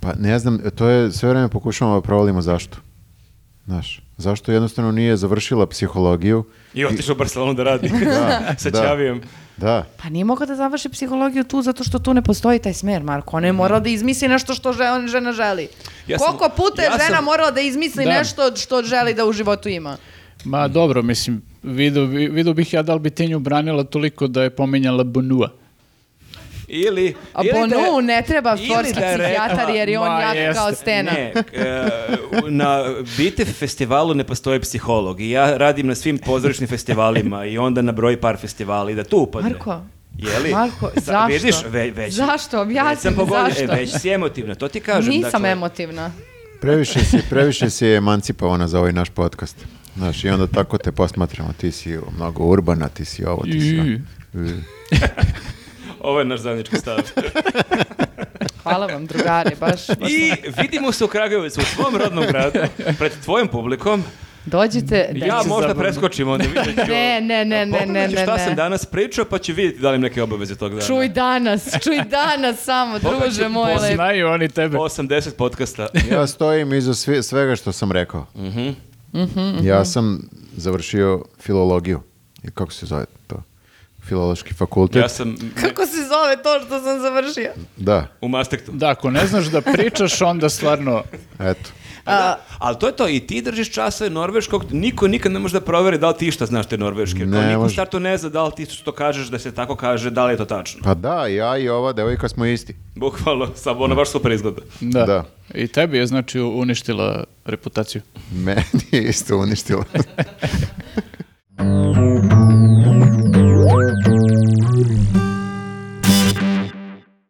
Pa ne znam, to je sve vreme pokušavamo da provalimo zašto. Znaš, zašto jednostavno nije završila psihologiju? I otišao u Barcelonu da radi. Sa da. Ćavijem. Da, Pa nije mogao da završi psihologiju tu zato što tu ne postoji taj smer, Marko. Ona je morala da izmisli nešto što žel- žena želi. Ja sam- Koliko puta je ja sam- žena morala da izmisli Da. nešto što želi da u životu ima? Ma dobro, mislim, vidio, bi- vidio bih ja da li bi ti nju branila toliko da je pominjala Bonua. Ili... A ili da je- Bonu ne treba ili sportski da je rekla- psihijatar jer je on Ma, jak jeste. kao stena. Ne, e, na Bitev festivalu ne postoji psiholog i ja radim na svim pozorišnim festivalima i onda nabroji par festivali da tu upadne. Marko, Jeli? Marko, Sa- zašto? Vidiš, ve- već, Zašto? Objasni već sam mi pogodio- zašto. E, već si emotivna, to ti kažem. Nisam dakle, emotivna. previše si, previše si emancipovana za ovaj naš podcast. Znaš, i onda tako te posmatramo, ti si mnogo urbana, ti si ovo, ti si ono. I- I- Ovo je naš zajednički stav. Hvala vam, drugari, baš. baš I vidimo se u Kragovicu, u svom rodnom gradu, pred tvojim publikom. Dođite. da ja će- možda zabavno. preskočim onda vidjet ću. Ne, ne, ne, ne, Pogledat ne, ću ne, šta ne. sam danas pričao, pa ću vidjeti da li im neke obaveze tog dana. Čuj danas, čuj danas samo, Pogledaj, druže moj poznaj- lepi. Znaju oni tebe. 80 podcasta. Ja stojim iza svi- svega što sam rekao. Mhm. Ja sam završio filologiju. I kako se zove to? Filološki fakultet. Ja sam Kako se zove to što sam završio? Da, u Mastektu. Da, ako ne znaš da pričaš, onda stvarno... eto. Da, ali to je to, i ti držiš časove norveškog, niko nikad ne može da proveri da li ti išta znaš te norveške. Kao Ne niko u može. startu ne zna da li ti što kažeš da se tako kaže, da li je to tačno. Pa da, ja i ova devojka smo isti. Bukvalno, samo ona baš super izgleda. Da. Da. I tebi je, znači, uništila reputaciju. Meni je isto uništilo.